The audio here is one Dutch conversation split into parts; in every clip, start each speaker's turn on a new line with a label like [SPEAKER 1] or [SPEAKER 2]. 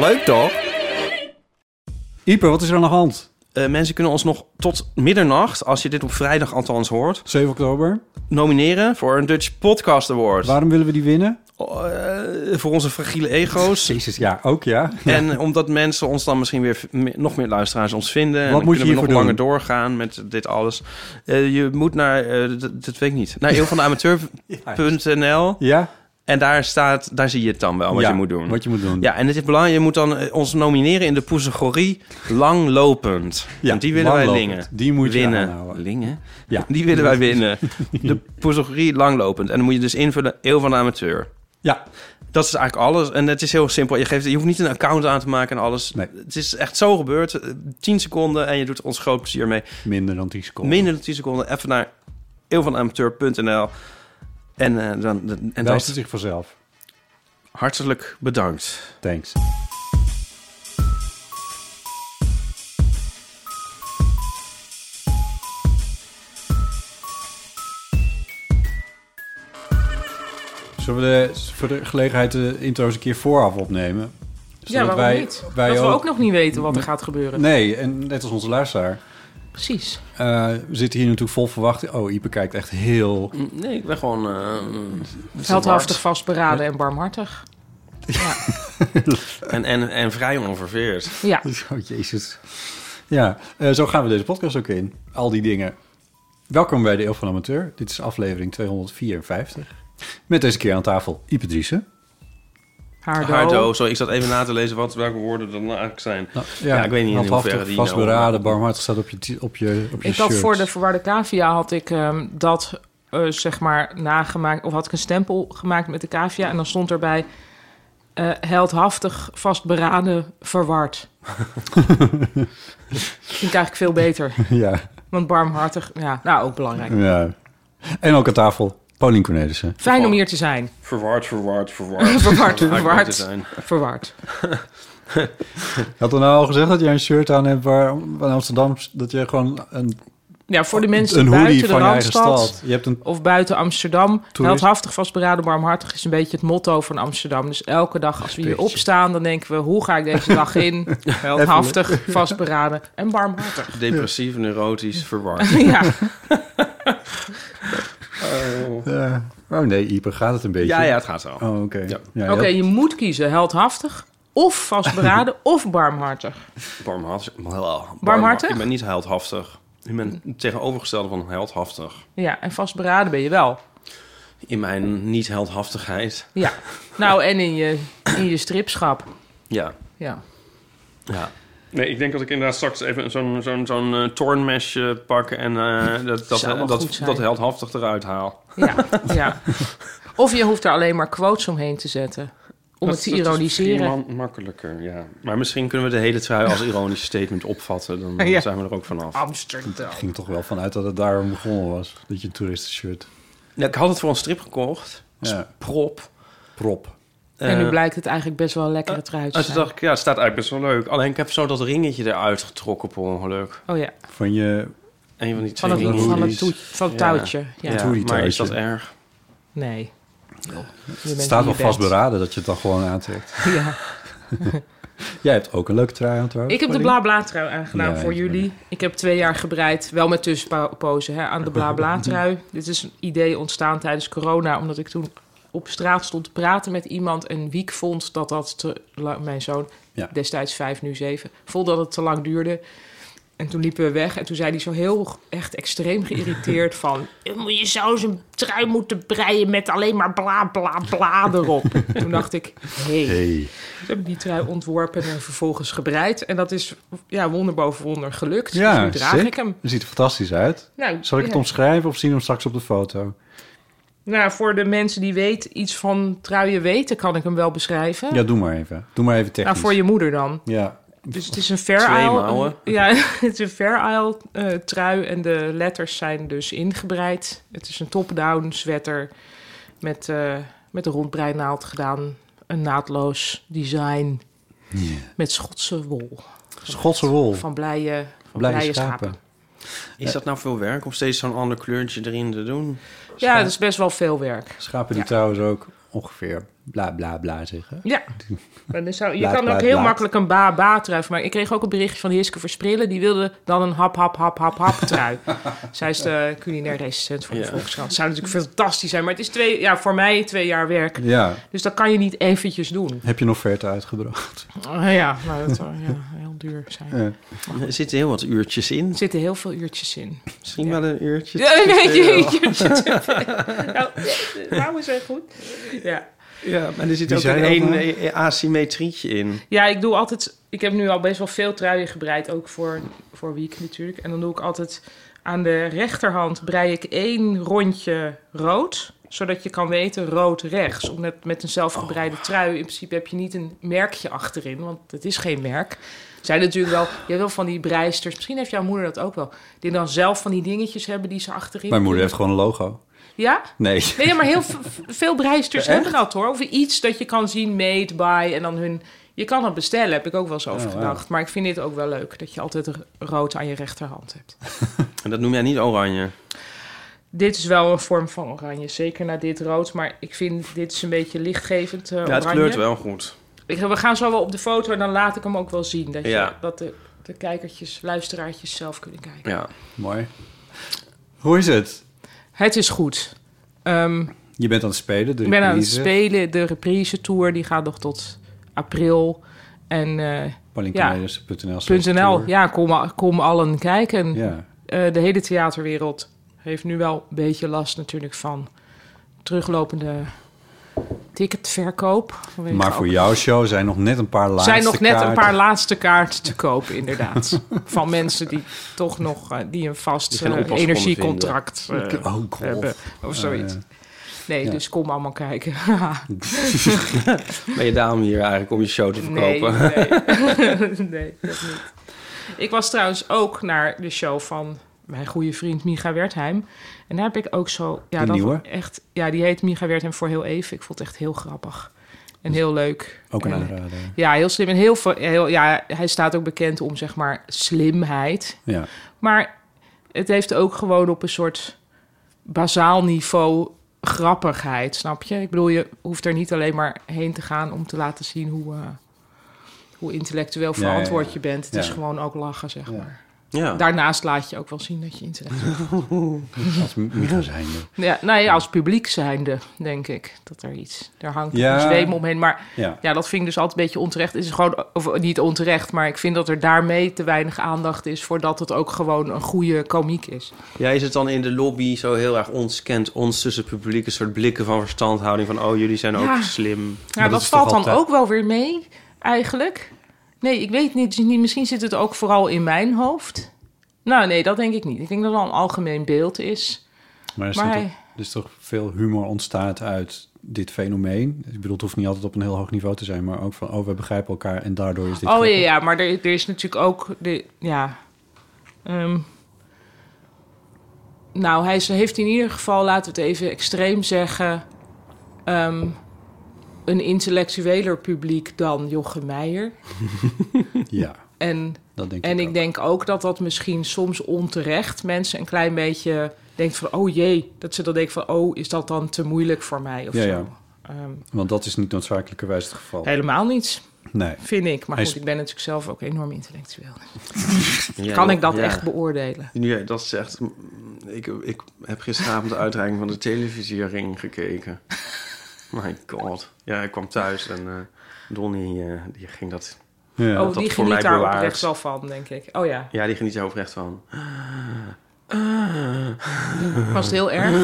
[SPEAKER 1] Leuk toch?
[SPEAKER 2] Ieper, wat is er aan de hand?
[SPEAKER 3] Eh, mensen kunnen ons nog tot middernacht, als je dit op vrijdag althans hoort,
[SPEAKER 2] 7 oktober.
[SPEAKER 3] nomineren voor een Dutch Podcast Award.
[SPEAKER 2] Waarom willen we die winnen?
[SPEAKER 3] Oh, eh, voor onze fragiele ego's.
[SPEAKER 2] Jezus, ja, ook ja.
[SPEAKER 3] En omdat mensen ons dan misschien weer v- me- nog meer luisteraars ons vinden. en
[SPEAKER 2] Wat
[SPEAKER 3] dan
[SPEAKER 2] moet je
[SPEAKER 3] kunnen we nog
[SPEAKER 2] hiervoor
[SPEAKER 3] langer doorgaan met dit alles. Eh, je moet naar, eh, d- dat, weet ik niet, naar eeuwvandeamateur.nl.
[SPEAKER 2] Ja?
[SPEAKER 3] En daar, staat, daar zie je het dan wel, Oh, wat
[SPEAKER 2] Ja,
[SPEAKER 3] je moet doen.
[SPEAKER 2] Wat je moet doen.
[SPEAKER 3] Ja, en het is belangrijk, je moet dan eh, ons nomineren in de categorie langlopend.
[SPEAKER 2] Ja,
[SPEAKER 3] Want die willen wij
[SPEAKER 2] langlopend.
[SPEAKER 3] lingen.
[SPEAKER 2] Die moet je
[SPEAKER 3] winnen.
[SPEAKER 2] aanhouden.
[SPEAKER 3] Lingen?
[SPEAKER 2] Ja.
[SPEAKER 3] Die willen wij winnen. De categorie langlopend. En dan moet je dus invullen, eeuw van de amateur.
[SPEAKER 2] Ja.
[SPEAKER 3] Dat is eigenlijk alles. En het is heel simpel. Je, geeft, je hoeft niet een account aan te maken en alles.
[SPEAKER 2] Nee.
[SPEAKER 3] Het is echt zo gebeurd. Eh, 10 seconden en je doet ons groot plezier mee.
[SPEAKER 2] Minder dan 10 seconden.
[SPEAKER 3] Minder dan 10 seconden. Even naar eeuwvanamateur.nl. En, eh, dan, en
[SPEAKER 2] dan wijst
[SPEAKER 3] dat
[SPEAKER 2] het zich vanzelf.
[SPEAKER 3] hartelijk bedankt.
[SPEAKER 2] Thanks. Zullen we de, voor de gelegenheid de intro's een keer vooraf opnemen?
[SPEAKER 4] Ja, waarom niet?
[SPEAKER 2] wij
[SPEAKER 4] dat we ook nog niet weten wat er gaat gebeuren.
[SPEAKER 2] Nee, en net als onze luisteraar.
[SPEAKER 4] Precies.
[SPEAKER 2] eh, we zitten hier natuurlijk vol verwachting. Oh, Ipe kijkt echt heel...
[SPEAKER 3] Mm, Nee, ik ben gewoon... eh,
[SPEAKER 4] Heldhaftig, vastberaden en barmhartig.
[SPEAKER 3] En, en, en vrij onverveerd.
[SPEAKER 4] Ja,
[SPEAKER 2] Oh, jezus. Ja, eh, zo gaan we deze podcast ook in. Al die dingen. Welkom bij de Eeuw van Amateur. Dit is aflevering 254. Met deze keer aan tafel Ipe Driessen.
[SPEAKER 4] Haardo.
[SPEAKER 3] Hardo, zo, ik zat even na te lezen wat, welke woorden dat nou eigenlijk zijn.
[SPEAKER 2] Nou,
[SPEAKER 3] Ja, ik weet niet in
[SPEAKER 2] Handhaftig,
[SPEAKER 3] hoeverre die nou-
[SPEAKER 2] vastberaden, barmhartig staat op je, ti- op je, op je
[SPEAKER 4] Ik
[SPEAKER 2] shirt.
[SPEAKER 4] had voor de verwarde cavia had ik ehm, dat eh, zeg maar nagemaakt, of had ik een stempel gemaakt met de cavia en dan stond erbij eh, heldhaftig, vastberaden, verward. Vind ik eigenlijk veel beter.
[SPEAKER 2] Ja,
[SPEAKER 4] Want barmhartig, ja, nou ook belangrijk.
[SPEAKER 2] ja. En ook aan tafel Paulien Cornelissen.
[SPEAKER 4] Fijn om hier te zijn.
[SPEAKER 3] Verward, verward, verward.
[SPEAKER 4] Verward,
[SPEAKER 3] Om uitgelegd te
[SPEAKER 4] verward,
[SPEAKER 3] zijn.
[SPEAKER 4] verward.
[SPEAKER 2] Had er nou al gezegd dat jij een shirt aan hebt waar, van Amsterdam... dat je gewoon een,
[SPEAKER 4] Ja, voor de mensen
[SPEAKER 2] een hoodie
[SPEAKER 4] buiten de
[SPEAKER 2] van je eigen
[SPEAKER 4] Randstad.
[SPEAKER 2] stad... Je hebt een...
[SPEAKER 4] of buiten Amsterdam.
[SPEAKER 2] Toerist.
[SPEAKER 4] Heldhaftig, vastberaden, barmhartig is een beetje het motto van Amsterdam. Dus elke dag als we hier opstaan, dan denken we... hoe ga ik deze dag in? Heldhaftig, vastberaden en barmhartig.
[SPEAKER 3] Depressief, neurotisch, verward.
[SPEAKER 4] ja,
[SPEAKER 2] eh, oh nee, Ipe, gaat het een beetje?
[SPEAKER 3] Ja, ja, het gaat zo.
[SPEAKER 2] Oh, oké. Ja.
[SPEAKER 4] oké, je moet kiezen. Heldhaftig of vastberaden of barmhartig.
[SPEAKER 3] Barmhartig. Barmhartig?
[SPEAKER 4] Barmhartig?
[SPEAKER 3] Ik ben niet heldhaftig. Ik ben het tegenovergestelde van heldhaftig.
[SPEAKER 4] Ja, en vastberaden ben je wel.
[SPEAKER 3] In mijn niet-heldhaftigheid.
[SPEAKER 4] Ja. Nou, en in je, in je stripschap.
[SPEAKER 3] Ja.
[SPEAKER 4] Ja.
[SPEAKER 3] ja. Nee, ik denk dat ik inderdaad straks even zo'n zo'n zo'n eh, toornmesje pak... en eh, dat, dat,
[SPEAKER 4] Zou wel
[SPEAKER 3] dat,
[SPEAKER 4] goed
[SPEAKER 3] dat,
[SPEAKER 4] zijn.
[SPEAKER 3] heldhaftig eruit haal.
[SPEAKER 4] Ja, ja. Of je hoeft er alleen maar quotes omheen te zetten. Om het te ironiseren.
[SPEAKER 3] Dat is makkelijker, ja. Maar misschien kunnen we de hele trui als ironisch statement opvatten. Dan
[SPEAKER 4] Ja.
[SPEAKER 3] zijn we er ook vanaf.
[SPEAKER 4] Amsterdam.
[SPEAKER 2] Ik ging er toch wel vanuit dat het daarom begonnen was. Dat je een toeristenshirt.
[SPEAKER 3] Nou, ik had het voor een strip gekocht. Als
[SPEAKER 2] Ja.
[SPEAKER 3] prop.
[SPEAKER 2] Prop.
[SPEAKER 4] En nu
[SPEAKER 3] Eh,
[SPEAKER 4] blijkt het eigenlijk best wel een lekkere trui te
[SPEAKER 3] En toen
[SPEAKER 4] zijn.
[SPEAKER 3] dacht ik, ja, het staat eigenlijk best wel leuk. Alleen ik heb zo dat ringetje eruit getrokken per ongeluk.
[SPEAKER 4] Oh ja,
[SPEAKER 2] Van je...
[SPEAKER 3] Een van die twee
[SPEAKER 4] van het,
[SPEAKER 2] Hoodies.
[SPEAKER 3] ringetjes.
[SPEAKER 4] van het, toe- van het
[SPEAKER 3] Ja.
[SPEAKER 4] touwtje. Ja.
[SPEAKER 2] Het hoodie
[SPEAKER 3] maar is
[SPEAKER 2] touwtje.
[SPEAKER 3] dat erg?
[SPEAKER 4] Nee. Je
[SPEAKER 2] Het
[SPEAKER 4] bent
[SPEAKER 2] staat
[SPEAKER 4] wie
[SPEAKER 2] wel
[SPEAKER 4] je bent.
[SPEAKER 2] vastberaden dat je het dan gewoon aantrekt.
[SPEAKER 4] Ja.
[SPEAKER 2] Jij hebt ook een leuke trui aan trouwens.
[SPEAKER 4] Ik heb de
[SPEAKER 2] Paulien.
[SPEAKER 4] blabla trui aangedaan
[SPEAKER 2] Ja,
[SPEAKER 4] voor
[SPEAKER 2] ik-
[SPEAKER 4] jullie. Ik heb twee jaar gebreid, wel met tussenpozen, hè, aan de blabla trui. Dit is een idee ontstaan tijdens corona, omdat ik toen op straat stond te praten met iemand en Wiek vond dat dat te lang, mijn zoon,
[SPEAKER 2] Ja.
[SPEAKER 4] destijds vijf, nu zeven, vond dat het te lang duurde. En toen liepen we weg en toen zei hij zo heel echt extreem geïrriteerd van... Je zou zijn trui moeten breien met alleen maar bla bla bla erop. toen dacht ik, hé. Hey.
[SPEAKER 2] Hey.
[SPEAKER 4] Ze hebben die trui ontworpen en vervolgens gebreid. En dat is ja, wonder boven wonder gelukt. dus
[SPEAKER 2] Ja,
[SPEAKER 4] nu draag
[SPEAKER 2] sick.
[SPEAKER 4] ik hem.
[SPEAKER 2] Het ziet er fantastisch uit.
[SPEAKER 4] Nou,
[SPEAKER 2] Zal ik het
[SPEAKER 4] ja.
[SPEAKER 2] omschrijven of zien we hem straks op de foto?
[SPEAKER 4] Nou, voor de mensen die weet, iets van truien weten, kan ik hem wel beschrijven.
[SPEAKER 2] Ja, doe maar even. Doe maar even technisch.
[SPEAKER 4] nou, voor je moeder dan.
[SPEAKER 2] Ja.
[SPEAKER 4] Dus het is een Fair
[SPEAKER 3] Twee
[SPEAKER 4] Isle.
[SPEAKER 3] mouwen.
[SPEAKER 4] Ja, het is een Fair Isle eh, trui en de letters zijn dus ingebreid. Het is een top-down sweater met, eh, met een rondbreinaald gedaan. Een naadloos design met Schotse wol.
[SPEAKER 2] Schotse wol.
[SPEAKER 4] Van blije, van
[SPEAKER 2] Blije
[SPEAKER 4] blije
[SPEAKER 2] schapen.
[SPEAKER 4] schapen.
[SPEAKER 3] Is dat nou veel werk om steeds zo'n ander kleurtje erin te doen?
[SPEAKER 4] Ja, dat is best wel veel werk.
[SPEAKER 2] Schapen die
[SPEAKER 4] Ja.
[SPEAKER 2] trouwens ook ongeveer bla bla bla zeggen.
[SPEAKER 4] Ja, Maar dan zou, je
[SPEAKER 2] Laat,
[SPEAKER 4] kan ook
[SPEAKER 2] laat,
[SPEAKER 4] heel
[SPEAKER 2] laat.
[SPEAKER 4] makkelijk een ba-ba trui van maken. Ik kreeg ook een berichtje van Hiske Versprillen. Die wilde dan een hap-hap-hap-hap-hap trui. Zij is de culinair recensent voor de
[SPEAKER 3] Ja.
[SPEAKER 4] Volkskrant. Zou natuurlijk fantastisch zijn. Maar het is twee, ja, voor mij twee jaar werk.
[SPEAKER 2] Ja.
[SPEAKER 4] Dus dat kan je niet eventjes doen.
[SPEAKER 2] Heb je nog verte uitgebracht?
[SPEAKER 4] Ah, ja, nou, dat zou ja, heel duur zijn.
[SPEAKER 2] Ja.
[SPEAKER 3] Er zitten heel wat uurtjes in.
[SPEAKER 4] Er zitten heel veel uurtjes in.
[SPEAKER 3] Misschien wel een uurtje.
[SPEAKER 4] Ja,
[SPEAKER 3] te
[SPEAKER 4] nee,
[SPEAKER 3] veel.
[SPEAKER 4] jeetje. te veel. Nou, de vrouwen zijn goed. Ja.
[SPEAKER 3] Ja, maar er zit
[SPEAKER 2] Wie
[SPEAKER 3] ook
[SPEAKER 2] zei dat
[SPEAKER 3] een
[SPEAKER 2] nou?
[SPEAKER 3] één eh, asymmetrietje in.
[SPEAKER 4] Ja, ik doe altijd. Ik heb nu al best wel veel truien gebreid, ook voor, voor week natuurlijk. En dan doe ik altijd aan de rechterhand brei ik één rondje rood, zodat je kan weten rood rechts. Omdat met een zelfgebreide
[SPEAKER 2] Oh.
[SPEAKER 4] trui in principe heb je niet een merkje achterin, want het is geen merk. Er Zijn natuurlijk wel, jij wil van die breisters, misschien heeft jouw moeder dat ook wel, die dan zelf van die dingetjes hebben die ze achterin.
[SPEAKER 2] Mijn moeder
[SPEAKER 4] doen.
[SPEAKER 2] heeft gewoon een logo.
[SPEAKER 4] Ja?
[SPEAKER 2] Nee.
[SPEAKER 4] Nee, maar heel v- veel breisters hebben dat hoor. Of iets dat je kan zien, made by en dan hun... Je kan het bestellen, heb ik ook wel eens over
[SPEAKER 2] Oh, wauw.
[SPEAKER 4] gedacht. Maar ik vind dit ook wel leuk, dat je altijd r- rood aan je rechterhand hebt.
[SPEAKER 3] En dat noem jij niet oranje.
[SPEAKER 4] Dit is wel een vorm van oranje, zeker na dit rood. Maar ik vind, dit is een beetje lichtgevend eh,
[SPEAKER 3] Ja, het
[SPEAKER 4] oranje.
[SPEAKER 3] kleurt wel goed.
[SPEAKER 4] Ik, we gaan zo wel op de foto en dan laat ik hem ook wel zien. Dat, je,
[SPEAKER 3] Ja.
[SPEAKER 4] dat de, de kijkertjes, luisteraartjes zelf kunnen kijken.
[SPEAKER 3] Ja.
[SPEAKER 2] Mooi. Hoe is het?
[SPEAKER 4] Het is goed. Ehm,
[SPEAKER 2] Je bent aan het spelen. De
[SPEAKER 4] Ik ben aan het
[SPEAKER 2] reprise.
[SPEAKER 4] spelen. De reprise tour die gaat nog tot april. En eh,
[SPEAKER 2] Palinkenmeijers.nl.
[SPEAKER 4] .nl, ja, kom, kom allen kijken.
[SPEAKER 2] Ja.
[SPEAKER 4] Eh, de hele theaterwereld heeft nu wel een beetje last natuurlijk van teruglopende ticketverkoop. Vanwege
[SPEAKER 2] Maar
[SPEAKER 4] ook-
[SPEAKER 2] voor jouw show zijn nog net een paar laatste
[SPEAKER 4] zijn nog net een
[SPEAKER 2] kaarten. Oh,
[SPEAKER 4] paar laatste kaarten te koop, inderdaad. van mensen die toch nog eh, die een vast
[SPEAKER 3] Die geen
[SPEAKER 4] eh,
[SPEAKER 3] oppas konden
[SPEAKER 4] energiecontract eh,
[SPEAKER 2] Oh, god.
[SPEAKER 4] hebben. Of zoiets.
[SPEAKER 2] ja.
[SPEAKER 4] Nee,
[SPEAKER 2] Ja.
[SPEAKER 4] dus kom allemaal kijken.
[SPEAKER 3] Ben je daarom hier eigenlijk om je show te verkopen?
[SPEAKER 4] Nee, nee. nee, dat niet. Ik was trouwens ook naar de show van mijn goede vriend Micha Wertheim. En daar heb ik ook zo... Ja,
[SPEAKER 2] De
[SPEAKER 4] dat
[SPEAKER 2] nieuwe?
[SPEAKER 4] Echt, ja, die heet Micha Wertheim voor heel even. Ik vond het echt heel grappig. En heel leuk.
[SPEAKER 2] Ook een
[SPEAKER 4] En-
[SPEAKER 2] aanrader.
[SPEAKER 4] Ja, heel slim. En heel, veel- heel, ja, hij staat ook bekend om, zeg maar, slimheid.
[SPEAKER 2] Ja.
[SPEAKER 4] Maar het heeft ook gewoon op een soort bazaal niveau grappigheid, snap je? Ik bedoel, je hoeft er niet alleen maar heen te gaan om te laten zien hoe, eh, hoe intellectueel
[SPEAKER 2] Ja, ja, ja.
[SPEAKER 4] verantwoord je bent. Het
[SPEAKER 2] Ja.
[SPEAKER 4] is gewoon ook lachen, zeg
[SPEAKER 2] Ja.
[SPEAKER 4] maar.
[SPEAKER 3] Ja.
[SPEAKER 4] Daarnaast laat je ook wel zien dat je intellectueel
[SPEAKER 2] Als Micha zijnde.
[SPEAKER 4] Ja, nou ja, als publiek zijnde, denk ik, dat er iets... Er hangt
[SPEAKER 2] Ja.
[SPEAKER 4] een zweem omheen, maar
[SPEAKER 2] Ja.
[SPEAKER 4] ja, dat vind ik dus altijd een beetje onterecht. Het is gewoon, of niet onterecht, maar ik vind dat er daarmee te weinig aandacht is... voordat het ook gewoon een goede komiek is.
[SPEAKER 3] Jij is het dan in de lobby zo heel erg ons kent, ons tussen het publiek, een soort blikken van verstandhouding van, oh, jullie zijn
[SPEAKER 4] Ja.
[SPEAKER 3] ook slim.
[SPEAKER 4] Ja,
[SPEAKER 2] Maar
[SPEAKER 4] dat,
[SPEAKER 2] dat is
[SPEAKER 4] valt
[SPEAKER 2] toch
[SPEAKER 4] dan
[SPEAKER 2] altijd-
[SPEAKER 4] ook wel weer mee, eigenlijk. Nee, ik weet niet, niet. Misschien zit het ook vooral in mijn hoofd. Nou, nee, dat denk ik niet. Ik denk dat het wel een algemeen beeld is.
[SPEAKER 2] Maar er is,
[SPEAKER 4] Maar
[SPEAKER 2] toch,
[SPEAKER 4] hij-
[SPEAKER 2] er is toch veel humor ontstaat uit dit fenomeen. Ik bedoel, het hoeft niet altijd op een heel hoog niveau te zijn, maar ook van, oh, we begrijpen elkaar en daardoor is dit.
[SPEAKER 4] oh ja,
[SPEAKER 2] grappig.
[SPEAKER 4] ja, maar er, er is natuurlijk ook de. Ja. Ehm, nou, hij is- heeft in ieder geval, laten we het even extreem zeggen. ehm, een intellectueler publiek dan Jochem Meijer.
[SPEAKER 2] Ja,
[SPEAKER 4] En
[SPEAKER 2] dat denk
[SPEAKER 4] En
[SPEAKER 2] ik.
[SPEAKER 4] ik denk ook dat dat misschien soms onterecht mensen een klein beetje denken van... oh jee, dat ze dan denken van... oh, is dat dan te moeilijk voor mij of
[SPEAKER 2] Ja,
[SPEAKER 4] zo.
[SPEAKER 2] ja.
[SPEAKER 4] Ehm,
[SPEAKER 2] Want dat is niet noodzakelijkerwijs het geval.
[SPEAKER 4] helemaal niet,
[SPEAKER 2] Nee.
[SPEAKER 4] vind ik. Maar
[SPEAKER 2] Hij
[SPEAKER 4] goed,
[SPEAKER 2] is-
[SPEAKER 4] ik ben natuurlijk zelf ook enorm intellectueel.
[SPEAKER 3] Ja,
[SPEAKER 4] kan ik dat
[SPEAKER 3] ja.
[SPEAKER 4] echt beoordelen?
[SPEAKER 3] Ja, dat is echt... Ik, ik heb gisteravond de uitreiking van de televisiering gekeken. My god. Ja, ik kwam thuis en eh Donnie, eh, die ging dat...
[SPEAKER 2] Ja.
[SPEAKER 4] oh,
[SPEAKER 3] dat
[SPEAKER 4] die
[SPEAKER 3] voor mij
[SPEAKER 4] geniet daar
[SPEAKER 3] bewaard.
[SPEAKER 4] oprecht wel van, denk ik. Oh ja,
[SPEAKER 3] Ja, die ging niet zo oprecht van.
[SPEAKER 4] was het heel erg?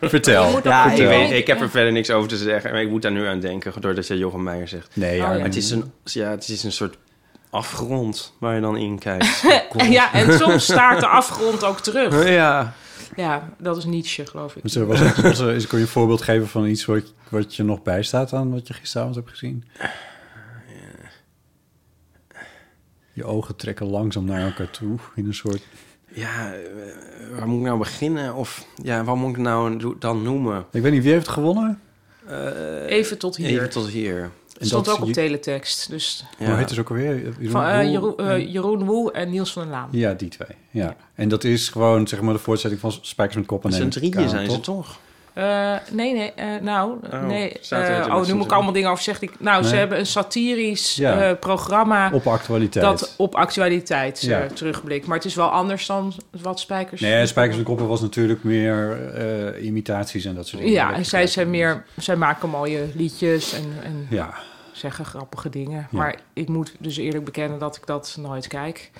[SPEAKER 2] Vertel.
[SPEAKER 4] Je moet dat
[SPEAKER 3] Ja,
[SPEAKER 4] goed
[SPEAKER 3] ik, weet,
[SPEAKER 4] kijken.
[SPEAKER 3] ik heb er verder niks over te zeggen. Maar ik moet daar nu aan denken, doordat jij Jochem Meijer zegt.
[SPEAKER 2] Nee, ja.
[SPEAKER 4] Oh, ja.
[SPEAKER 3] Maar het is een, ja, het is een soort afgrond waar je dan in kijkt.
[SPEAKER 4] Ja, en soms staart de afgrond ook terug.
[SPEAKER 3] ja.
[SPEAKER 4] Ja, dat is Nietzsche, geloof ik.
[SPEAKER 2] Dus er was, was er, is, kun je een voorbeeld geven van iets wat, wat je nog bijstaat aan wat je gisteravond hebt gezien? Je ogen trekken langzaam naar elkaar toe in een soort...
[SPEAKER 3] Ja, eh, waar moet ik nou beginnen? Of ja, wat moet ik nou do- dan noemen?
[SPEAKER 2] Ik weet niet, wie heeft gewonnen?
[SPEAKER 4] Even tot hier.
[SPEAKER 3] Even tot hier.
[SPEAKER 4] Het stond
[SPEAKER 2] dat
[SPEAKER 4] ook op
[SPEAKER 2] je-
[SPEAKER 4] teletext. Dus
[SPEAKER 3] Ja.
[SPEAKER 2] Hoe heet het ook alweer? Jeroen
[SPEAKER 4] van, eh,
[SPEAKER 2] Roel
[SPEAKER 4] Jeroen, eh,
[SPEAKER 2] en-
[SPEAKER 4] Jeroen Woe en Niels van der Laan.
[SPEAKER 2] Ja, die twee. Ja. En dat is gewoon zeg maar de voortzetting van Spijkers met Kop en
[SPEAKER 3] Met z'n
[SPEAKER 2] Kaan,
[SPEAKER 3] drieën zijn ze
[SPEAKER 2] toch?
[SPEAKER 3] toch?
[SPEAKER 4] Eh, nee, nee, eh, nou,
[SPEAKER 3] Oh,
[SPEAKER 4] nee.
[SPEAKER 3] staat er
[SPEAKER 4] eh,
[SPEAKER 3] het in
[SPEAKER 4] oh,
[SPEAKER 3] met
[SPEAKER 4] nu moet ik
[SPEAKER 3] z'n
[SPEAKER 4] allemaal dingen over zeggen. die ik- Nou, ze
[SPEAKER 2] Nee.
[SPEAKER 4] hebben een satirisch
[SPEAKER 2] Ja.
[SPEAKER 4] eh, programma
[SPEAKER 2] Op actualiteit.
[SPEAKER 4] dat op actualiteit eh,
[SPEAKER 2] Ja.
[SPEAKER 4] terugblikt. Maar het is wel anders dan wat Spijkers...
[SPEAKER 2] Nee, Spijkers met Koppen was natuurlijk meer eh, imitaties en dat soort dingen.
[SPEAKER 4] Ja,
[SPEAKER 2] Dat
[SPEAKER 4] en
[SPEAKER 2] je
[SPEAKER 4] zij,
[SPEAKER 2] kijkt.
[SPEAKER 4] zijn meer, zij maken mooie liedjes en, en
[SPEAKER 2] Ja,
[SPEAKER 4] zeggen grappige dingen.
[SPEAKER 2] Ja.
[SPEAKER 4] Maar ik moet dus eerlijk bekennen dat ik dat nooit kijk.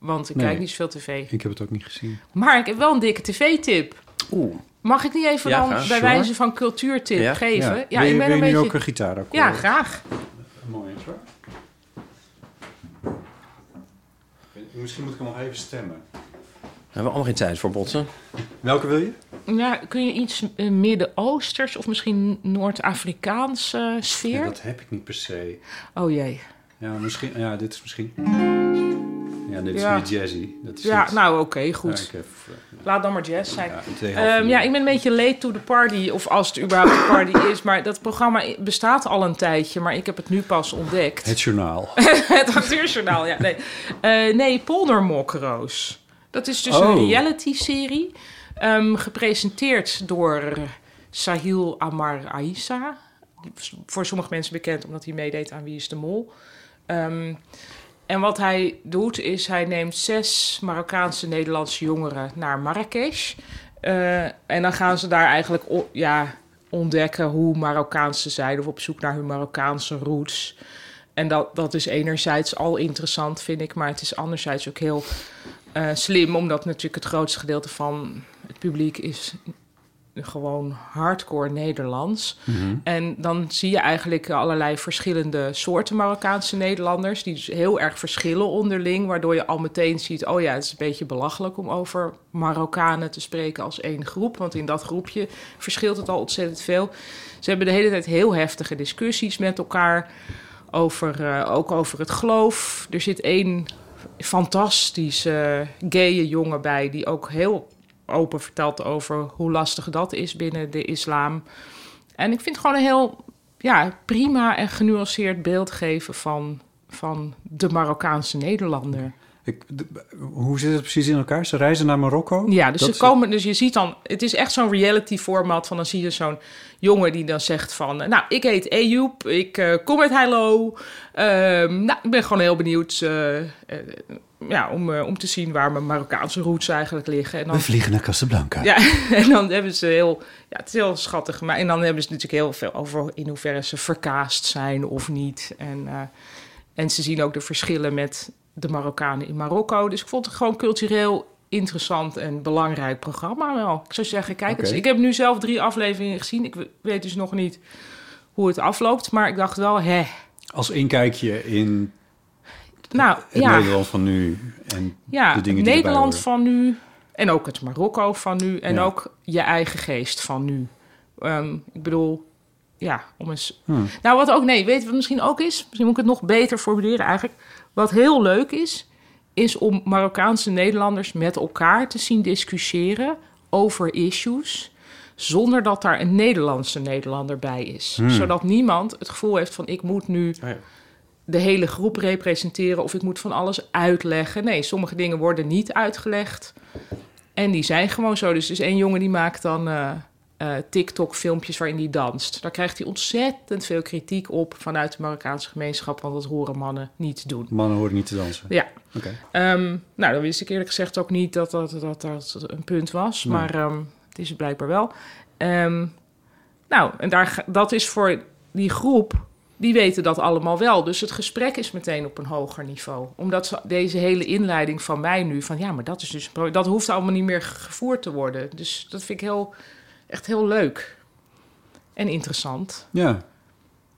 [SPEAKER 4] Want ik
[SPEAKER 2] Nee.
[SPEAKER 4] kijk niet zoveel tv.
[SPEAKER 2] ik heb het ook niet gezien.
[SPEAKER 4] Maar ik heb wel een dikke tv-tip.
[SPEAKER 3] Oeh.
[SPEAKER 4] Mag ik niet even
[SPEAKER 3] Ja,
[SPEAKER 4] dan
[SPEAKER 3] graag,
[SPEAKER 4] bij
[SPEAKER 3] sure.
[SPEAKER 4] wijze van cultuurtip
[SPEAKER 3] Ja,
[SPEAKER 4] geven? Ja,
[SPEAKER 2] Ja. wil je,
[SPEAKER 4] ik ben
[SPEAKER 2] wil
[SPEAKER 4] een
[SPEAKER 2] je nu
[SPEAKER 4] beetje...
[SPEAKER 2] ook een gitaar
[SPEAKER 4] Ja, graag.
[SPEAKER 2] Mooi hoor. Misschien moet ik hem nog even stemmen.
[SPEAKER 3] Daar hebben we allemaal geen tijd voor botsen.
[SPEAKER 2] Welke wil je?
[SPEAKER 4] Ja, kun je iets eh, Midden-Oosters of misschien Noord-Afrikaanse eh, sfeer?
[SPEAKER 2] Ja, dat heb ik niet per se.
[SPEAKER 4] Oh jee.
[SPEAKER 2] Ja, misschien, ja dit is misschien... Ja, dit is
[SPEAKER 4] Ja.
[SPEAKER 2] meer jazzy. Dat is
[SPEAKER 4] Ja,
[SPEAKER 2] iets-
[SPEAKER 4] nou oké,
[SPEAKER 2] Ja,
[SPEAKER 4] goed.
[SPEAKER 2] ik heb, eh,
[SPEAKER 4] Laat dan maar jazz zijn.
[SPEAKER 2] ja, twee halve
[SPEAKER 4] Ehm,
[SPEAKER 2] uur.
[SPEAKER 4] ja, ik ben een beetje late to the party, of als het überhaupt een party is. Maar dat programma i- bestaat al een tijdje, maar ik heb het nu pas ontdekt.
[SPEAKER 2] Het journaal.
[SPEAKER 4] Het acteursjournaal, ja. Nee, Eh nee Poldermokroos. Dat is dus een
[SPEAKER 2] Oh.
[SPEAKER 4] reality-serie, ehm, gepresenteerd door Sahil Amar Aissa. Die is Voor sommige mensen bekend, omdat hij meedeed aan Wie is de Mol. Ehm, en wat hij doet, is hij neemt zes Marokkaanse Nederlandse jongeren naar Marrakesh. Eh, en dan gaan ze daar eigenlijk o- ja, ontdekken hoe Marokkaans ze zijn... of op zoek naar hun Marokkaanse roots... En dat, dat is enerzijds al interessant, vind ik. Maar het is anderzijds ook heel eh, slim. Omdat natuurlijk het grootste gedeelte van het publiek is gewoon hardcore Nederlands. En dan zie je eigenlijk allerlei verschillende soorten Marokkaanse Nederlanders. Die dus heel erg verschillen onderling. Waardoor je al meteen ziet, oh ja, het is een beetje belachelijk om over Marokkanen te spreken als één groep. Want in dat groepje verschilt het al ontzettend veel. Ze hebben de hele tijd heel heftige discussies met elkaar. Over, eh, ook over het geloof. Er zit één fantastische gaye jongen bij die ook heel open vertelt over hoe lastig dat is binnen de islam. En ik vind het gewoon een heel ja, prima en genuanceerd beeld geven van, van de Marokkaanse Nederlander.
[SPEAKER 2] Ik, de- hoe zit het precies in elkaar? Ze reizen naar Marokko?
[SPEAKER 4] Ja, dus,
[SPEAKER 2] Dat
[SPEAKER 4] ze komen, dus je ziet dan, het is echt zo'n reality format van dan zie je zo'n jongen die dan zegt van, eh, nou, ik heet Ejoep, ik eh, kom uit Heilo. Ehm, nou, ik ben gewoon heel benieuwd eh, eh, ja, om, eh, om te zien waar mijn Marokkaanse roots eigenlijk liggen. En dan,
[SPEAKER 2] We vliegen naar Casablanca.
[SPEAKER 4] ja, en dan hebben ze heel, ja, het is heel schattig, maar en dan hebben ze natuurlijk heel veel over in hoeverre ze verkaasd zijn of niet. En, eh, en ze zien ook de verschillen met de Marokkanen in Marokko. Dus ik vond het gewoon cultureel interessant en belangrijk programma wel. Ik zou zeggen, kijk het.
[SPEAKER 2] Oké.
[SPEAKER 4] Ik heb nu zelf drie afleveringen gezien. Ik we- weet dus nog niet hoe het afloopt, maar ik dacht wel, hè.
[SPEAKER 2] Als inkijkje in
[SPEAKER 4] Nou,
[SPEAKER 2] het
[SPEAKER 4] ja.
[SPEAKER 2] Nederland van nu. En
[SPEAKER 4] Ja,
[SPEAKER 2] de dingen die erbij
[SPEAKER 4] Nederland
[SPEAKER 2] horen.
[SPEAKER 4] van nu en ook het Marokko van nu en
[SPEAKER 2] Ja.
[SPEAKER 4] ook je eigen geest van nu. Ehm, ik bedoel, ja, om eens.
[SPEAKER 2] Hmm.
[SPEAKER 4] Nou, wat ook, nee, weet je wat misschien ook is? Misschien moet ik het nog beter formuleren eigenlijk. Wat heel leuk is, is om Marokkaanse Nederlanders met elkaar te zien discussiëren over issues. Zonder dat daar een Nederlandse Nederlander bij is. Zodat niemand het gevoel heeft van ik moet nu
[SPEAKER 3] Hmm. Oh ja.
[SPEAKER 4] de hele groep representeren of ik moet van alles uitleggen. Nee, sommige dingen worden niet uitgelegd. En die zijn gewoon zo. Dus er is één jongen die maakt dan eh, eh, TikTok-filmpjes waarin hij danst. Daar krijgt hij ontzettend veel kritiek op vanuit de Marokkaanse gemeenschap, want dat horen mannen niet doen.
[SPEAKER 2] Mannen horen niet te dansen.
[SPEAKER 4] Ja,
[SPEAKER 2] Oké.
[SPEAKER 4] Ehm, nou, dan wist ik eerlijk gezegd ook niet dat dat, dat, dat een punt was.
[SPEAKER 2] Nee.
[SPEAKER 4] Maar ehm, het is het blijkbaar wel. Ehm, nou, en daar, ga- dat is voor die groep, die weten dat allemaal wel. Dus het gesprek is meteen op een hoger niveau. Omdat ze- deze hele inleiding van mij nu, van ja, maar dat is dus... een pro- Dat hoeft allemaal niet meer gevoerd te worden. Dus dat vind ik heel, echt heel leuk. En interessant.
[SPEAKER 2] Ja.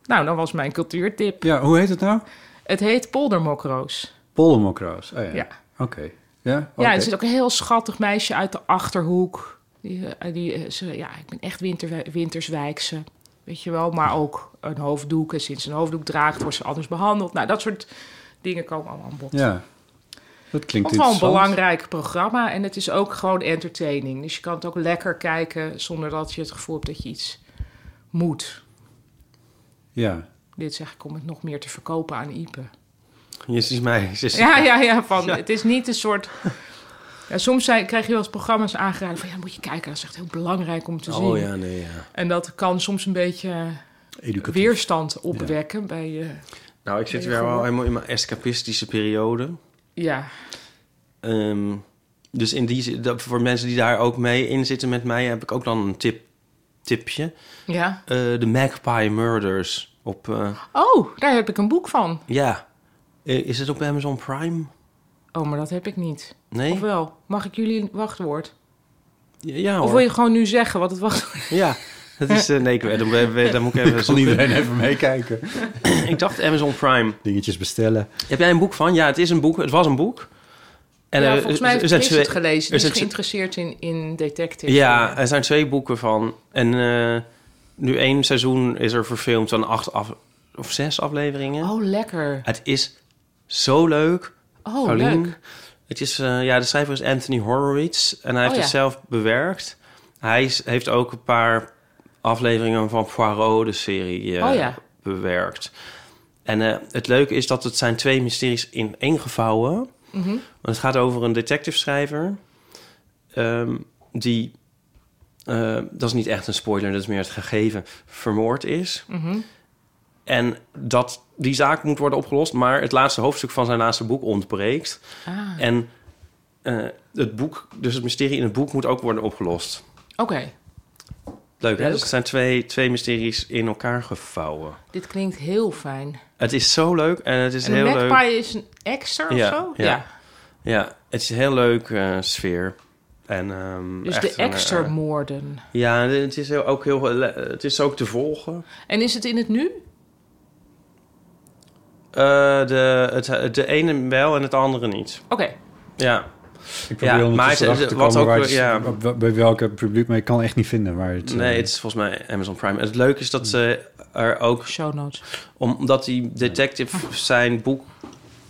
[SPEAKER 4] Nou, dat was mijn cultuurtip.
[SPEAKER 2] ja, hoe heet het nou?
[SPEAKER 4] Het heet poldermokroos.
[SPEAKER 2] Poldermokroos. Oh, ja.
[SPEAKER 4] Ja.
[SPEAKER 2] Oké. Ja?
[SPEAKER 4] Ja,
[SPEAKER 2] Oké.
[SPEAKER 4] er zit ook een heel schattig meisje uit de Achterhoek. Die, eh, die, eh, ze- ja, ik ben echt winter, winterswijkse, weet je wel. Maar ook een hoofddoek. En sinds ze een hoofddoek draagt, wordt ze anders behandeld. Nou, dat soort dingen komen allemaal aan bod.
[SPEAKER 2] Ja. Dat klinkt
[SPEAKER 4] Het is gewoon een
[SPEAKER 2] interessant.
[SPEAKER 4] belangrijk programma en het is ook gewoon entertaining. Dus je kan het ook lekker kijken zonder dat je het gevoel hebt dat je iets moet.
[SPEAKER 2] Ja.
[SPEAKER 4] Dit zeg ik om het nog meer te verkopen aan Ipe.
[SPEAKER 3] Jezus mij. Jezus.
[SPEAKER 4] Ja, ja, ja. Van, Het is niet een soort... Ja, soms zijn, krijg je wel eens programma's aangeraden van... ja, moet je kijken, dat is echt heel belangrijk om te zien.
[SPEAKER 3] Oh ja, nee, ja.
[SPEAKER 4] En dat kan soms een beetje
[SPEAKER 2] Educatief.
[SPEAKER 4] weerstand opwekken bij je...
[SPEAKER 3] Nou, ik zit
[SPEAKER 4] Ja,
[SPEAKER 3] weer
[SPEAKER 4] goed.
[SPEAKER 3] wel helemaal in mijn escapistische periode.
[SPEAKER 4] ja,
[SPEAKER 3] Ehm, dus in die, zin- dat, voor mensen die daar ook mee in zitten met mij... heb ik ook dan een tip, tipje.
[SPEAKER 4] ja.
[SPEAKER 3] Eh, De Magpie Murders op... eh,
[SPEAKER 4] Oh, daar heb ik een boek van.
[SPEAKER 3] ja. Eh, is het op Amazon Prime?
[SPEAKER 4] Oh, maar dat heb ik niet.
[SPEAKER 3] Nee?
[SPEAKER 4] Of wel? Mag ik jullie wachtwoord?
[SPEAKER 3] Ja, ja
[SPEAKER 4] Of
[SPEAKER 3] hoor.
[SPEAKER 4] wil je gewoon nu zeggen wat het wachtwoord
[SPEAKER 3] Ja. Dat is... eh, nee, ik, weet- dan, dan moet ik even
[SPEAKER 2] Zal
[SPEAKER 3] zoeken.
[SPEAKER 2] iedereen even meekijken?
[SPEAKER 3] Ik dacht Amazon Prime.
[SPEAKER 2] Dingetjes bestellen.
[SPEAKER 3] Heb jij een boek van? Ja, het is een boek. Het was een boek. En
[SPEAKER 4] ja,
[SPEAKER 3] eh,
[SPEAKER 4] volgens mij heeft Chris
[SPEAKER 3] twee-
[SPEAKER 4] het gelezen. Die
[SPEAKER 3] er zijn
[SPEAKER 4] is
[SPEAKER 3] twee-
[SPEAKER 4] geïnteresseerd in, in detectives.
[SPEAKER 3] Ja, er zijn twee boeken van. En eh, nu één seizoen is er verfilmd aan acht af, of zes afleveringen.
[SPEAKER 4] Oh, lekker.
[SPEAKER 3] Het is zo leuk.
[SPEAKER 4] Oh,
[SPEAKER 3] Paulien.
[SPEAKER 4] leuk.
[SPEAKER 3] Het is, eh, ja, de schrijver is Anthony Horowitz. En hij heeft
[SPEAKER 4] Oh,
[SPEAKER 3] het
[SPEAKER 4] ja.
[SPEAKER 3] zelf bewerkt. Hij is- heeft ook een paar afleveringen van Poirot, de serie, eh,
[SPEAKER 4] Oh, ja.
[SPEAKER 3] bewerkt. En eh, het leuke is dat het zijn twee mysteries in één gevouwen.
[SPEAKER 4] Mhm.
[SPEAKER 3] Want het gaat over een detective schrijver. ehm, die, eh, dat is niet echt een spoiler, dat is meer het gegeven, vermoord is.
[SPEAKER 4] Mhm.
[SPEAKER 3] En dat die zaak moet worden opgelost, maar het laatste hoofdstuk van zijn laatste boek ontbreekt.
[SPEAKER 4] Ah,
[SPEAKER 3] En eh, het boek, dus het mysterie in het boek moet ook worden opgelost.
[SPEAKER 4] Oké,
[SPEAKER 3] Leuk, hè?
[SPEAKER 4] Leuk.
[SPEAKER 3] Dus het zijn twee, twee mysteries in elkaar gevouwen.
[SPEAKER 4] dit klinkt heel fijn.
[SPEAKER 3] Het is zo leuk en het is
[SPEAKER 4] En
[SPEAKER 3] heel
[SPEAKER 4] de
[SPEAKER 3] leuk.
[SPEAKER 4] Magpie is een extra of
[SPEAKER 3] Ja,
[SPEAKER 4] zo?
[SPEAKER 3] ja. Ja, het is een heel leuk eh, sfeer. En, ehm,
[SPEAKER 4] Dus
[SPEAKER 3] echt
[SPEAKER 4] de
[SPEAKER 3] een,
[SPEAKER 4] extra
[SPEAKER 3] eh,
[SPEAKER 4] moorden.
[SPEAKER 3] ja, het is heel, ook heel. eh, Het is ook te volgen.
[SPEAKER 4] En is het in het nu?
[SPEAKER 3] Eh, de, het, de ene wel en het andere niet.
[SPEAKER 4] Oké.
[SPEAKER 3] Ja.
[SPEAKER 2] Ik probeer
[SPEAKER 3] Ja,
[SPEAKER 2] ondertussen
[SPEAKER 3] maar het-
[SPEAKER 2] erachter
[SPEAKER 3] het-
[SPEAKER 2] te
[SPEAKER 3] wat
[SPEAKER 2] komen
[SPEAKER 3] ook-
[SPEAKER 2] waar het-
[SPEAKER 3] ja.
[SPEAKER 2] bij- bij welke publiek, maar ik kan echt niet vinden waar het... eh,
[SPEAKER 3] Nee, het is volgens mij Amazon Prime. En het leuke is dat ze er ook
[SPEAKER 4] Show notes.
[SPEAKER 3] omdat die detective zijn boek...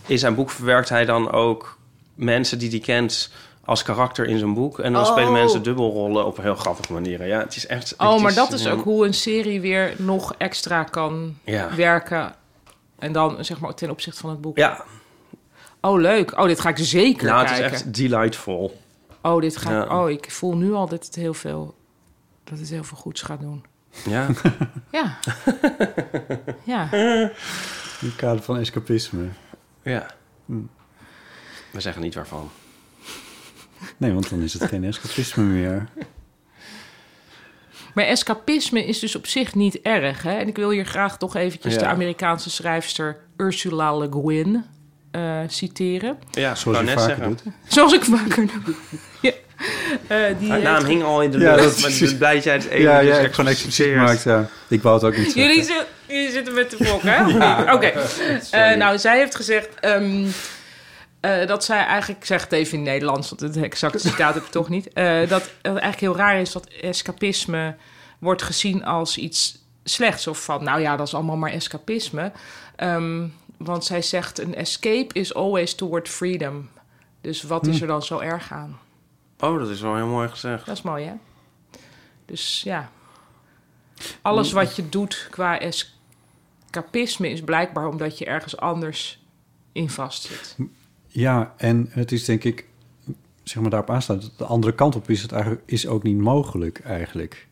[SPEAKER 3] In zijn boek verwerkt hij dan ook mensen die hij kent als karakter in zijn boek. En dan
[SPEAKER 4] Oh.
[SPEAKER 3] spelen mensen dubbelrollen op heel grappige manieren. Ja, het is echt... het
[SPEAKER 4] Oh, maar dat is
[SPEAKER 3] ehm,
[SPEAKER 4] ook hoe een serie weer nog extra kan
[SPEAKER 3] Ja.
[SPEAKER 4] werken. En dan zeg maar ten opzichte van het boek.
[SPEAKER 3] Ja,
[SPEAKER 4] Oh, leuk. Oh, dit ga ik zeker
[SPEAKER 3] nou, het is
[SPEAKER 4] kijken.
[SPEAKER 3] echt delightful.
[SPEAKER 4] Oh, dit ga ik-
[SPEAKER 3] Ja.
[SPEAKER 4] Oh, ik voel nu al dat het heel veel... Dat het heel veel goeds gaat doen.
[SPEAKER 3] Ja,
[SPEAKER 4] Ja. ja.
[SPEAKER 2] In het kader van escapisme.
[SPEAKER 3] ja. Hmm. We zeggen niet waarvan.
[SPEAKER 2] Nee, want dan is het geen escapisme meer.
[SPEAKER 4] Maar escapisme is dus op zich niet erg. Hè? En ik wil hier graag toch eventjes
[SPEAKER 3] Ja.
[SPEAKER 4] de Amerikaanse schrijfster Ursula Le Guin eh, citeren.
[SPEAKER 3] Ja,
[SPEAKER 2] Zoals
[SPEAKER 3] ik
[SPEAKER 2] je
[SPEAKER 3] wou
[SPEAKER 2] vaker
[SPEAKER 3] net zeggen.
[SPEAKER 2] doet.
[SPEAKER 4] Zoals ik vaker doe. ja. Eh, die
[SPEAKER 3] Haar
[SPEAKER 4] heeft-
[SPEAKER 3] naam hing al in de
[SPEAKER 2] Ja,
[SPEAKER 3] lucht,
[SPEAKER 2] dat
[SPEAKER 3] maar
[SPEAKER 2] is-
[SPEAKER 3] ik ben blij dat jij het even
[SPEAKER 2] Ja,
[SPEAKER 3] dus
[SPEAKER 2] ja, ik gewoon expliciet gemaakt, ja. Ik wou het ook niet zeggen.
[SPEAKER 4] Jullie, zi- jullie zitten met de blok, hè? Of niet? Oké. Eh, nou, zij heeft gezegd ehm, eh, dat zij eigenlijk, ik zeg het even in het Nederlands, want het exacte citaat heb ik toch niet. eh, dat het eigenlijk heel raar is dat escapisme wordt gezien als iets slechts. Of van, nou ja, dat is allemaal maar escapisme. Ehm, want zij zegt: een escape is always toward freedom. Dus wat
[SPEAKER 2] Hm.
[SPEAKER 4] is er dan zo erg aan?
[SPEAKER 3] Oh, dat is wel heel mooi gezegd.
[SPEAKER 4] Dat is mooi, hè? Dus ja. Alles wat je doet qua escapisme is blijkbaar omdat je ergens anders in vastzit.
[SPEAKER 2] Ja, en het is denk ik, zeg maar daarop aansluit, de andere kant op is het eigenlijk is ook niet mogelijk eigenlijk.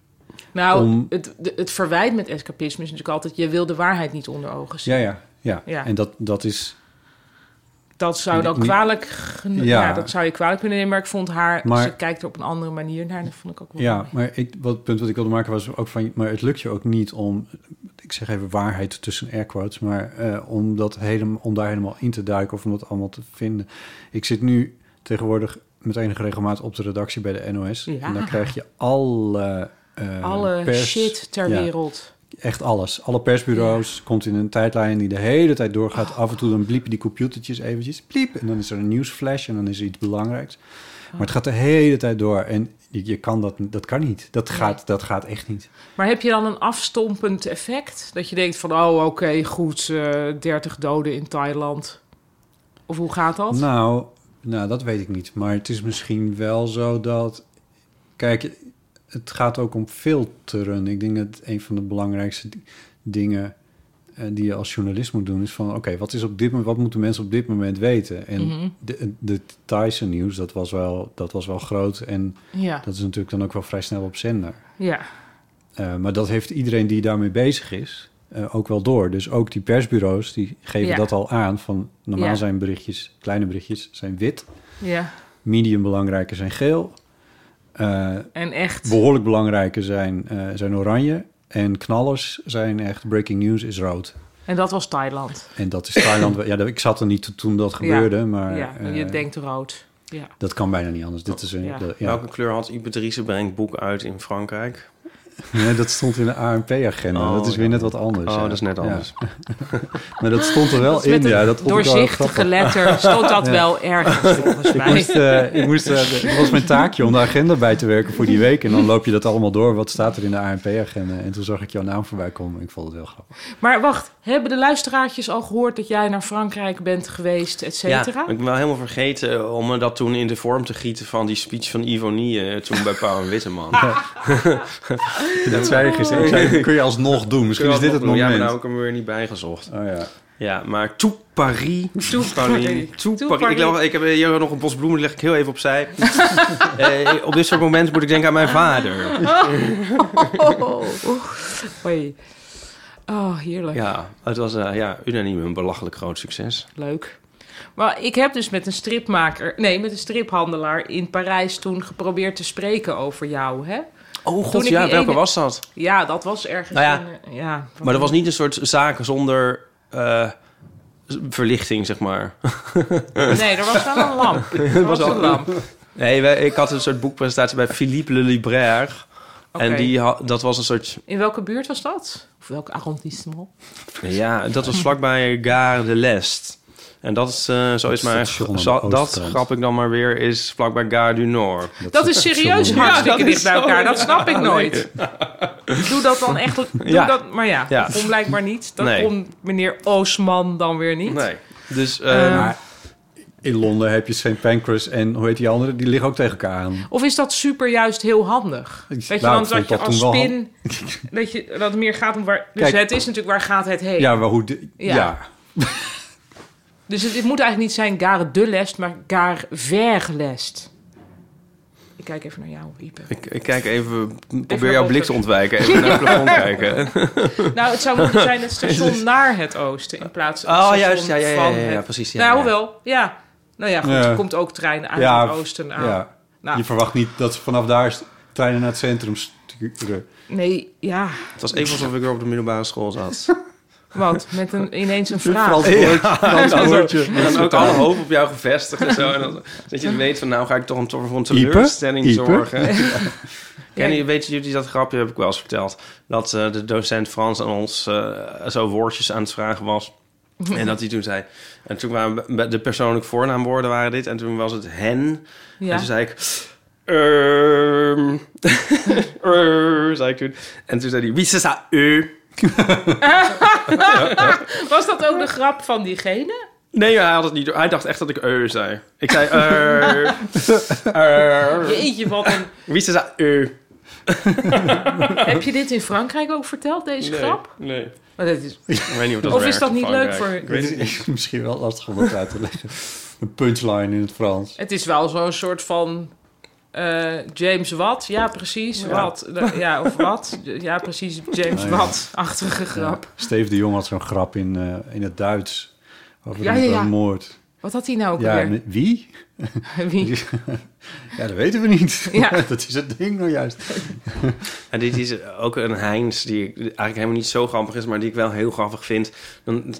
[SPEAKER 4] Nou,
[SPEAKER 2] Om-
[SPEAKER 4] het, de- het verwijt met escapisme is natuurlijk altijd... je wil de waarheid niet onder ogen zien.
[SPEAKER 2] Ja, ja, ja.
[SPEAKER 4] Ja.
[SPEAKER 2] En dat, dat is,
[SPEAKER 4] Dat zou dan
[SPEAKER 2] Niet-
[SPEAKER 4] kwalijk... geno-
[SPEAKER 2] Ja.
[SPEAKER 4] Ja. dat zou je kwalijk kunnen nemen. Maar ik vond haar...
[SPEAKER 2] Maar-
[SPEAKER 4] ze kijkt er op een andere manier naar. Dat vond ik ook wel
[SPEAKER 2] ja,
[SPEAKER 4] mooi.
[SPEAKER 2] maar ik, wat het punt wat ik wilde maken was ook van, maar het lukt je ook niet om, ik zeg even waarheid tussen air quotes, maar eh, om, dat helemaal, om daar helemaal in te duiken of om dat allemaal te vinden. Ik zit nu tegenwoordig met enige regelmaat op de redactie bij de NOS
[SPEAKER 4] Ja.
[SPEAKER 2] en dan krijg je alle... eh,
[SPEAKER 4] Alle
[SPEAKER 2] pers-
[SPEAKER 4] shit ter
[SPEAKER 2] Ja.
[SPEAKER 4] wereld.
[SPEAKER 2] echt alles. Alle persbureaus komt in een tijdlijn die de hele tijd doorgaat. Af en toe dan bliepen die computertjes eventjes. Bliep. En dan is er een nieuwsflash en dan is er iets belangrijks. Maar het gaat de hele tijd door. En je, je kan dat, dat kan niet. Dat gaat, dat gaat echt niet.
[SPEAKER 4] Maar heb je dan een afstompend effect? Dat je denkt van, oh oké, goed, eh 30 doden in Thailand. Of hoe gaat dat?
[SPEAKER 2] Nou, nou, dat weet ik niet. Maar het is misschien wel zo dat. Kijk, het gaat ook om filteren. Ik denk dat een van de belangrijkste di- dingen eh, die je als journalist moet doen is van: oké, wat is op dit moment, wat moeten mensen op dit moment weten? En
[SPEAKER 4] Mhm.
[SPEAKER 2] de, de Thaise nieuws, dat was, wel, dat was wel groot. En
[SPEAKER 4] ja,
[SPEAKER 2] dat is natuurlijk dan ook wel vrij snel op zender.
[SPEAKER 4] ja.
[SPEAKER 2] Eh, maar dat heeft iedereen die daarmee bezig is eh, ook wel door. Dus ook die persbureaus die geven
[SPEAKER 4] Ja.
[SPEAKER 2] dat al aan. Van normaal
[SPEAKER 4] Ja.
[SPEAKER 2] zijn berichtjes, kleine berichtjes, zijn wit.
[SPEAKER 4] ja.
[SPEAKER 2] Medium belangrijke zijn geel. Eh,
[SPEAKER 4] En echt,
[SPEAKER 2] behoorlijk belangrijke zijn, eh, zijn oranje. En knallers zijn echt breaking news is rood.
[SPEAKER 4] en dat was Thailand.
[SPEAKER 2] En dat is Thailand. wel- ja, dat- ik zat er niet to- toen dat gebeurde, maar
[SPEAKER 4] ja,
[SPEAKER 2] eh,
[SPEAKER 4] je denkt rood. Ja.
[SPEAKER 2] dat kan bijna niet anders. Dit is een,
[SPEAKER 4] Ja.
[SPEAKER 2] dat- ja. Oh,
[SPEAKER 3] Welke kleur had Ibedrice brengt boek uit in Frankrijk?
[SPEAKER 2] Nee, dat stond in de ANP-agenda.
[SPEAKER 3] Oh,
[SPEAKER 2] dat is weer
[SPEAKER 3] ja.
[SPEAKER 2] net wat anders.
[SPEAKER 3] Oh,
[SPEAKER 2] ja.
[SPEAKER 3] dat is net
[SPEAKER 2] Ja.
[SPEAKER 3] anders.
[SPEAKER 2] Maar dat stond er wel
[SPEAKER 4] Dus
[SPEAKER 2] in.
[SPEAKER 4] met een
[SPEAKER 2] Ja, dat vond ik wel
[SPEAKER 4] doorzichtige
[SPEAKER 2] grappig.
[SPEAKER 4] letter stond dat wel ergens volgens
[SPEAKER 2] Ik
[SPEAKER 4] mij.
[SPEAKER 2] moest, eh, ik moest, eh, het was mijn taakje om de agenda bij te werken voor die week. En dan loop je dat allemaal door. Wat staat er in de ANP-agenda? En toen zag ik jouw naam voorbij komen. Ik vond het heel grappig.
[SPEAKER 4] Maar wacht, hebben de luisteraartjes al gehoord dat jij naar Frankrijk bent geweest, et
[SPEAKER 3] Ja,
[SPEAKER 4] cetera?
[SPEAKER 3] ik ben wel helemaal vergeten om me dat toen in de vorm te gieten van die speech van Ivonie eh, toen bij Pauw en Witteman.
[SPEAKER 2] Dat zei je gisteren. Ik zei, dat kun je alsnog doen. Misschien is dit het
[SPEAKER 3] Ja, maar
[SPEAKER 2] moment.
[SPEAKER 3] nou heb
[SPEAKER 2] Oh
[SPEAKER 3] ik hem er weer niet bijgezocht.
[SPEAKER 2] ja.
[SPEAKER 3] Ja, maar tout Paris. Tout Tout
[SPEAKER 4] Paris. Tout
[SPEAKER 3] Paris. Ik,
[SPEAKER 4] Paris.
[SPEAKER 3] leg- ik heb hier nog een bos bloemen, die leg ik heel even opzij. Eh, op dit soort momenten moet ik denken aan mijn vader.
[SPEAKER 4] Oh, Hoi. Oh, heerlijk.
[SPEAKER 3] Ja, het was eh, ja, unaniem een belachelijk groot succes.
[SPEAKER 4] Leuk. Maar ik heb dus met een stripmaker, nee, met een striphandelaar in Parijs toen geprobeerd te spreken over jou, hè?
[SPEAKER 3] Oh god,
[SPEAKER 4] Toen ik
[SPEAKER 3] ja,
[SPEAKER 4] die
[SPEAKER 3] welke
[SPEAKER 4] ene-
[SPEAKER 3] was dat?
[SPEAKER 4] Ja, dat was ergens.
[SPEAKER 3] Nou ja,
[SPEAKER 4] in, eh, ja
[SPEAKER 3] Maar dat was niet een soort zaak zonder eh, z- verlichting, zeg maar.
[SPEAKER 4] Nee, er was wel een lamp. Er was een lamp.
[SPEAKER 3] Nee, wij- ik had een soort boekpresentatie bij Philippe Le Libraire. En
[SPEAKER 4] Oké.
[SPEAKER 3] die had, dat was een soort...
[SPEAKER 4] In welke buurt was dat? Of welk arrondissement?
[SPEAKER 3] Ja, dat was vlakbij Gare de l'Est. En dat is, eh, zo is maar...
[SPEAKER 2] station aan de
[SPEAKER 3] zo- dat
[SPEAKER 2] Ooststrand.
[SPEAKER 3] grap ik dan maar weer, is vlakbij Gare du Nord.
[SPEAKER 4] Dat, is serieus
[SPEAKER 3] Ja,
[SPEAKER 4] hartstikke
[SPEAKER 3] dat
[SPEAKER 4] dicht
[SPEAKER 3] is
[SPEAKER 4] bij
[SPEAKER 3] zo,
[SPEAKER 4] elkaar.
[SPEAKER 3] ja.
[SPEAKER 4] Dat snap ik nooit. Doe dat dan echt... Doe
[SPEAKER 3] Ja.
[SPEAKER 4] dat, maar ja,
[SPEAKER 3] Ja.
[SPEAKER 4] dat kon blijkbaar niet. Dat
[SPEAKER 3] Nee.
[SPEAKER 4] kon meneer Oosman dan weer niet.
[SPEAKER 3] Nee. Dus
[SPEAKER 4] Eh,
[SPEAKER 3] eh,
[SPEAKER 2] Maar in Londen heb je St. Pancras en hoe heet die andere? Die liggen ook tegen elkaar aan.
[SPEAKER 4] Of is dat super juist heel handig?
[SPEAKER 2] Ik-
[SPEAKER 4] Weet je,
[SPEAKER 2] nou,
[SPEAKER 4] dan
[SPEAKER 2] ik vond
[SPEAKER 4] dat je
[SPEAKER 2] dat
[SPEAKER 4] als
[SPEAKER 2] toen wel
[SPEAKER 4] spin... Dat, je, dat het meer gaat om waar... Dus
[SPEAKER 2] Kijk.
[SPEAKER 4] het is natuurlijk waar gaat het heen.
[SPEAKER 2] Ja, maar hoe... de-
[SPEAKER 4] Ja.
[SPEAKER 2] ja.
[SPEAKER 4] Dus het, het moet eigenlijk niet zijn gare de lest, maar gare ver lest. Ik kijk even naar jou, Ipe.
[SPEAKER 3] ik, ik kijk even... Probeer
[SPEAKER 4] naar
[SPEAKER 3] jouw
[SPEAKER 4] boven.
[SPEAKER 3] blik te ontwijken. Even naar het plafond kijken.
[SPEAKER 4] Nou, het zou moeten zijn het station naar het oosten in plaats van het
[SPEAKER 3] Oh,
[SPEAKER 4] station
[SPEAKER 3] juist. Ja, ja, ja,
[SPEAKER 4] van
[SPEAKER 3] ja, ja,
[SPEAKER 4] het-
[SPEAKER 3] precies, ja,
[SPEAKER 4] nou,
[SPEAKER 3] ja.
[SPEAKER 4] hoewel, ja. Nou ja, goed,
[SPEAKER 2] Ja.
[SPEAKER 4] er komt ook trein uit
[SPEAKER 2] Ja,
[SPEAKER 4] het oosten aan.
[SPEAKER 2] ja.
[SPEAKER 4] Nou,
[SPEAKER 2] Je verwacht niet dat ze vanaf daar st- treinen naar het centrum sturen.
[SPEAKER 4] nee, ja,
[SPEAKER 3] Het was even alsof ik weer op de middelbare school zat.
[SPEAKER 4] want met een, ineens een vraag.
[SPEAKER 3] En dan ook alle hoop op jou gevestigd en zo. En dan, dat je weet van, nou ga ik toch een- toch voor een teleurstelling
[SPEAKER 2] Ieper?
[SPEAKER 3] zorgen. Ken
[SPEAKER 4] Ja.
[SPEAKER 3] je, weet jullie dat grapje, heb ik wel eens verteld. Dat eh, de docent Frans aan ons eh, zo woordjes aan het vragen was. En dat hij toen zei... En toen waren we- de persoonlijke voornaamwoorden waren dit. En toen was het hen. En
[SPEAKER 4] Ja.
[SPEAKER 3] toen zei ik... ehm, eh, zei ik toen. En toen zei hij... Wie is dat? Eh.
[SPEAKER 4] Was dat ook de grap van diegene?
[SPEAKER 3] Nee, hij had het niet door. Hij dacht echt dat ik eh zei. Ik zei eh. eh.
[SPEAKER 4] Jeetje, wat een...
[SPEAKER 3] Wie is dat? Eh.
[SPEAKER 4] Heb je dit in Frankrijk ook verteld, deze grap?
[SPEAKER 3] Nee.
[SPEAKER 4] Maar dat is...
[SPEAKER 3] Ik weet niet of dat
[SPEAKER 4] Of is
[SPEAKER 3] werkt
[SPEAKER 4] dat
[SPEAKER 3] in
[SPEAKER 4] niet
[SPEAKER 3] Frankrijk.
[SPEAKER 4] leuk voor-
[SPEAKER 3] Ik weet het niet.
[SPEAKER 2] is misschien wel lastig om dat uit te leggen. Een punchline in het Frans.
[SPEAKER 4] Het is wel zo'n soort van... eh, James Watt, ja precies, wat. Ja, of wat, ja precies, James
[SPEAKER 2] ja.
[SPEAKER 4] Watt-achtige grap.
[SPEAKER 2] Steve de Jong had zo'n grap in, eh, in het Duits. Over
[SPEAKER 4] Ja,
[SPEAKER 2] een
[SPEAKER 4] ja, ja.
[SPEAKER 2] een moord.
[SPEAKER 4] Wat had hij nou ook
[SPEAKER 2] Ja,
[SPEAKER 4] weer?
[SPEAKER 2] en wie?
[SPEAKER 4] Wie?
[SPEAKER 2] Ja, dat weten we niet.
[SPEAKER 4] Ja.
[SPEAKER 2] dat is het ding nou juist.
[SPEAKER 3] En dit is ook een Heinz die ik eigenlijk helemaal niet zo grappig is, maar die ik wel heel grappig vind. Dan,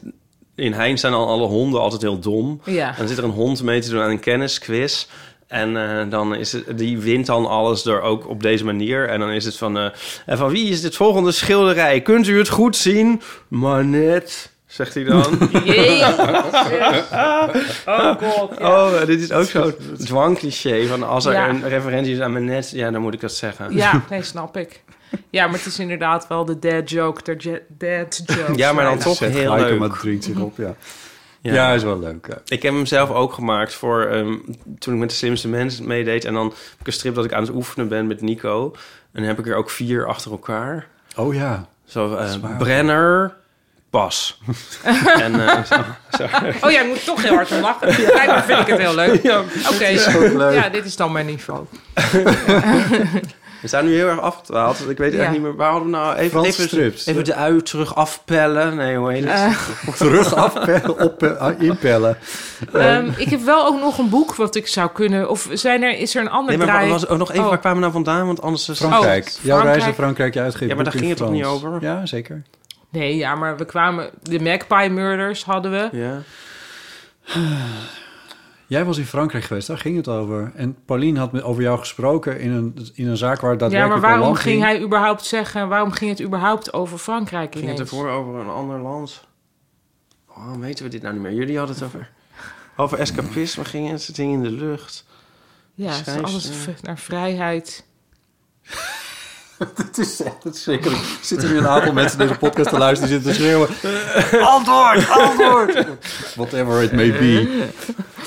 [SPEAKER 3] in Heinz zijn al alle honden altijd heel dom.
[SPEAKER 4] Ja.
[SPEAKER 3] En dan zit er een hond mee te doen aan een kennisquiz. En eh, dan is het, die wint dan alles door ook op deze manier. En dan is het van, eh, en van wie is dit volgende schilderij? Kunt u het goed zien? Maar net, zegt hij dan.
[SPEAKER 4] Oh god.
[SPEAKER 3] Oh, eh, dit is ook zo'n dwangcliché. Van als er
[SPEAKER 4] Ja.
[SPEAKER 3] een referentie is aan mijn net, ja, dan moet ik dat zeggen.
[SPEAKER 4] Ja, nee, snap ik. Ja, maar het is inderdaad wel de dead joke. der je- dead joke.
[SPEAKER 3] Ja, maar dan
[SPEAKER 4] bijna.
[SPEAKER 3] toch
[SPEAKER 2] Zet
[SPEAKER 3] heel
[SPEAKER 2] gelijk om,
[SPEAKER 3] leuk.
[SPEAKER 2] maar het dringt zich op, ja.
[SPEAKER 3] Ja.
[SPEAKER 2] Ja, is wel leuk. ja.
[SPEAKER 3] Ik heb hem zelf ook gemaakt voor ehm, toen ik met de slimste mens meedeed. En dan heb ik een strip dat ik aan het oefenen ben met Nico. En dan heb ik er ook vier achter elkaar.
[SPEAKER 2] Oh ja.
[SPEAKER 3] Zo, eh, Brenner, Bas. en eh, zo.
[SPEAKER 4] Oh ja, ik moet toch heel hard om lachen. Blijkbaar vind ik het heel leuk. Oké, ja, dit is dan mijn niveau.
[SPEAKER 3] we zijn nu heel erg afgedwaald. want Ik weet
[SPEAKER 4] Ja.
[SPEAKER 3] echt niet meer, waar hadden we nou... Even,
[SPEAKER 2] Franse
[SPEAKER 3] even,
[SPEAKER 2] strips.
[SPEAKER 3] even de ui terug afpellen. Nee, hoe heet het?
[SPEAKER 2] Terug afpellen, op, eh, inpellen.
[SPEAKER 4] Ehm, ik heb wel ook nog een boek wat ik zou kunnen. Of zijn er, is er een ander
[SPEAKER 3] nee, maar
[SPEAKER 4] draai?
[SPEAKER 3] wa- was, oh, nog even,
[SPEAKER 4] Oh.
[SPEAKER 3] waar kwamen we nou vandaan? Want anders... Is...
[SPEAKER 2] Frankrijk. Jouw reis
[SPEAKER 4] Oh,
[SPEAKER 2] naar
[SPEAKER 4] Frankrijk.
[SPEAKER 2] Frankrijk, je uitgeeft
[SPEAKER 3] Ja, maar daar
[SPEAKER 2] boek in
[SPEAKER 3] ging het toch niet
[SPEAKER 2] Frans.
[SPEAKER 3] over?
[SPEAKER 2] Ja, zeker.
[SPEAKER 4] Nee, ja, maar we kwamen. De Magpie Murders hadden we.
[SPEAKER 3] Ja.
[SPEAKER 2] Jij was in Frankrijk geweest, daar ging het over. En Paulien had me- over jou gesproken in een, in een zaak waar het
[SPEAKER 4] Ja, maar
[SPEAKER 2] daadwerkelijk om
[SPEAKER 4] waarom
[SPEAKER 2] land
[SPEAKER 4] ging hij überhaupt zeggen? Waarom ging het überhaupt over Frankrijk
[SPEAKER 3] Ging
[SPEAKER 4] ineens?
[SPEAKER 3] het ervoor over een ander land? Waarom weten we dit nou niet meer? Jullie hadden het over... Over escapisme ging het, het ding in de lucht.
[SPEAKER 4] Ja, het is
[SPEAKER 3] Schrijfster.
[SPEAKER 4] alles v- naar vrijheid.
[SPEAKER 2] Het is echt verschrikkelijk. Er zitten nu een aantal mensen deze podcast te luisteren... die zitten te schreeuwen... Antwoord! Antwoord! Whatever it may be.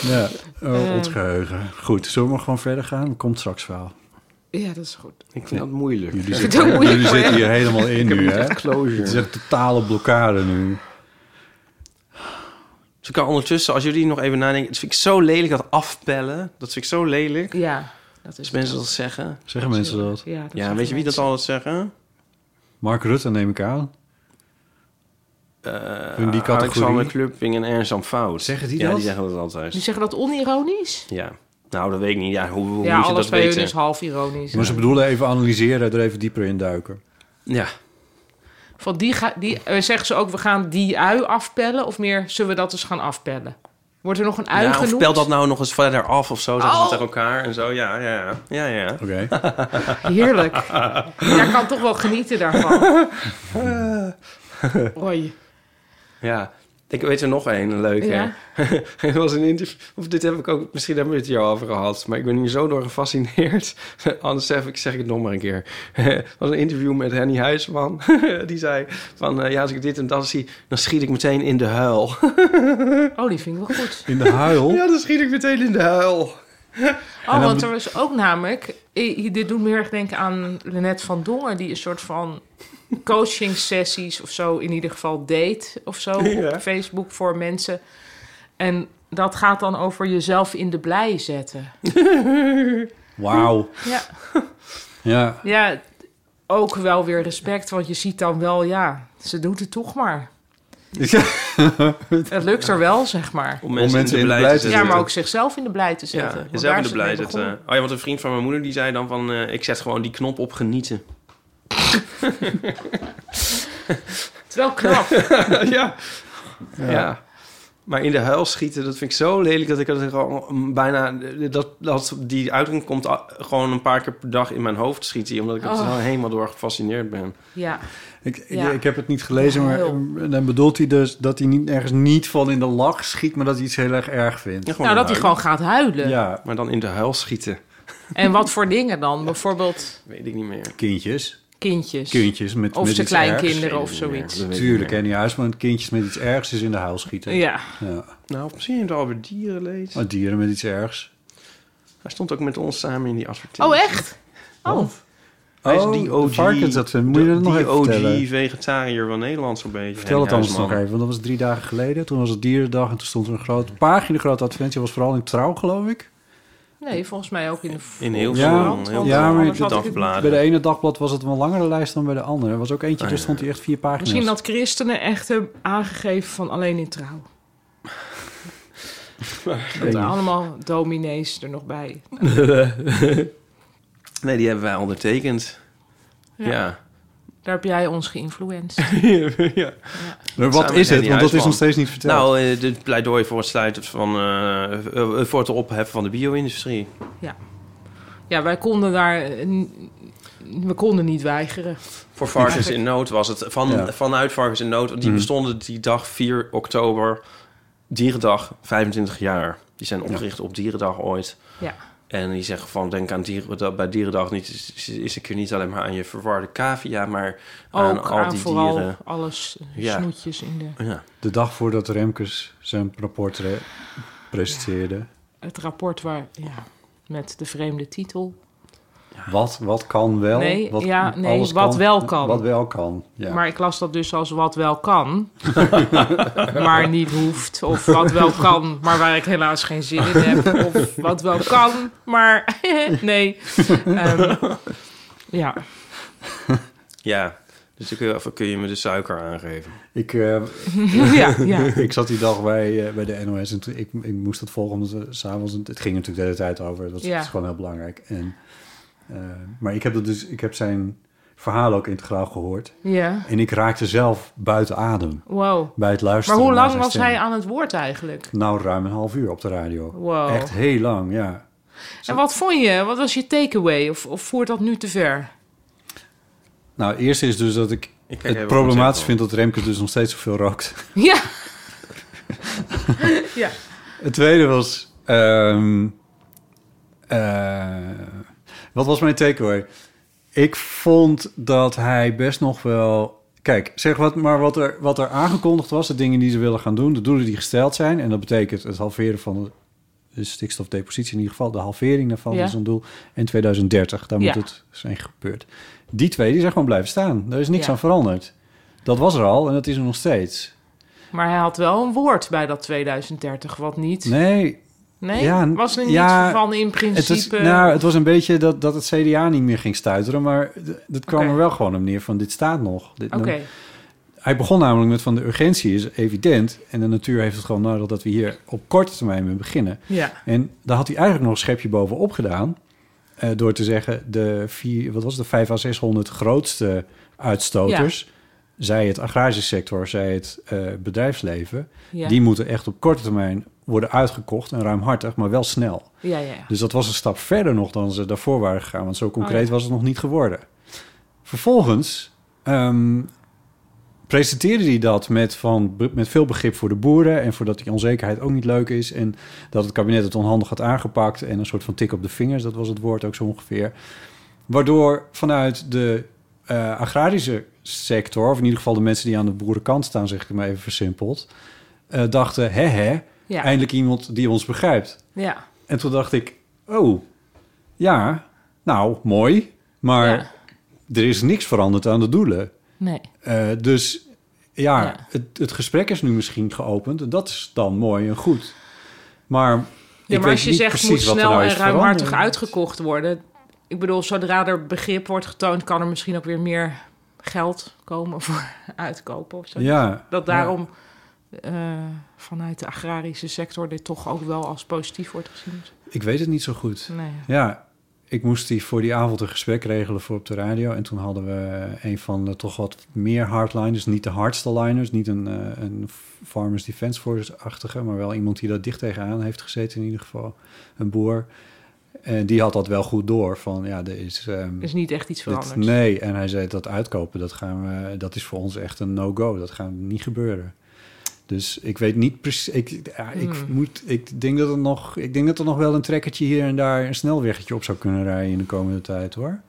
[SPEAKER 2] Ja, oh, ons geheugen. Goed, zullen we maar gewoon verder gaan? Er komt straks wel.
[SPEAKER 4] Ja, dat is goed.
[SPEAKER 3] Ik vind dat moeilijk.
[SPEAKER 2] Jullie
[SPEAKER 4] vind het ook
[SPEAKER 2] zitten,
[SPEAKER 4] moeilijk,
[SPEAKER 2] jullie
[SPEAKER 4] hoor.
[SPEAKER 2] zitten hier helemaal in nu, hè? Het is
[SPEAKER 3] Closure.
[SPEAKER 2] echt totale blokkade nu.
[SPEAKER 3] Dus ik kan ondertussen, als jullie nog even nadenken... Dat vind ik zo lelijk, dat afpellen. Dat vind ik zo lelijk.
[SPEAKER 4] Ja, dat
[SPEAKER 3] Als
[SPEAKER 4] is.
[SPEAKER 3] mensen dat zeggen.
[SPEAKER 2] Zeggen mensen dat?
[SPEAKER 4] Ja, dat
[SPEAKER 3] Ja,
[SPEAKER 4] zeggen
[SPEAKER 3] weet je wie dat
[SPEAKER 4] mensen.
[SPEAKER 3] altijd zeggen?
[SPEAKER 2] Mark Rutte neem ik aan.
[SPEAKER 3] Eh
[SPEAKER 2] Hun die categorie.
[SPEAKER 3] Alexander Clupping en Ernst Am Fout.
[SPEAKER 2] Zeggen die
[SPEAKER 3] ja,
[SPEAKER 2] dat?
[SPEAKER 3] die zeggen dat
[SPEAKER 4] Die
[SPEAKER 3] altijd.
[SPEAKER 4] zeggen dat onironisch?
[SPEAKER 3] Ja. Nou, dat weet ik niet. Ja, hoe, hoe
[SPEAKER 4] ja,
[SPEAKER 3] moet je
[SPEAKER 4] alles
[SPEAKER 3] dat
[SPEAKER 4] bij
[SPEAKER 3] weten?
[SPEAKER 4] hun is half ironisch.
[SPEAKER 2] Maar ze bedoelen even analyseren, er even dieper in duiken.
[SPEAKER 3] Ja.
[SPEAKER 4] Van die ga, die, eh, zeggen ze ook, we gaan die ui afpellen? Of meer, zullen we dat eens gaan afpellen? Wordt er nog een ui
[SPEAKER 3] ja of
[SPEAKER 4] genoemd?
[SPEAKER 3] pel dat nou nog eens verder af of zo. Zeggen
[SPEAKER 4] Oh.
[SPEAKER 3] ze tegen elkaar en zo. Ja, ja, ja. ja, ja.
[SPEAKER 2] Oké.
[SPEAKER 4] Heerlijk. Jij kan toch wel genieten daarvan. Oei.
[SPEAKER 3] Ja, ik weet er nog één, een leuke.
[SPEAKER 4] Ja.
[SPEAKER 3] er was een interview, of dit heb ik ook, misschien hebben we het hier al over gehad, maar ik ben hier zo door gefascineerd. Anders zeg ik, zeg ik het nog maar een keer. Het was een interview met Henny Huisman. Die zei van, eh, ja, als ik dit en dat zie, dan schiet ik meteen in de huil.
[SPEAKER 4] Oh, die vind ik wel goed.
[SPEAKER 2] In de huil.
[SPEAKER 3] ja, dan schiet ik meteen in de huil.
[SPEAKER 4] Oh, want er was ook namelijk... i- Dit doet me heel erg denken aan Lennet van Dongen... die een soort van coaching sessies of zo... in ieder geval deed of zo
[SPEAKER 3] Ja.
[SPEAKER 4] op Facebook voor mensen. En dat gaat dan over jezelf in de blij zetten.
[SPEAKER 2] Wauw.
[SPEAKER 4] Ja.
[SPEAKER 2] Ja.
[SPEAKER 4] Ja, ook wel weer respect, want je ziet dan wel, ja, ze doet het toch maar. Het lukt er wel, zeg maar.
[SPEAKER 3] Om
[SPEAKER 2] mensen in de blij te zetten.
[SPEAKER 4] Ja, maar ook zichzelf in de blij te zetten.
[SPEAKER 3] Ja,
[SPEAKER 4] want
[SPEAKER 3] jezelf
[SPEAKER 4] daar
[SPEAKER 3] in
[SPEAKER 4] is
[SPEAKER 3] de
[SPEAKER 4] het
[SPEAKER 3] blij
[SPEAKER 4] mee
[SPEAKER 3] zetten.
[SPEAKER 4] begonnen.
[SPEAKER 3] Oh ja, want een vriend van mijn moeder die zei dan van... eh, ik zet gewoon die knop op genieten.
[SPEAKER 4] Het is wel knap.
[SPEAKER 3] ja. ja. Maar in de huil schieten, dat vind ik zo lelijk dat ik dat gewoon bijna. Dat, dat die uitdrukking komt a- gewoon een paar keer per dag in mijn hoofd schieten. Omdat ik er
[SPEAKER 4] Oh.
[SPEAKER 3] zo helemaal door gefascineerd ben.
[SPEAKER 4] Ja,
[SPEAKER 2] Ik, ik-
[SPEAKER 4] Ja.
[SPEAKER 2] ik heb het niet gelezen, maar
[SPEAKER 4] Heel.
[SPEAKER 2] eh, dan bedoelt hij dus dat hij niet, ergens niet van in de lach schiet, maar dat hij iets heel erg erg vindt.
[SPEAKER 3] Ja, eh. gewoon
[SPEAKER 4] nou dat hij
[SPEAKER 3] huilen.
[SPEAKER 4] gewoon gaat huilen.
[SPEAKER 2] Ja,
[SPEAKER 3] Maar dan in de huil schieten,
[SPEAKER 4] En wat voor dingen dan? Bijvoorbeeld
[SPEAKER 3] weet ik niet meer.
[SPEAKER 2] kindjes.
[SPEAKER 4] kindjes.
[SPEAKER 2] Kindjes met,
[SPEAKER 4] Of
[SPEAKER 2] met
[SPEAKER 4] zijn
[SPEAKER 2] iets ergs.
[SPEAKER 4] kleinkinderen of
[SPEAKER 3] Weet ik niet meer,
[SPEAKER 4] zoiets.
[SPEAKER 3] dat weet ik
[SPEAKER 2] Tuurlijk,
[SPEAKER 3] niet
[SPEAKER 2] en die huisman, kindjes met iets ergs is in de huil schieten.
[SPEAKER 4] Ja,
[SPEAKER 2] Ja.
[SPEAKER 3] meer. Nou, misschien heeft het alweer dierenleed.
[SPEAKER 2] Maar dieren met iets ergs.
[SPEAKER 3] Hij stond ook met ons samen in die advertentie.
[SPEAKER 4] oh echt? Oh,
[SPEAKER 3] Hij is die
[SPEAKER 2] de
[SPEAKER 3] OG.
[SPEAKER 2] varkens, dat vind- moet je
[SPEAKER 3] de-
[SPEAKER 2] dat nog
[SPEAKER 3] die
[SPEAKER 2] even vertellen?
[SPEAKER 3] OG vegetariër van Nederland zo'n beetje.
[SPEAKER 2] Vertel het
[SPEAKER 3] Henk
[SPEAKER 2] anders nog
[SPEAKER 3] Huisman.
[SPEAKER 2] even, want dat was drie dagen geleden. Toen was het dierendag en toen stond er een grote pagina, grote adventie. was vooral in trouw, geloof ik.
[SPEAKER 4] nee, volgens mij ook in de
[SPEAKER 3] In
[SPEAKER 4] heel
[SPEAKER 2] Ja,
[SPEAKER 3] Hilversum. heel
[SPEAKER 2] ja, maar ik-
[SPEAKER 3] de dagbladen.
[SPEAKER 2] Bij de ene dagblad was het een wat langere lijst dan bij de andere. Er was ook eentje, dus stond hij echt vier pagina's.
[SPEAKER 4] Misschien dat christenen echt hebben aangegeven van alleen in trouw. Dat er allemaal dominees er nog bij.
[SPEAKER 3] Nee, die hebben wij ondertekend.
[SPEAKER 4] Ja.
[SPEAKER 3] Ja.
[SPEAKER 4] Daar heb jij ons geïnfluenced.
[SPEAKER 3] ja.
[SPEAKER 2] Maar wat is
[SPEAKER 3] Samen met
[SPEAKER 2] het?
[SPEAKER 3] Henny
[SPEAKER 2] Want dat is
[SPEAKER 3] Huisman.
[SPEAKER 2] nog steeds niet verteld.
[SPEAKER 3] Nou, eh, dit pleidooi voor het sluiten van... eh, eh, voor het opheffen van de bio-industrie.
[SPEAKER 4] Ja, wij konden daar... eh, n- We konden niet weigeren.
[SPEAKER 3] Voor Varkens in Nood was het. Van,
[SPEAKER 2] Ja. Mhm.
[SPEAKER 3] Vanuit Varkens in Nood. Die bestonden die dag 4 oktober. Dierendag 25 jaar. Die zijn opgericht op Dierendag ooit.
[SPEAKER 4] Ja.
[SPEAKER 3] En die zeggen van, denk aan dieren, dat bij Dierendag niet, is, is een keer niet alleen maar aan je verwarde cavia, maar aan
[SPEAKER 4] Ook
[SPEAKER 3] al
[SPEAKER 4] aan
[SPEAKER 3] die
[SPEAKER 4] vooral
[SPEAKER 3] dieren.
[SPEAKER 4] alles eh,
[SPEAKER 3] Ja.
[SPEAKER 4] snoetjes in de,
[SPEAKER 3] Ja.
[SPEAKER 2] De dag voordat Remkes zijn rapport re- presenteerde.
[SPEAKER 4] het rapport waar... Ja, met de vreemde titel.
[SPEAKER 2] Wat, wat kan wel?
[SPEAKER 4] Nee,
[SPEAKER 2] wat,
[SPEAKER 4] ja, nee,
[SPEAKER 2] alles
[SPEAKER 4] wat wel kan.
[SPEAKER 2] Wat wel kan, ja.
[SPEAKER 4] Maar ik las dat dus als wat wel kan, maar niet hoeft. Of wat wel kan, maar waar ik helaas geen zin in heb. Of wat wel kan, maar nee. Ehm, ja,
[SPEAKER 3] ja. Dus dan kun je, of kun je me de suiker aangeven.
[SPEAKER 2] Ik, eh,
[SPEAKER 4] ja, ja.
[SPEAKER 2] ik zat die dag bij, eh, bij de NOS en toen, ik, ik moest dat volgen. Omdat eh, 's avonds het ging natuurlijk de hele tijd over. Dat
[SPEAKER 4] Ja.
[SPEAKER 2] is gewoon heel belangrijk. En, eh, maar ik heb, dat dus, ik heb zijn verhaal ook integraal gehoord.
[SPEAKER 4] ja.
[SPEAKER 2] En ik raakte zelf buiten adem
[SPEAKER 4] Wow.
[SPEAKER 2] bij het
[SPEAKER 4] Maar
[SPEAKER 2] luisteren.
[SPEAKER 4] hoe
[SPEAKER 2] naar
[SPEAKER 4] lang
[SPEAKER 2] zijn
[SPEAKER 4] was
[SPEAKER 2] stem.
[SPEAKER 4] hij aan het woord eigenlijk?
[SPEAKER 2] Nou, ruim een half uur op de radio.
[SPEAKER 4] Wow.
[SPEAKER 2] Echt heel lang, ja.
[SPEAKER 4] En wat vond je? Wat was je takeaway? Of, of voert dat nu te ver?
[SPEAKER 2] Nou, het eerste is dus dat ik,
[SPEAKER 3] kijk even
[SPEAKER 2] het
[SPEAKER 3] op
[SPEAKER 2] problematisch
[SPEAKER 3] mezelf.
[SPEAKER 2] vind dat Remkes dus nog steeds zoveel rookt.
[SPEAKER 4] Ja. ja.
[SPEAKER 2] Het tweede was... ehm, eh, wat was mijn takeaway? Ik vond dat hij best nog wel... Kijk, zeg wat, maar wat er, wat er aangekondigd was, de dingen die ze willen gaan doen, de doelen die gesteld zijn. En dat betekent het halveren van de, de stikstofdepositie in ieder geval, de halvering daarvan
[SPEAKER 4] Ja.
[SPEAKER 2] is een doel. En 2030, daar
[SPEAKER 4] Ja.
[SPEAKER 2] moet het zijn gebeurd. Die twee, die zijn gewoon blijven staan. Daar is niks
[SPEAKER 4] Ja.
[SPEAKER 2] aan veranderd. Dat was er al en dat is er nog steeds.
[SPEAKER 4] Maar hij had wel een woord bij dat 2030, wat niet.
[SPEAKER 2] Nee,
[SPEAKER 4] Nee?
[SPEAKER 2] Ja,
[SPEAKER 4] was er niet
[SPEAKER 2] ja,
[SPEAKER 4] van in
[SPEAKER 2] Het,
[SPEAKER 4] principe...
[SPEAKER 2] is, nou, het was een beetje dat, dat het CDA niet meer ging stuiteren, maar d- dat kwam
[SPEAKER 4] Oké.
[SPEAKER 2] er wel gewoon op neer van dit staat nog. Dit,
[SPEAKER 4] Oké.
[SPEAKER 2] Hij begon namelijk met van de urgentie is evident en de natuur heeft het gewoon nodig dat we hier op korte termijn mee beginnen.
[SPEAKER 4] Ja,
[SPEAKER 2] En daar had hij eigenlijk nog een schepje bovenop gedaan eh, door te zeggen de, vier, wat was het, de 5 à 600 grootste uitstoters, zij het agrarische sector, zij het eh, bedrijfsleven,
[SPEAKER 4] ja.
[SPEAKER 2] die moeten echt op korte termijn worden uitgekocht en ruimhartig, maar wel snel.
[SPEAKER 4] ja, ja, ja.
[SPEAKER 2] Dus dat was een stap verder nog dan ze daarvoor waren gegaan. Want zo concreet
[SPEAKER 4] Oh, ja.
[SPEAKER 2] was het nog niet geworden. Vervolgens ehm, presenteerde hij dat met, van, be- met veel begrip voor de boeren... en voordat die onzekerheid ook niet leuk is... en dat het kabinet het onhandig had aangepakt... en een soort van tik op de vingers, dat was het woord ook zo ongeveer. Waardoor vanuit de eh, agrarische sector... of in ieder geval de mensen die aan de boerenkant staan... zeg ik het maar even versimpeld... eh, dachten, hè hè,
[SPEAKER 4] Ja.
[SPEAKER 2] eindelijk iemand die ons begrijpt.
[SPEAKER 4] ja.
[SPEAKER 2] En toen dacht ik, oh, ja, nou, mooi. Maar
[SPEAKER 4] Ja.
[SPEAKER 2] er is niks veranderd aan de doelen.
[SPEAKER 4] Nee.
[SPEAKER 2] Eh, dus ja,
[SPEAKER 4] Ja.
[SPEAKER 2] Het, het gesprek is nu misschien geopend. En dat is dan mooi en goed. Maar,
[SPEAKER 4] Ja,
[SPEAKER 2] ik
[SPEAKER 4] maar
[SPEAKER 2] weet
[SPEAKER 4] als je
[SPEAKER 2] niet
[SPEAKER 4] zegt
[SPEAKER 2] precies
[SPEAKER 4] moet
[SPEAKER 2] wat er
[SPEAKER 4] snel
[SPEAKER 2] nou
[SPEAKER 4] en
[SPEAKER 2] is
[SPEAKER 4] ruimhartig
[SPEAKER 2] veranderd.
[SPEAKER 4] uitgekocht worden. Ik bedoel, zodra er begrip wordt getoond, kan er misschien ook weer meer geld komen voor uitkopen of zo.
[SPEAKER 2] Ja,
[SPEAKER 4] Dat
[SPEAKER 2] ja.
[SPEAKER 4] daarom eh, vanuit de agrarische sector dit toch ook wel als positief wordt gezien.
[SPEAKER 2] Ik weet het niet zo goed.
[SPEAKER 4] Nee.
[SPEAKER 2] Ja, ik moest die voor die avond een gesprek regelen voor op de radio. En toen hadden we een van de toch wat meer hardliners. Niet de hardste liners, niet een, eh, een Farmers Defense Force-achtige... maar wel iemand die daar dicht tegenaan heeft gezeten in ieder geval. Een boer. En die had dat wel goed door. Van ja, er is... ehm,
[SPEAKER 4] Er is niet echt iets
[SPEAKER 2] dit-
[SPEAKER 4] veranderd.
[SPEAKER 2] nee, en hij zei dat uitkopen, dat, gaan we, dat is voor ons echt een no-go. Dat gaat niet gebeuren. Dus ik weet niet precies. Ik, ja, ik,
[SPEAKER 4] Hmm.
[SPEAKER 2] moet, ik, denk dat er nog, ik denk dat er nog wel een trekkertje hier en daar een snelweggetje op zou kunnen rijden in de komende tijd hoor.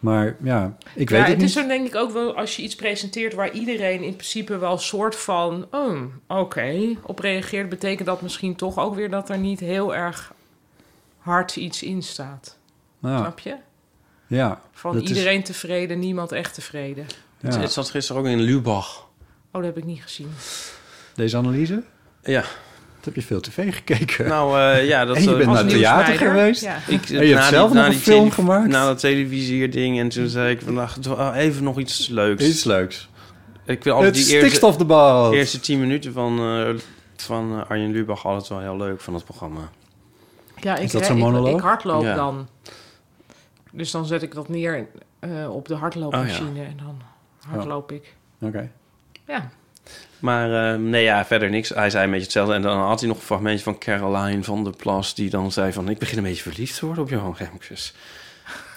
[SPEAKER 2] Maar ja, ik weet
[SPEAKER 4] ja,
[SPEAKER 2] het,
[SPEAKER 4] het
[SPEAKER 2] niet.
[SPEAKER 4] is dan denk ik ook wel als je iets presenteert waar iedereen in principe wel soort van, oh, oké, op reageert, betekent dat misschien toch ook weer dat er niet heel erg hard iets in staat.
[SPEAKER 2] Nou,
[SPEAKER 4] Snap je?
[SPEAKER 2] ja,
[SPEAKER 4] Van
[SPEAKER 2] Dat is-
[SPEAKER 4] iedereen tevreden, niemand echt tevreden.
[SPEAKER 2] ja.
[SPEAKER 3] Het, het zat gisteren ook in Lubach.
[SPEAKER 4] Oh, dat heb ik niet gezien.
[SPEAKER 2] Deze analyse,
[SPEAKER 3] Ja,
[SPEAKER 2] dat heb je veel tv gekeken.
[SPEAKER 3] nou eh, ja, dat...
[SPEAKER 2] En je
[SPEAKER 3] eh,
[SPEAKER 2] bent
[SPEAKER 3] was
[SPEAKER 2] naar het
[SPEAKER 3] nieuws.
[SPEAKER 2] theater
[SPEAKER 4] nieuwsleider.
[SPEAKER 2] geweest.
[SPEAKER 4] Ja.
[SPEAKER 3] Ik,
[SPEAKER 2] En je hebt
[SPEAKER 3] na
[SPEAKER 2] zelf nog
[SPEAKER 3] die- na
[SPEAKER 2] een
[SPEAKER 3] die
[SPEAKER 2] film
[SPEAKER 3] tele-
[SPEAKER 2] gemaakt.
[SPEAKER 3] Na dat televisierding. En toen zei ik vandaag oh, even nog iets leuks.
[SPEAKER 2] Iets leuks.
[SPEAKER 3] Ik wil altijd
[SPEAKER 2] het
[SPEAKER 3] die eerste,
[SPEAKER 2] stikstofdebat.
[SPEAKER 3] eerste tien minuten van, eh, van eh, Arjen Lubach altijd wel heel leuk van het programma.
[SPEAKER 4] Ja, ik,
[SPEAKER 2] Is dat
[SPEAKER 4] re-
[SPEAKER 2] zo'n
[SPEAKER 4] ik-
[SPEAKER 2] monoloog?
[SPEAKER 4] Ik, hardloop
[SPEAKER 3] Ja.
[SPEAKER 2] Oh,
[SPEAKER 4] dan. Dus dan zet ik dat neer eh, op de hardloopmachine. En dan hardloop ik.
[SPEAKER 2] Oké.
[SPEAKER 4] Ja.
[SPEAKER 3] Maar eh, nee, ja, verder niks. Hij zei een beetje hetzelfde. En dan had hij nog een fragmentje van Caroline van der Plas... die dan zei van... ik begin een beetje verliefd te worden op Johan Remkes.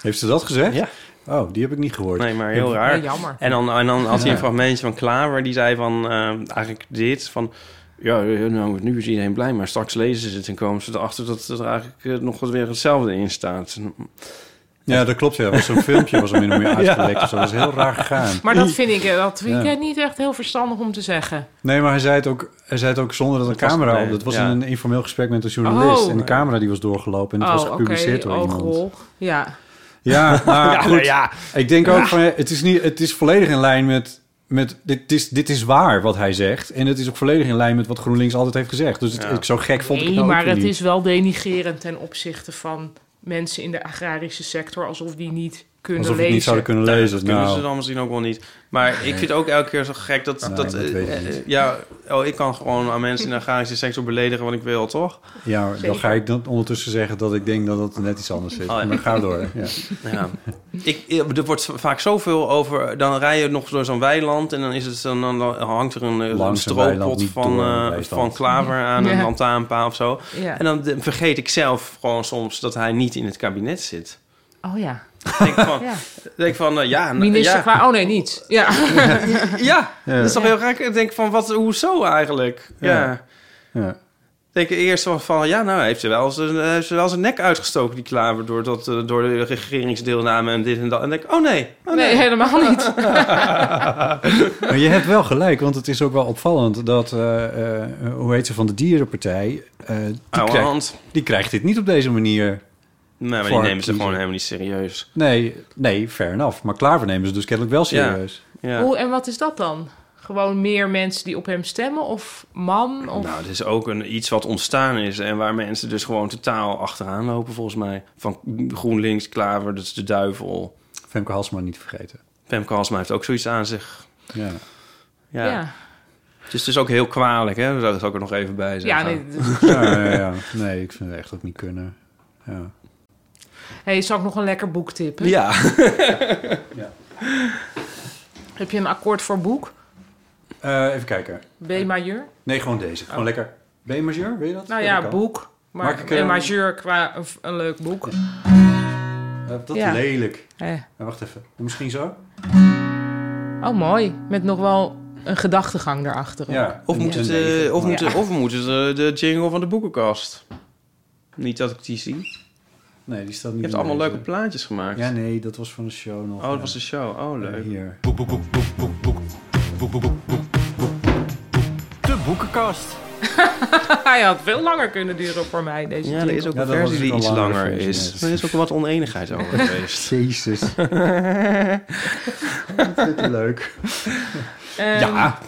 [SPEAKER 2] Heeft ze dat gezegd?
[SPEAKER 3] Ja.
[SPEAKER 2] Oh, die heb ik niet gehoord.
[SPEAKER 3] Nee, maar heel raar.
[SPEAKER 4] Nee, jammer.
[SPEAKER 3] En dan, en dan had hij
[SPEAKER 2] Ja.
[SPEAKER 3] een fragmentje van Klaver. Die zei van, eh, eigenlijk dit, van... Ja, eh, nou, nu is iedereen blij, maar straks lezen ze het... en komen ze erachter dat er eigenlijk eh, nog wat weer hetzelfde in staat. Nou,
[SPEAKER 2] Ja, dat klopt. Ja, Dat was zo'n filmpje was er min of meer uitgelekt. Dus dat was heel raar gegaan.
[SPEAKER 4] Maar dat vind ik, eh, dat vind ik
[SPEAKER 2] Ja.
[SPEAKER 4] eh, niet echt heel verstandig om te zeggen.
[SPEAKER 2] Nee, maar hij zei het ook, hij zei het ook zonder dat een
[SPEAKER 3] was-
[SPEAKER 2] camera
[SPEAKER 3] nee,
[SPEAKER 2] op. Dat was
[SPEAKER 3] ja.
[SPEAKER 2] in een informeel gesprek met een journalist.
[SPEAKER 4] Oh.
[SPEAKER 2] en de camera die was doorgelopen en dat was gepubliceerd door
[SPEAKER 4] oh,
[SPEAKER 2] iemand.
[SPEAKER 4] goh. Ja.
[SPEAKER 2] Ja, maar
[SPEAKER 3] Ja,
[SPEAKER 2] goed.
[SPEAKER 3] nou ja.
[SPEAKER 2] Ik denk ook van, ja, het is, niet, het is volledig in lijn met... met dit, is, dit is waar wat hij zegt. En het is ook volledig in lijn met wat GroenLinks altijd heeft gezegd. Dus het,
[SPEAKER 3] Ja.
[SPEAKER 2] ik, zo gek vond ik
[SPEAKER 4] Nee,
[SPEAKER 2] nou ook
[SPEAKER 4] maar
[SPEAKER 2] weer
[SPEAKER 4] het
[SPEAKER 2] niet.
[SPEAKER 4] is wel denigrerend ten opzichte van mensen in de agrarische sector, alsof die niet kunnen
[SPEAKER 2] Alsof we het
[SPEAKER 4] lezen.
[SPEAKER 2] niet zouden kunnen lezen.
[SPEAKER 3] Dat kunnen
[SPEAKER 2] nou.
[SPEAKER 3] ze dan misschien ook wel niet. Maar ik vind ook elke keer zo gek dat...
[SPEAKER 2] Nee,
[SPEAKER 3] dat,
[SPEAKER 2] dat
[SPEAKER 3] eh,
[SPEAKER 2] weet ik
[SPEAKER 3] eh,
[SPEAKER 2] niet.
[SPEAKER 3] ja, oh, ik kan gewoon aan mensen in de agrarische sector beledigen wat ik wil, toch?
[SPEAKER 2] Ja, maar dan
[SPEAKER 4] Zeker.
[SPEAKER 2] ga ik dan ondertussen zeggen dat ik denk dat dat net iets anders is.
[SPEAKER 3] Oh, ja.
[SPEAKER 2] Maar ga door. Ja.
[SPEAKER 3] Ja. Ik, er wordt vaak zoveel over... Dan rij je nog door zo'n weiland... en dan, is het, dan, dan hangt er een, eh,
[SPEAKER 2] Langs een weiland,
[SPEAKER 3] strooppot
[SPEAKER 2] niet
[SPEAKER 3] van,
[SPEAKER 2] door een
[SPEAKER 3] eh,
[SPEAKER 2] weiland.
[SPEAKER 3] van klaver aan een
[SPEAKER 4] Ja.
[SPEAKER 3] lantaarnpaal of zo.
[SPEAKER 4] Ja.
[SPEAKER 3] En dan de- vergeet ik zelf gewoon soms dat hij niet in het kabinet zit.
[SPEAKER 4] Oh ja.
[SPEAKER 3] Ik denk van,
[SPEAKER 4] ja.
[SPEAKER 3] denk van eh, ja, nou,
[SPEAKER 4] Minister
[SPEAKER 3] ja,
[SPEAKER 4] Kwa- Oh nee, niet. Ja.
[SPEAKER 3] ja, dat is toch
[SPEAKER 4] Ja.
[SPEAKER 3] heel raar. Ik denk van, wat, hoezo eigenlijk? Ja.
[SPEAKER 2] Ja. Ja.
[SPEAKER 3] Ik denk eerst wel van, ja, nou heeft ze wel zijn, heeft ze wel zijn nek uitgestoken, die klaver, door, dat, eh, door de regeringsdeelname en dit en dat. En denk ik, oh nee, oh
[SPEAKER 4] Nee,
[SPEAKER 3] nee.
[SPEAKER 4] helemaal niet.
[SPEAKER 2] Maar je hebt wel gelijk, want het is ook wel opvallend dat, eh, eh, hoe heet ze, van de dierenpartij, eh, die,
[SPEAKER 3] Oude
[SPEAKER 2] krijgt,
[SPEAKER 3] hand.
[SPEAKER 2] die krijgt dit niet op deze manier.
[SPEAKER 3] Nee, maar die
[SPEAKER 2] Voor
[SPEAKER 3] nemen ze
[SPEAKER 2] kiezer.
[SPEAKER 3] gewoon helemaal niet serieus.
[SPEAKER 2] Nee, nee, fair enough. Maar Klaver nemen ze dus kennelijk wel serieus.
[SPEAKER 3] Ja.
[SPEAKER 4] Hoe, en wat is dat dan? Gewoon meer mensen die op hem stemmen? Of man? Of...
[SPEAKER 3] Nou, het is ook een, iets wat ontstaan is en waar mensen dus gewoon totaal achteraan lopen, volgens mij. Van GroenLinks, Klaver, dat is de duivel.
[SPEAKER 2] Femke Halsma niet vergeten.
[SPEAKER 3] Pemke Halsma heeft ook zoiets aan zich.
[SPEAKER 2] Ja.
[SPEAKER 3] Ja. Het is dus ook heel kwalijk, hè? Daar zou ik er nog even bij
[SPEAKER 4] Ja,
[SPEAKER 3] zeggen.
[SPEAKER 4] nee. dus-
[SPEAKER 2] Ja, ja, ja. Nee, ik vind het echt ook niet kunnen. Ja.
[SPEAKER 4] Hey, zal ik nog een lekker boek tippen?
[SPEAKER 3] Ja.
[SPEAKER 4] Heb je een akkoord voor boek?
[SPEAKER 2] Eh, even kijken.
[SPEAKER 4] B majeur?
[SPEAKER 2] Nee, gewoon deze.
[SPEAKER 3] Oh.
[SPEAKER 2] Gewoon lekker. B-majeur, wil je dat?
[SPEAKER 4] Nou
[SPEAKER 2] Ja, dat
[SPEAKER 4] ja,
[SPEAKER 2] kan.
[SPEAKER 4] boek.
[SPEAKER 2] Maak
[SPEAKER 4] Maar
[SPEAKER 2] ik,
[SPEAKER 4] B
[SPEAKER 2] eh,
[SPEAKER 4] majeur qua een, een leuk boek.
[SPEAKER 2] Eh, dat
[SPEAKER 4] Ja.
[SPEAKER 2] is lelijk.
[SPEAKER 4] Eh,
[SPEAKER 2] Eh, wacht even. Misschien zo?
[SPEAKER 4] Oh, mooi. Met nog wel een gedachtegang daarachter. ook.
[SPEAKER 2] Ja.
[SPEAKER 3] Of
[SPEAKER 2] Een-
[SPEAKER 3] moet
[SPEAKER 2] een
[SPEAKER 3] het,
[SPEAKER 2] negen.
[SPEAKER 3] eh, of
[SPEAKER 4] Ja.
[SPEAKER 3] moet het- of moet het eh, de jingle van de boekenkast? Niet dat ik die zie.
[SPEAKER 2] Nee, die staat niet
[SPEAKER 3] Je hebt
[SPEAKER 2] in
[SPEAKER 3] allemaal
[SPEAKER 2] deze.
[SPEAKER 3] leuke plaatjes gemaakt.
[SPEAKER 2] Ja, nee, dat was van de show nog.
[SPEAKER 3] Oh, dat was de show. Oh, leuk.
[SPEAKER 2] Eh, Hier.
[SPEAKER 4] Hij had veel langer kunnen duren voor mij, deze
[SPEAKER 3] Ja, er is ook
[SPEAKER 2] Ja,
[SPEAKER 3] een
[SPEAKER 2] dat was
[SPEAKER 3] versie
[SPEAKER 2] dus
[SPEAKER 3] die
[SPEAKER 2] een
[SPEAKER 3] iets
[SPEAKER 2] langere
[SPEAKER 3] langer
[SPEAKER 2] versie,
[SPEAKER 3] is.
[SPEAKER 2] ja.
[SPEAKER 3] Maar er is ook wat oneenigheid over geweest.
[SPEAKER 2] Jezus. leuk.
[SPEAKER 4] ja. Ehm,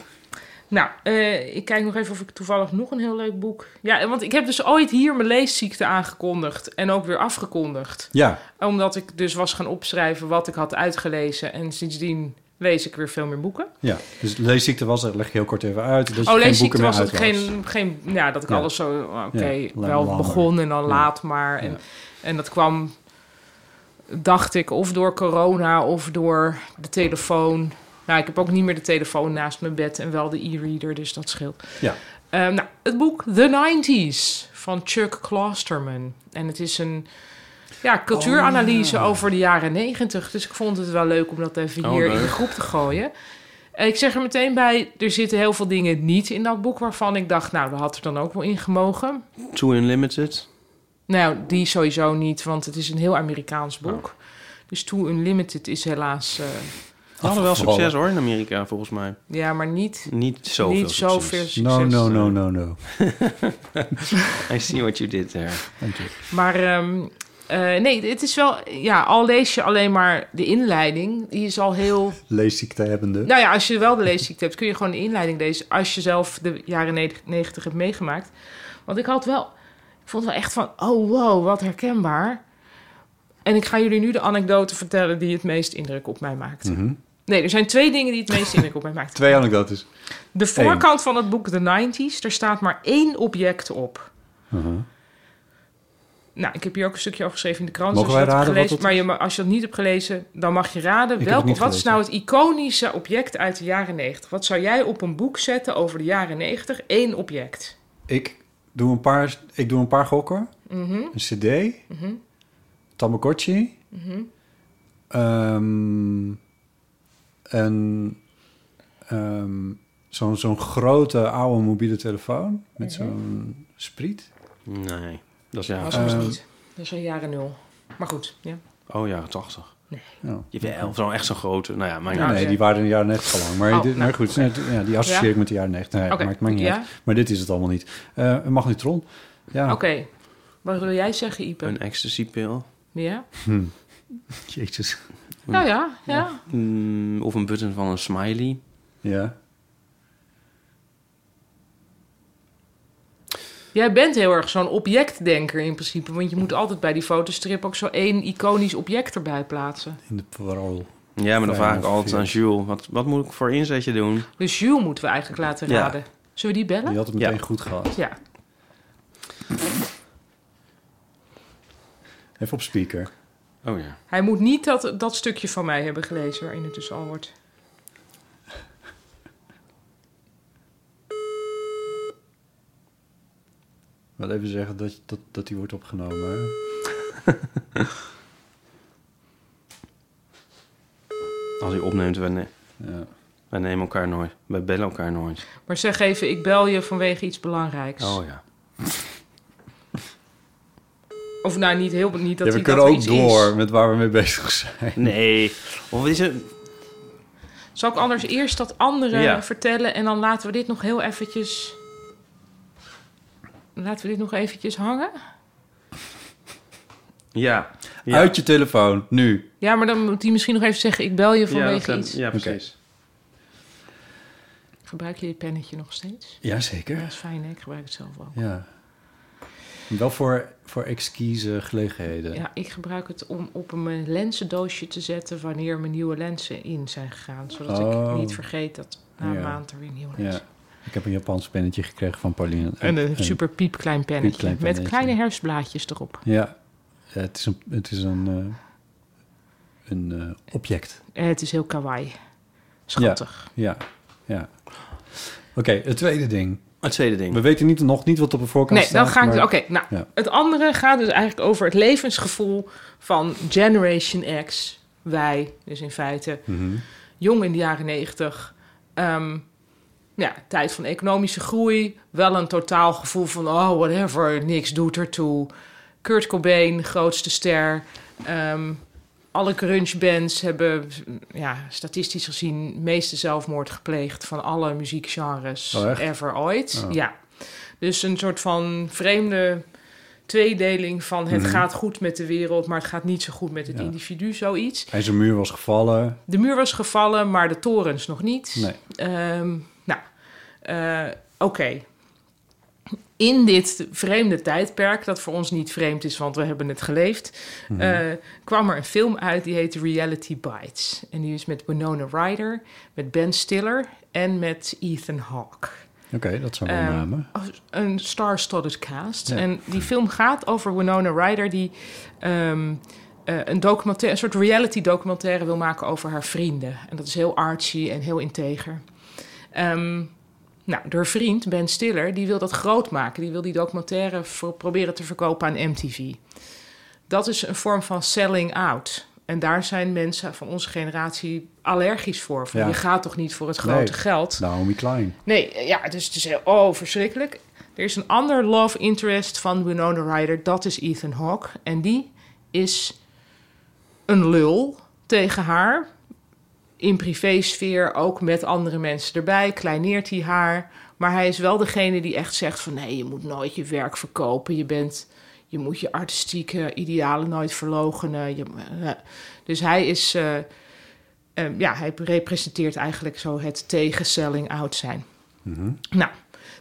[SPEAKER 4] Nou, eh, ik kijk nog even of ik toevallig nog een heel leuk boek... Ja, want ik heb dus ooit hier mijn leesziekte aangekondigd. En ook weer afgekondigd.
[SPEAKER 2] Ja,
[SPEAKER 4] Omdat ik dus was gaan opschrijven wat ik had uitgelezen. En sindsdien lees ik weer veel meer boeken.
[SPEAKER 2] ja. Dus leesziekte was er, leg ik heel kort even uit. Dat je
[SPEAKER 4] oh,
[SPEAKER 2] geen
[SPEAKER 4] leesziekte
[SPEAKER 2] boeken meer
[SPEAKER 4] was dat
[SPEAKER 2] uit
[SPEAKER 4] ik geen, geen... Ja, dat ik
[SPEAKER 2] Ja.
[SPEAKER 4] alles zo... oh, Oké,
[SPEAKER 2] Ja, la-
[SPEAKER 4] wel
[SPEAKER 2] langer.
[SPEAKER 4] begon en dan laat maar. En,
[SPEAKER 2] Ja.
[SPEAKER 4] en dat kwam, dacht ik, of door corona of door de telefoon. Nou, ik heb ook niet meer de telefoon naast mijn bed en wel de e-reader, dus dat scheelt.
[SPEAKER 2] Ja.
[SPEAKER 4] Ehm, nou, het boek The 90s van Chuck Klosterman. En het is een ja, cultuuranalyse over de jaren 90. Dus ik vond het wel leuk om dat even
[SPEAKER 3] Oh,
[SPEAKER 4] hier in
[SPEAKER 3] leuk.
[SPEAKER 4] de groep te gooien. En ik zeg er meteen bij, er zitten heel veel dingen niet in dat boek... waarvan ik dacht, nou, dat had er dan ook wel in gemogen.
[SPEAKER 3] Too Unlimited.
[SPEAKER 4] Nou, die sowieso niet, want het is een heel Amerikaans
[SPEAKER 3] Oh.
[SPEAKER 4] boek. Dus Too Unlimited is helaas... eh,
[SPEAKER 3] Ze hadden wel
[SPEAKER 2] Afgevallen.
[SPEAKER 3] succes hoor in Amerika, volgens mij.
[SPEAKER 4] ja, maar niet,
[SPEAKER 3] Niet zoveel
[SPEAKER 4] niet
[SPEAKER 3] succes.
[SPEAKER 4] zoveel succes. eh.
[SPEAKER 2] No, no, no, no, no.
[SPEAKER 3] I see what you did there.
[SPEAKER 2] Dank je.
[SPEAKER 4] Maar ehm, eh, nee, het is wel... Ja, al lees je alleen maar de inleiding. Die is al heel...
[SPEAKER 2] Leesziekte hebbende.
[SPEAKER 4] Nou ja, als je wel de leesziekte hebt, kun je gewoon de inleiding lezen. Als je zelf de jaren ne- 90 hebt meegemaakt. Want ik had wel, ik vond wel echt van, oh wow, wat herkenbaar. En ik ga jullie nu de anekdote vertellen die het meest indruk op mij maakt. Nee, er zijn twee dingen die het meest indruk op mij maakt.
[SPEAKER 2] Twee anekdotes.
[SPEAKER 4] De voorkant van
[SPEAKER 2] Mhm.
[SPEAKER 4] het boek The 90s, er staat maar één object op. Nou, ik heb hier ook een stukje over geschreven in de krant.
[SPEAKER 2] Mogen
[SPEAKER 4] als je
[SPEAKER 2] wij
[SPEAKER 4] dat hebt
[SPEAKER 2] raden wat
[SPEAKER 4] gelezen,
[SPEAKER 2] dat
[SPEAKER 4] maar je, ma- als je dat niet hebt gelezen, dan mag je raden.
[SPEAKER 2] heb
[SPEAKER 4] welk,
[SPEAKER 2] het niet
[SPEAKER 4] wat is
[SPEAKER 2] gelezen.
[SPEAKER 4] nou het iconische object uit de jaren 90? Wat zou jij op een boek zetten over de jaren 90? Eén object.
[SPEAKER 2] Ik doe een paar, ik doe een paar gokken.
[SPEAKER 4] Mhm.
[SPEAKER 2] Een cd.
[SPEAKER 4] Mhm.
[SPEAKER 2] Tamagotchi.
[SPEAKER 4] Mhm.
[SPEAKER 2] ehm, een... ehm, Zo'n zo'n grote oude mobiele telefoon
[SPEAKER 4] Mhm.
[SPEAKER 2] met zo'n spriet.
[SPEAKER 3] Nee, dat is ja.
[SPEAKER 4] was ons
[SPEAKER 2] Eh.
[SPEAKER 4] niet. Dat is al jaren nul. Maar goed, ja.
[SPEAKER 3] Oh, jaren 80.
[SPEAKER 2] Ja.
[SPEAKER 3] Jawel, zo'n echt zo'n grote. Nou ja, maar
[SPEAKER 4] Ja.
[SPEAKER 3] ja.
[SPEAKER 2] Nou. nee, die waren in de jaren 90 al lang. Maar,
[SPEAKER 4] Oh,
[SPEAKER 2] dit,
[SPEAKER 4] nou,
[SPEAKER 2] maar goed, nee, d- ja, die associeer
[SPEAKER 4] Ja.
[SPEAKER 2] ik met de jaren 90. Nee,
[SPEAKER 4] Oké,
[SPEAKER 2] maakt, maakt niet
[SPEAKER 4] ja?
[SPEAKER 2] uit. Maar dit is het allemaal niet. Eh, een magnetron. Ja.
[SPEAKER 4] Oké. Wat wil jij zeggen, Ipe?
[SPEAKER 3] een ecstasy-pil.
[SPEAKER 4] Ja?
[SPEAKER 2] Jezus.
[SPEAKER 4] Nou ja, ja.
[SPEAKER 3] Mm, of een button van een smiley.
[SPEAKER 2] Ja.
[SPEAKER 4] Jij bent heel erg zo'n objectdenker in principe. Want je moet altijd bij die fotostrip ook zo één iconisch object erbij plaatsen.
[SPEAKER 2] In de parool.
[SPEAKER 3] Ja, maar dan
[SPEAKER 2] Vijf,
[SPEAKER 3] vraag ik altijd
[SPEAKER 2] vier.
[SPEAKER 3] aan Jules. Wat, wat moet ik voor inzetje doen?
[SPEAKER 4] Dus Jules moeten we eigenlijk laten
[SPEAKER 3] Ja.
[SPEAKER 4] raden. Zullen we die bellen?
[SPEAKER 2] Die had het meteen
[SPEAKER 3] Ja.
[SPEAKER 2] goed gehad.
[SPEAKER 4] Ja.
[SPEAKER 2] Even op speaker.
[SPEAKER 3] Oh ja.
[SPEAKER 4] Hij moet niet dat, dat stukje van mij hebben gelezen waarin het dus al wordt.
[SPEAKER 2] Wel even zeggen dat, dat, dat die wordt opgenomen. hè.
[SPEAKER 3] Als hij opneemt, wij, ne-
[SPEAKER 2] Ja.
[SPEAKER 3] wij nemen elkaar nooit. Wij bellen elkaar nooit.
[SPEAKER 4] Maar zeg even, ik bel je vanwege iets belangrijks.
[SPEAKER 3] Oh ja.
[SPEAKER 4] Of nou, niet heel niet dat
[SPEAKER 2] Ja,
[SPEAKER 4] hij
[SPEAKER 2] we
[SPEAKER 4] dat
[SPEAKER 2] kunnen
[SPEAKER 4] er
[SPEAKER 2] ook
[SPEAKER 4] iets
[SPEAKER 2] door met waar we mee bezig zijn.
[SPEAKER 3] Nee. Of is het...
[SPEAKER 4] is. Zal ik anders eerst dat andere
[SPEAKER 3] Ja.
[SPEAKER 4] vertellen en dan laten we dit nog heel eventjes... Laten we dit nog eventjes hangen?
[SPEAKER 3] Ja. Ja.
[SPEAKER 2] Uit je telefoon, nu.
[SPEAKER 4] Ja, maar dan moet hij misschien nog even zeggen, ik bel je
[SPEAKER 3] ja,
[SPEAKER 4] vanwege
[SPEAKER 3] dat-
[SPEAKER 4] iets.
[SPEAKER 3] ja, precies.
[SPEAKER 4] Gebruik je dit pennetje nog steeds? Ja,
[SPEAKER 2] Jazeker.
[SPEAKER 4] dat is fijn, hè? ik gebruik het zelf ook.
[SPEAKER 2] Ja. Wel voor, voor exquise gelegenheden.
[SPEAKER 4] Ja, ik gebruik het om op mijn lenzendoosje te zetten wanneer mijn nieuwe lenzen in zijn gegaan. Zodat
[SPEAKER 2] Oh.
[SPEAKER 4] ik niet vergeet dat na een
[SPEAKER 2] Ja.
[SPEAKER 4] maand er weer nieuwe
[SPEAKER 2] Ja.
[SPEAKER 4] lenzen
[SPEAKER 2] Ik heb een Japans pennetje gekregen van Pauline.
[SPEAKER 4] En een super piepklein pennetje.
[SPEAKER 2] piepklein
[SPEAKER 4] Met
[SPEAKER 2] pennetje.
[SPEAKER 4] kleine herfstblaadjes erop.
[SPEAKER 2] Ja, Ja, het is een, het is een, eh, een eh, object.
[SPEAKER 4] Eh, het is heel kawaii. Schattig.
[SPEAKER 2] Ja, ja. Oké, het tweede ding.
[SPEAKER 3] Het tweede ding.
[SPEAKER 2] We weten niet, nog niet wat op de voorkant
[SPEAKER 4] nee,
[SPEAKER 2] staat.
[SPEAKER 4] dan ga ik... Oké,
[SPEAKER 2] maar-
[SPEAKER 4] nou.
[SPEAKER 2] Ja.
[SPEAKER 4] Het andere gaat dus eigenlijk over het levensgevoel van Generation X. Wij, dus in feite
[SPEAKER 2] Mhm.
[SPEAKER 4] jong in de jaren negentig. Ehm, ja, tijd van economische groei. Wel een totaal gevoel van, oh, whatever, niks doet ertoe. Kurt Cobain, grootste ster. Ehm, alle grungebands hebben, ja, statistisch gezien, meeste zelfmoord gepleegd van alle muziekgenres
[SPEAKER 2] Oh, echt?
[SPEAKER 4] ever ooit.
[SPEAKER 2] Oh.
[SPEAKER 4] Ja. Dus een soort van vreemde tweedeling van het
[SPEAKER 2] Mhm.
[SPEAKER 4] gaat goed met de wereld, maar het gaat niet zo goed met het
[SPEAKER 2] Ja.
[SPEAKER 4] individu, zoiets.
[SPEAKER 2] IJzermuur was gevallen.
[SPEAKER 4] De muur was gevallen, maar de torens nog niet.
[SPEAKER 2] Nee.
[SPEAKER 4] Ehm, nou, eh, oké. In dit vreemde tijdperk, dat voor ons niet vreemd is, want we hebben het geleefd, eh, kwam er een film uit die heet Reality Bites. En die is met Winona Ryder, met Ben Stiller en met Ethan Hawke.
[SPEAKER 2] Oké, dat zijn wel
[SPEAKER 4] Ehm,
[SPEAKER 2] namen.
[SPEAKER 4] Een star-studded cast.
[SPEAKER 2] Ja.
[SPEAKER 4] En die film gaat over Winona Ryder, die ehm, eh, een, documentaire, een soort reality-documentaire wil maken over haar vrienden. En dat is heel artsy en heel integer. Ehm, nou, door vriend Ben Stiller, die wil dat groot maken. Die wil die documentaire voor- proberen te verkopen aan MTV. Dat is een vorm van selling out. En daar zijn mensen van onze generatie allergisch voor. Van,
[SPEAKER 2] Ja.
[SPEAKER 4] Je gaat toch niet voor het grote
[SPEAKER 2] Nee.
[SPEAKER 4] geld?
[SPEAKER 2] Naomi Klein.
[SPEAKER 4] Nee, eh, ja, dus het is heel, oh, verschrikkelijk. Er is een ander love interest van Winona Ryder, dat is Ethan Hawke. En die is een lul tegen haar. In privésfeer, ook met andere mensen erbij, kleineert hij haar. Maar hij is wel degene die echt zegt van... nee, je moet nooit je werk verkopen. Je, bent, je moet je artistieke idealen nooit verloochenen. Je, eh, dus hij is... eh, eh, ja, hij representeert eigenlijk zo het tegenstelling oud zijn. Nou,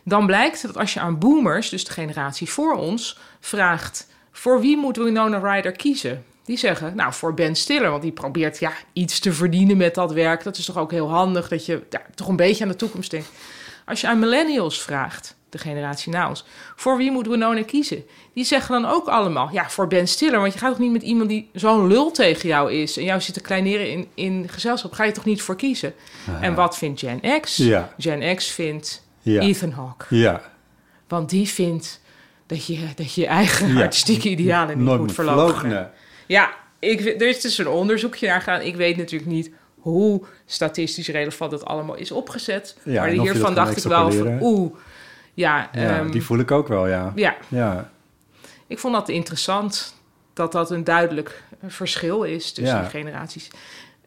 [SPEAKER 4] dan blijkt dat als je aan boomers, dus de generatie voor ons, vraagt... voor wie moet Winona Ryder kiezen? Die zeggen, nou, voor Ben Stiller, want die probeert ja, iets te verdienen met dat werk. Dat is toch ook heel handig dat je ja, toch een beetje aan de toekomst denkt. Als je aan millennials vraagt, de generatie na ons, voor wie moet Winona kiezen? Die zeggen dan ook allemaal, ja, voor Ben Stiller. Want je gaat toch niet met iemand die zo'n lul tegen jou is... en jou zit te kleineren in, in gezelschap, ga je toch niet voor kiezen? En wat vindt Gen X?
[SPEAKER 2] Ja.
[SPEAKER 4] Gen X vindt
[SPEAKER 2] Ja.
[SPEAKER 4] Ethan Hawke.
[SPEAKER 2] Ja,
[SPEAKER 4] Want die vindt dat je dat je, je eigen
[SPEAKER 2] Ja.
[SPEAKER 4] artistieke idealen niet
[SPEAKER 2] nooit
[SPEAKER 4] moet
[SPEAKER 2] moet
[SPEAKER 4] verloochenen.
[SPEAKER 2] verloochenen.
[SPEAKER 4] Ja, ik, we- er is dus een onderzoekje naar gaan. Ik weet natuurlijk niet hoe statistisch relevant dat allemaal is opgezet.
[SPEAKER 2] Ja,
[SPEAKER 4] maar
[SPEAKER 2] en of je
[SPEAKER 4] hiervan
[SPEAKER 2] dat
[SPEAKER 4] dacht ik
[SPEAKER 2] kan
[SPEAKER 4] wel van
[SPEAKER 2] extrapoleren.
[SPEAKER 4] oeh. Ja,
[SPEAKER 2] ja
[SPEAKER 4] ehm,
[SPEAKER 2] die voel ik ook wel, ja.
[SPEAKER 4] ja,
[SPEAKER 2] Ja,
[SPEAKER 4] ik vond dat interessant. Dat dat een duidelijk eh, verschil is tussen
[SPEAKER 2] Ja.
[SPEAKER 4] de generaties.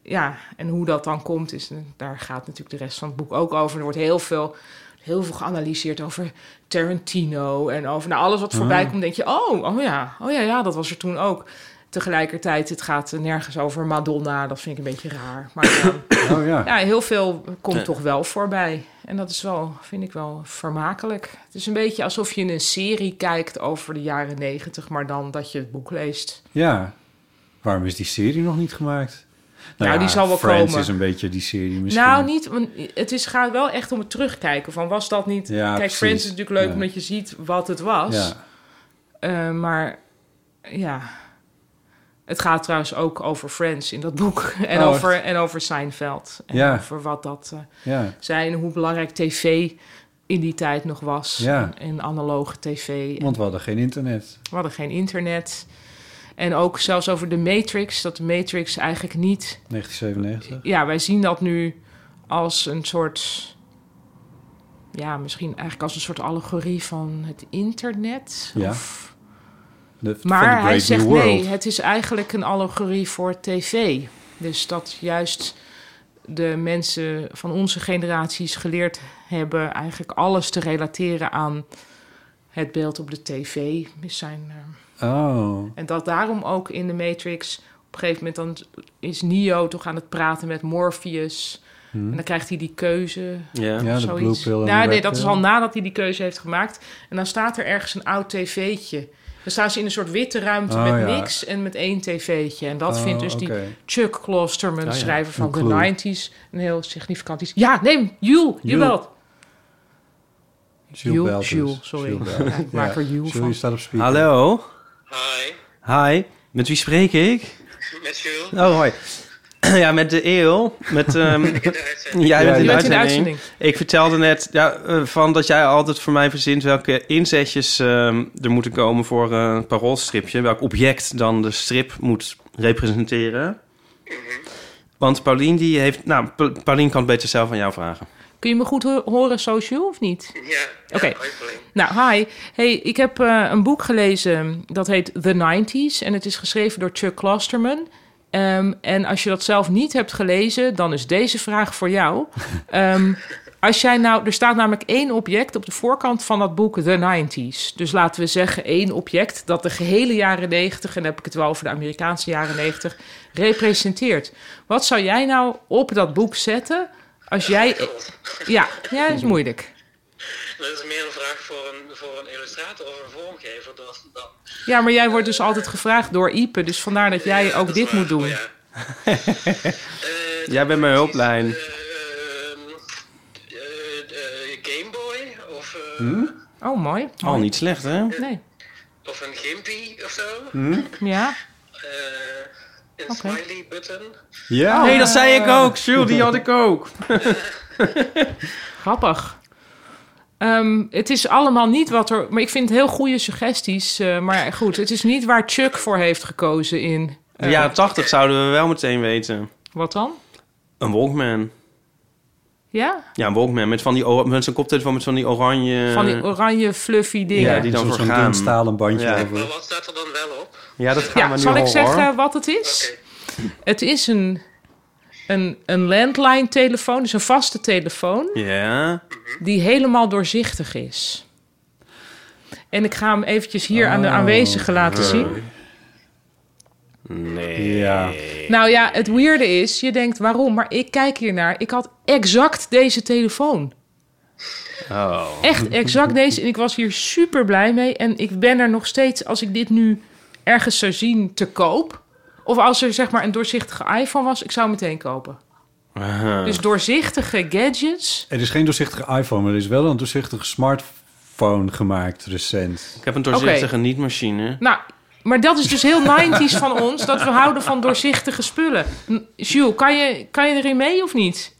[SPEAKER 4] Ja, en hoe dat dan komt, is, eh, daar gaat natuurlijk de rest van het boek ook over. Er wordt heel veel, heel veel geanalyseerd over Tarantino en over nou, alles wat voorbij komt. Denk je, oh, oh ja, oh ja, ja, dat was er toen ook. Tegelijkertijd, het gaat nergens over Madonna. Dat vind ik een beetje raar. Maar ja,
[SPEAKER 2] oh ja.
[SPEAKER 4] ja, heel veel komt toch wel voorbij. En dat is wel, vind ik wel vermakelijk. Het is een beetje alsof je een serie kijkt over de jaren negentig, maar dan dat je het boek leest.
[SPEAKER 2] Ja. Waarom is die serie nog niet gemaakt?
[SPEAKER 4] Nou, die zal wel
[SPEAKER 2] Friends
[SPEAKER 4] komen.
[SPEAKER 2] is een beetje die serie misschien.
[SPEAKER 4] Nou, niet, want het is, gaat wel echt om het terugkijken. Van was dat niet.
[SPEAKER 2] Ja,
[SPEAKER 4] Kijk,
[SPEAKER 2] precies.
[SPEAKER 4] Friends is natuurlijk leuk
[SPEAKER 2] Ja.
[SPEAKER 4] omdat je ziet wat het was.
[SPEAKER 2] Ja.
[SPEAKER 4] Eh, maar ja. Het gaat trouwens ook over Friends in dat boek. En,
[SPEAKER 2] Oh,
[SPEAKER 4] over, en over Seinfeld. En
[SPEAKER 2] Ja.
[SPEAKER 4] over wat dat. eh,
[SPEAKER 2] Ja.
[SPEAKER 4] zijn, hoe belangrijk tv in die tijd nog was.
[SPEAKER 2] Ja.
[SPEAKER 4] En, en analoge tv.
[SPEAKER 2] Want we hadden geen internet.
[SPEAKER 4] We hadden geen internet. En ook zelfs over de Matrix, dat de Matrix eigenlijk niet.
[SPEAKER 2] 1997.
[SPEAKER 4] Ja, wij zien dat nu als een soort. Ja, misschien eigenlijk als een soort allegorie van het internet.
[SPEAKER 2] Ja.
[SPEAKER 4] Of,
[SPEAKER 2] De- van de
[SPEAKER 4] maar
[SPEAKER 2] Brave
[SPEAKER 4] hij
[SPEAKER 2] New
[SPEAKER 4] zegt
[SPEAKER 2] World.
[SPEAKER 4] nee, het is eigenlijk een allegorie voor tv. Dus dat juist de mensen van onze generaties geleerd hebben... eigenlijk alles te relateren aan het beeld op de tv. Is Zijn, eh,
[SPEAKER 2] Oh.
[SPEAKER 4] en dat daarom ook in de Matrix... op een gegeven moment dan is Neo toch aan het praten met Morpheus...
[SPEAKER 2] Hmm.
[SPEAKER 4] En dan krijgt hij die keuze
[SPEAKER 3] Ja.
[SPEAKER 2] Ja, de Blue
[SPEAKER 4] zoiets.
[SPEAKER 2] Pill en de
[SPEAKER 4] nou,
[SPEAKER 2] Red
[SPEAKER 4] nee, dat
[SPEAKER 2] Pill.
[SPEAKER 4] is al nadat hij die keuze heeft gemaakt. En dan staat er ergens een oud tv'tje. Dan staan ze in een soort witte ruimte
[SPEAKER 2] Oh,
[SPEAKER 4] met
[SPEAKER 2] ja.
[SPEAKER 4] niks en met één tv'tje. En dat
[SPEAKER 2] Oh,
[SPEAKER 4] vindt dus die
[SPEAKER 2] oké. Oh,
[SPEAKER 4] Chuck Klosterman,
[SPEAKER 3] ja.
[SPEAKER 4] schrijver van
[SPEAKER 2] Een
[SPEAKER 4] de
[SPEAKER 2] clue.
[SPEAKER 4] 90s, een heel significant iets. Ja, neem Jules, je
[SPEAKER 2] Jules.
[SPEAKER 4] belt.
[SPEAKER 2] Jules Belters.
[SPEAKER 4] Jules, sorry.
[SPEAKER 2] Jules
[SPEAKER 4] Ja, ik maak er Jules
[SPEAKER 2] Sorry, je
[SPEAKER 4] van.
[SPEAKER 2] staat op speaker.
[SPEAKER 3] Hallo?
[SPEAKER 5] Hi,
[SPEAKER 3] Hi. Met wie spreek ik?
[SPEAKER 5] met Jules.
[SPEAKER 3] Oh, hoi. ja, met de eeuw. Met, ehm
[SPEAKER 5] In de uitzending.
[SPEAKER 3] jij bent in
[SPEAKER 4] Je
[SPEAKER 3] de
[SPEAKER 4] bent in
[SPEAKER 3] uitzending.
[SPEAKER 4] de uitzending.
[SPEAKER 3] Ik vertelde net ja, eh, van dat jij altijd voor mij verzint welke inzetjes ehm, er moeten komen voor eh, een paroolstripje. Welk object dan de strip moet representeren. Want Paulien die heeft... Nou, Pa- Paulien kan het beter zelf aan jou vragen.
[SPEAKER 4] Kun je me goed ho- horen, social, of niet?
[SPEAKER 5] Ja,
[SPEAKER 4] Oké.
[SPEAKER 5] ja, hoi, Pauline.
[SPEAKER 4] Nou, hi. Hey, ik heb eh, een boek gelezen dat heet The 90s en het is geschreven door Chuck Klosterman. Ehm, en als je dat zelf niet hebt gelezen, dan is deze vraag voor jou. Ehm, als jij nou, er staat namelijk één object op de voorkant van dat boek The 90s. Dus laten we zeggen één object dat de gehele jaren 90, en dan heb ik het wel over de Amerikaanse jaren 90, representeert. Wat zou jij nou op dat boek zetten als jij. Ja, ja, dat is moeilijk.
[SPEAKER 5] Dat Dus is meer een vraag voor een, voor een illustrator of een vormgever dan... dan
[SPEAKER 4] Ja, maar jij wordt dus altijd gevraagd door Ipe, dus vandaar dat jij ook
[SPEAKER 5] dat
[SPEAKER 4] dit
[SPEAKER 5] is waar.
[SPEAKER 4] moet doen.
[SPEAKER 5] Oh, ja. Eh,
[SPEAKER 3] Jij bent mijn hulplijn.
[SPEAKER 5] eh, ehm, eh, eh, Game Boy of, eh,
[SPEAKER 3] Hmm?
[SPEAKER 4] Oh, mooi.
[SPEAKER 3] Al niet slecht, hè?
[SPEAKER 4] Nee.
[SPEAKER 5] of een Gimpy of zo.
[SPEAKER 3] Hmm?
[SPEAKER 4] Ja.
[SPEAKER 5] Eh, een
[SPEAKER 4] Oké.
[SPEAKER 5] smiley button.
[SPEAKER 2] Ja.
[SPEAKER 3] Nee, dat zei ik ook. Jules, die had ik ook.
[SPEAKER 4] Grappig. Ehm, het is allemaal niet wat er. Maar ik vind heel goede suggesties. eh, maar goed, het is niet waar Chuck voor heeft gekozen in.
[SPEAKER 3] De jaren 80 zouden we wel meteen weten.
[SPEAKER 4] Wat dan?
[SPEAKER 3] Een Walkman.
[SPEAKER 4] Ja?
[SPEAKER 3] Ja, een Walkman. Met, van die ora- met zo'n koptelefoon met van die oranje...
[SPEAKER 4] Van die oranje fluffy
[SPEAKER 3] Eh.
[SPEAKER 4] dingen.
[SPEAKER 3] Ja,
[SPEAKER 4] Ja,
[SPEAKER 3] die-
[SPEAKER 2] Zo'n-
[SPEAKER 3] dan
[SPEAKER 2] Zo'n
[SPEAKER 3] vergaan.
[SPEAKER 2] dun stalen bandje
[SPEAKER 3] Ja.
[SPEAKER 5] Maar
[SPEAKER 2] over.
[SPEAKER 5] wat staat er dan wel op?
[SPEAKER 3] Ja, dat gaan we nu
[SPEAKER 4] zal ik
[SPEAKER 3] horen, hoor.
[SPEAKER 4] zeggen wat het is?
[SPEAKER 5] Oké.
[SPEAKER 4] Het is een, een, een landline telefoon, dus een vaste telefoon.
[SPEAKER 3] Ja.
[SPEAKER 4] die helemaal doorzichtig is. En ik ga hem eventjes hier
[SPEAKER 3] Oh,
[SPEAKER 4] aan de aanwezigen laten zien.
[SPEAKER 2] Ja.
[SPEAKER 4] Nou ja, het weirde is, je denkt waarom, maar ik kijk hiernaar. Ik had exact deze telefoon.
[SPEAKER 3] Oh.
[SPEAKER 4] Echt exact deze. En ik was hier super blij mee. En ik ben er nog steeds, als ik dit nu ergens zou zien, te koop. Of als er zeg maar een doorzichtige iPhone was, ik zou hem meteen kopen. Dus doorzichtige gadgets.
[SPEAKER 2] Er is geen doorzichtige iPhone, maar er is wel een doorzichtige smartphone gemaakt recent.
[SPEAKER 3] Ik heb een doorzichtige nietmachine.
[SPEAKER 4] Nou, maar dat is dus heel 90s van ons, dat we houden van doorzichtige spullen. N- Jules, kan je, kan je erin mee of niet?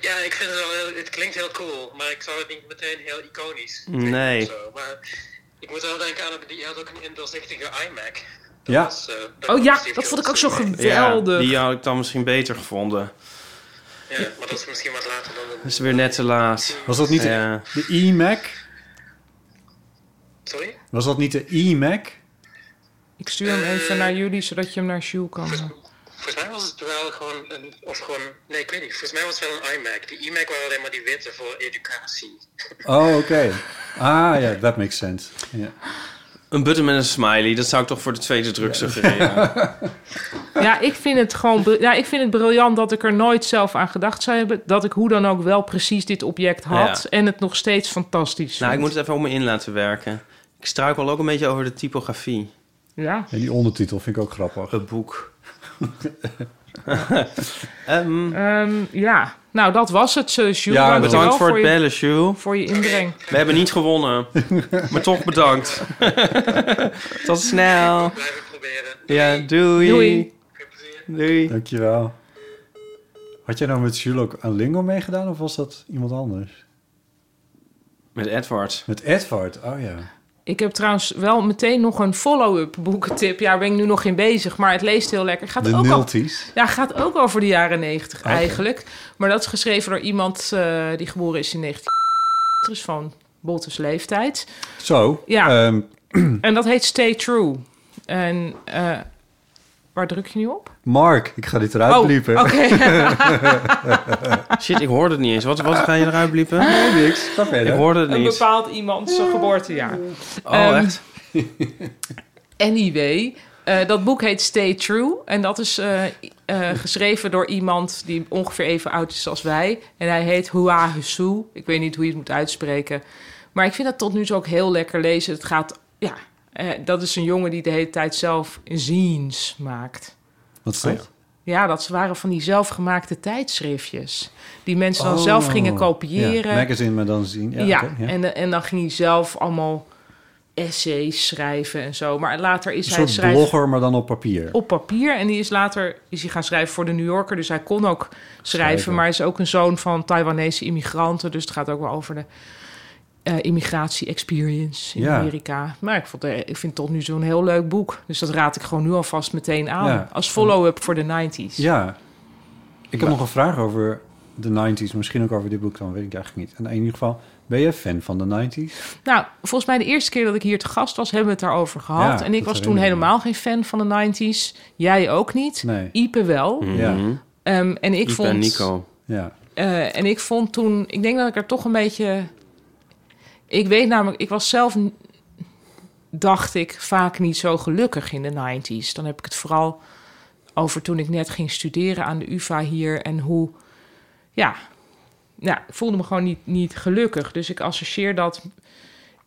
[SPEAKER 5] Ja, ik vind het wel heel, het klinkt heel cool, maar ik zou het niet meteen heel iconisch vinden
[SPEAKER 3] Nee.
[SPEAKER 5] of zo. Maar ik moet wel denken aan, die had ook een indoorzichtige iMac. Dat
[SPEAKER 2] Ja.
[SPEAKER 5] was, eh, dat
[SPEAKER 4] Oh
[SPEAKER 5] was
[SPEAKER 4] ja, dat
[SPEAKER 5] die viel
[SPEAKER 4] vond ik ook zo
[SPEAKER 5] natuurlijk
[SPEAKER 3] Ja,
[SPEAKER 4] geweldig.
[SPEAKER 3] die had ik dan misschien beter gevonden.
[SPEAKER 5] mee. Ja, maar dat is misschien wat later dan
[SPEAKER 3] Dat
[SPEAKER 5] een...
[SPEAKER 3] is weer net te laat.
[SPEAKER 2] Was dat niet de-
[SPEAKER 3] Ja.
[SPEAKER 2] de iMac?
[SPEAKER 5] Sorry?
[SPEAKER 2] Was dat niet de iMac?
[SPEAKER 4] Ik stuur hem even naar jullie, zodat je hem naar Jules kan.
[SPEAKER 5] Volgens mij was het wel gewoon een... Of gewoon... Nee, ik weet niet. Volgens mij was het wel een iMac. Die iMac waren alleen maar die witte voor educatie.
[SPEAKER 2] Oh, oké. Ah, ja, that makes sense. Ja.
[SPEAKER 3] Een button met een smiley, dat zou ik toch voor de tweede druk suggereren.
[SPEAKER 4] Ja, ik vind het gewoon br- ja, ik vind het briljant dat ik er nooit zelf aan gedacht zou hebben. Dat ik hoe dan ook wel precies dit object had.
[SPEAKER 3] Ja.
[SPEAKER 4] En het nog steeds fantastisch.
[SPEAKER 3] nou, ik
[SPEAKER 4] vind.
[SPEAKER 3] moet het even om me in laten werken. Ik struikel ook een beetje over de typografie.
[SPEAKER 4] Ja.
[SPEAKER 2] En die ondertitel vind ik ook grappig.
[SPEAKER 3] Een boek. Ehm,
[SPEAKER 4] Ehm, ja, nou dat was het, eh, Jules.
[SPEAKER 2] Ja,
[SPEAKER 4] Dank je
[SPEAKER 3] bedankt
[SPEAKER 4] wel
[SPEAKER 3] voor het
[SPEAKER 4] je,
[SPEAKER 3] bellen, Jules.
[SPEAKER 4] Voor je inbreng.
[SPEAKER 3] We hebben niet gewonnen, maar toch bedankt. Tot snel.
[SPEAKER 5] Blijf ik proberen.
[SPEAKER 3] Ja, doei.
[SPEAKER 4] Doei.
[SPEAKER 5] Veel plezier.
[SPEAKER 3] Doei.
[SPEAKER 2] Dankjewel. Had jij nou met Jules ook aan Lingo meegedaan of was dat iemand anders?
[SPEAKER 3] Met Edward.
[SPEAKER 2] Met Edward, oh ja.
[SPEAKER 4] Ik heb trouwens wel meteen nog een follow-up boekentip. Ja, daar ben ik nu nog in bezig, maar het leest heel lekker. Gaat
[SPEAKER 2] De
[SPEAKER 4] ook al,
[SPEAKER 2] Nulties.
[SPEAKER 4] ja, gaat ook over de jaren 90
[SPEAKER 2] Oké.
[SPEAKER 4] eigenlijk. Maar dat is geschreven door iemand eh, die geboren is in 19... Dus van Bolters leeftijd.
[SPEAKER 2] Zo,
[SPEAKER 4] Ja.
[SPEAKER 2] ehm,
[SPEAKER 4] En dat heet Stay True. En eh, waar druk je nu op?
[SPEAKER 2] Mark, ik ga dit eruit
[SPEAKER 4] Oh, oké.
[SPEAKER 2] bliepen.
[SPEAKER 3] Shit, ik hoorde het niet eens. Wat, wat ga je eruit bliepen?
[SPEAKER 2] Nee, niks. Ga verder.
[SPEAKER 3] Ik hoorde het
[SPEAKER 4] een
[SPEAKER 3] niet.
[SPEAKER 4] bepaald iemand zijn geboortejaar.
[SPEAKER 3] Oh,
[SPEAKER 4] Ehm,
[SPEAKER 3] echt?
[SPEAKER 4] Anyway, eh, dat boek heet Stay True. En dat is eh, i- eh, geschreven door iemand die ongeveer even oud is als wij. En hij heet Hua Husu. Ik weet niet hoe je het moet uitspreken. Maar ik vind dat tot nu toe ook heel lekker lezen. Het gaat, ja, eh, dat is een jongen die de hele tijd zelf zines maakt.
[SPEAKER 2] Wat is dat?
[SPEAKER 4] Ja, dat waren van die zelfgemaakte tijdschriftjes. Die mensen dan
[SPEAKER 2] Oh.
[SPEAKER 4] zelf gingen
[SPEAKER 2] Ja,
[SPEAKER 4] kopiëren.
[SPEAKER 2] magazine, maar dan zien. Ja,
[SPEAKER 4] Ja,
[SPEAKER 2] oké, ja.
[SPEAKER 4] En, eh, en dan ging hij zelf allemaal essays schrijven en zo. Maar later is
[SPEAKER 2] een
[SPEAKER 4] hij
[SPEAKER 2] soort
[SPEAKER 4] schrijver
[SPEAKER 2] blogger, maar dan op papier.
[SPEAKER 4] op papier. En die is later is hij gaan schrijven voor de New Yorker. Dus hij kon ook schrijven.
[SPEAKER 2] Schrijven.
[SPEAKER 4] Maar hij is ook een zoon van Taiwanese immigranten. Dus het gaat ook wel over de eh, immigratie-experience in
[SPEAKER 2] Ja.
[SPEAKER 4] Amerika. Maar ik, vond, eh, ik vind tot nu zo'n heel leuk boek. Dus dat raad ik gewoon nu alvast meteen aan.
[SPEAKER 2] Ja.
[SPEAKER 4] Als follow-up voor de 90s.
[SPEAKER 2] Ja. Ik heb nog een vraag over de 90s. Misschien ook over dit boek, dan weet ik eigenlijk niet. En in ieder geval, ben je fan van de 90s?
[SPEAKER 4] Nou, volgens mij de eerste keer dat ik hier te gast was, hebben we het daarover gehad.
[SPEAKER 2] Ja,
[SPEAKER 4] en ik
[SPEAKER 2] dat
[SPEAKER 4] was toen
[SPEAKER 2] herinner ik me.
[SPEAKER 4] helemaal geen fan van de 90s. Jij ook niet.
[SPEAKER 2] Nee.
[SPEAKER 4] Ipe wel.
[SPEAKER 3] Mhm.
[SPEAKER 2] Ja.
[SPEAKER 4] Ehm, en ik
[SPEAKER 3] Ik
[SPEAKER 4] vond.
[SPEAKER 3] ben Nico.
[SPEAKER 2] Ja.
[SPEAKER 4] Eh, en ik vond toen, ik denk dat ik er toch een beetje. Ik weet namelijk, ik was zelf, n- dacht ik, vaak niet zo gelukkig in de 90s. Dan heb ik het vooral over toen ik net ging studeren aan de UVA hier en hoe. Ja, ja ik voelde me gewoon niet, niet gelukkig. Dus ik associeer dat,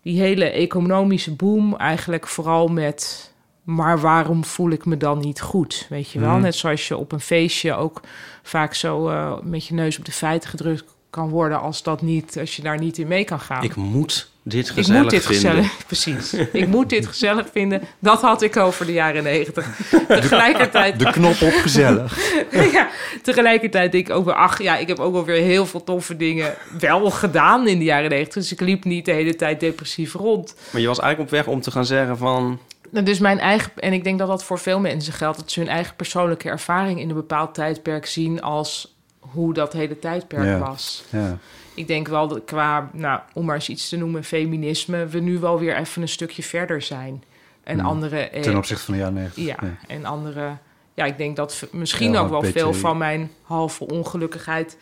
[SPEAKER 4] die hele economische boom, eigenlijk vooral met. Maar waarom voel ik me dan niet goed? Weet je wel, net zoals je op een feestje ook vaak zo eh, met je neus op de feiten gedrukt kan worden als dat niet, als je daar niet in mee kan gaan.
[SPEAKER 3] Ik moet dit
[SPEAKER 4] Ik
[SPEAKER 3] gezellig
[SPEAKER 4] moet dit
[SPEAKER 3] vinden.
[SPEAKER 4] gezellig, precies. Ik moet dit gezellig vinden. Dat had ik over de jaren negentig. Tegelijkertijd
[SPEAKER 2] De knop op gezellig.
[SPEAKER 4] ja, tegelijkertijd denk ik ook weer, ach ja, ik heb ook alweer heel veel toffe dingen wel gedaan in de jaren negentig. Dus ik liep niet de hele tijd depressief rond.
[SPEAKER 3] Maar je was eigenlijk op weg om te gaan zeggen van...
[SPEAKER 4] Nou, Dus mijn eigen, en ik denk dat dat voor veel mensen geldt, dat ze hun eigen persoonlijke ervaring in een bepaald tijdperk zien als hoe dat hele tijdperk
[SPEAKER 2] Ja.
[SPEAKER 4] was.
[SPEAKER 2] Ja.
[SPEAKER 4] Ik denk wel dat qua, nou, om maar eens iets te noemen, feminisme, we nu wel weer even een stukje verder zijn. En
[SPEAKER 2] Hmm.
[SPEAKER 4] andere. eh,
[SPEAKER 2] Ten opzichte van de jaren 90.
[SPEAKER 4] ja, en andere. Ja, ik denk dat v- misschien
[SPEAKER 2] Ja,
[SPEAKER 4] ook wel
[SPEAKER 2] een beetje-
[SPEAKER 4] veel van mijn halve ongelukkigheid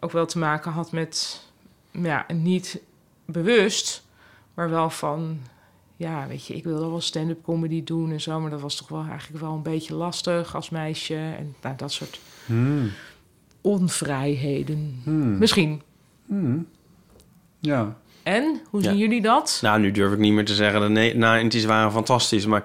[SPEAKER 4] ook wel te maken had met, ja, niet bewust, maar wel van, ja, weet je, ik wilde wel stand-up comedy doen en zo, maar dat was toch wel eigenlijk wel een beetje lastig als meisje en nou, dat soort
[SPEAKER 2] Hmm.
[SPEAKER 4] onvrijheden.
[SPEAKER 2] Hmm.
[SPEAKER 4] Misschien.
[SPEAKER 2] Hmm. Ja.
[SPEAKER 4] En hoe
[SPEAKER 3] Ja.
[SPEAKER 4] zien jullie dat?
[SPEAKER 3] Nou, nu durf ik niet meer te zeggen. De ne- 90's waren fantastisch. Maar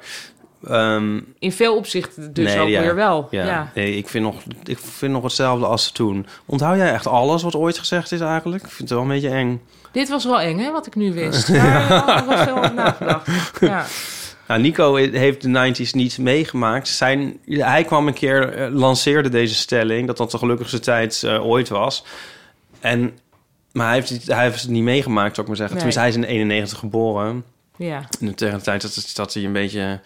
[SPEAKER 3] Ehm,
[SPEAKER 4] In veel opzichten dus
[SPEAKER 3] nee,
[SPEAKER 4] ook
[SPEAKER 3] ja.
[SPEAKER 4] weer wel. Ja.
[SPEAKER 3] Ja. Nee, ik vind, nog, ik vind nog hetzelfde als toen. Onthoud jij echt alles wat ooit gezegd is eigenlijk? Ik vind het wel een beetje eng.
[SPEAKER 4] Dit was wel eng, hè, wat ik nu wist. Maar ja, er was veel over nagedacht. Ja.
[SPEAKER 3] Nou, Nico heeft de 90s niet meegemaakt. Zijn, hij kwam een keer, eh, lanceerde deze stelling, dat dat de gelukkigste tijd eh, ooit was. En, maar hij heeft, het- hij heeft het niet meegemaakt, zou ik maar zeggen.
[SPEAKER 4] Nee.
[SPEAKER 3] Tenminste, hij is in 91 geboren.
[SPEAKER 4] Ja.
[SPEAKER 3] En tegen de tijd dat, het- dat hij een beetje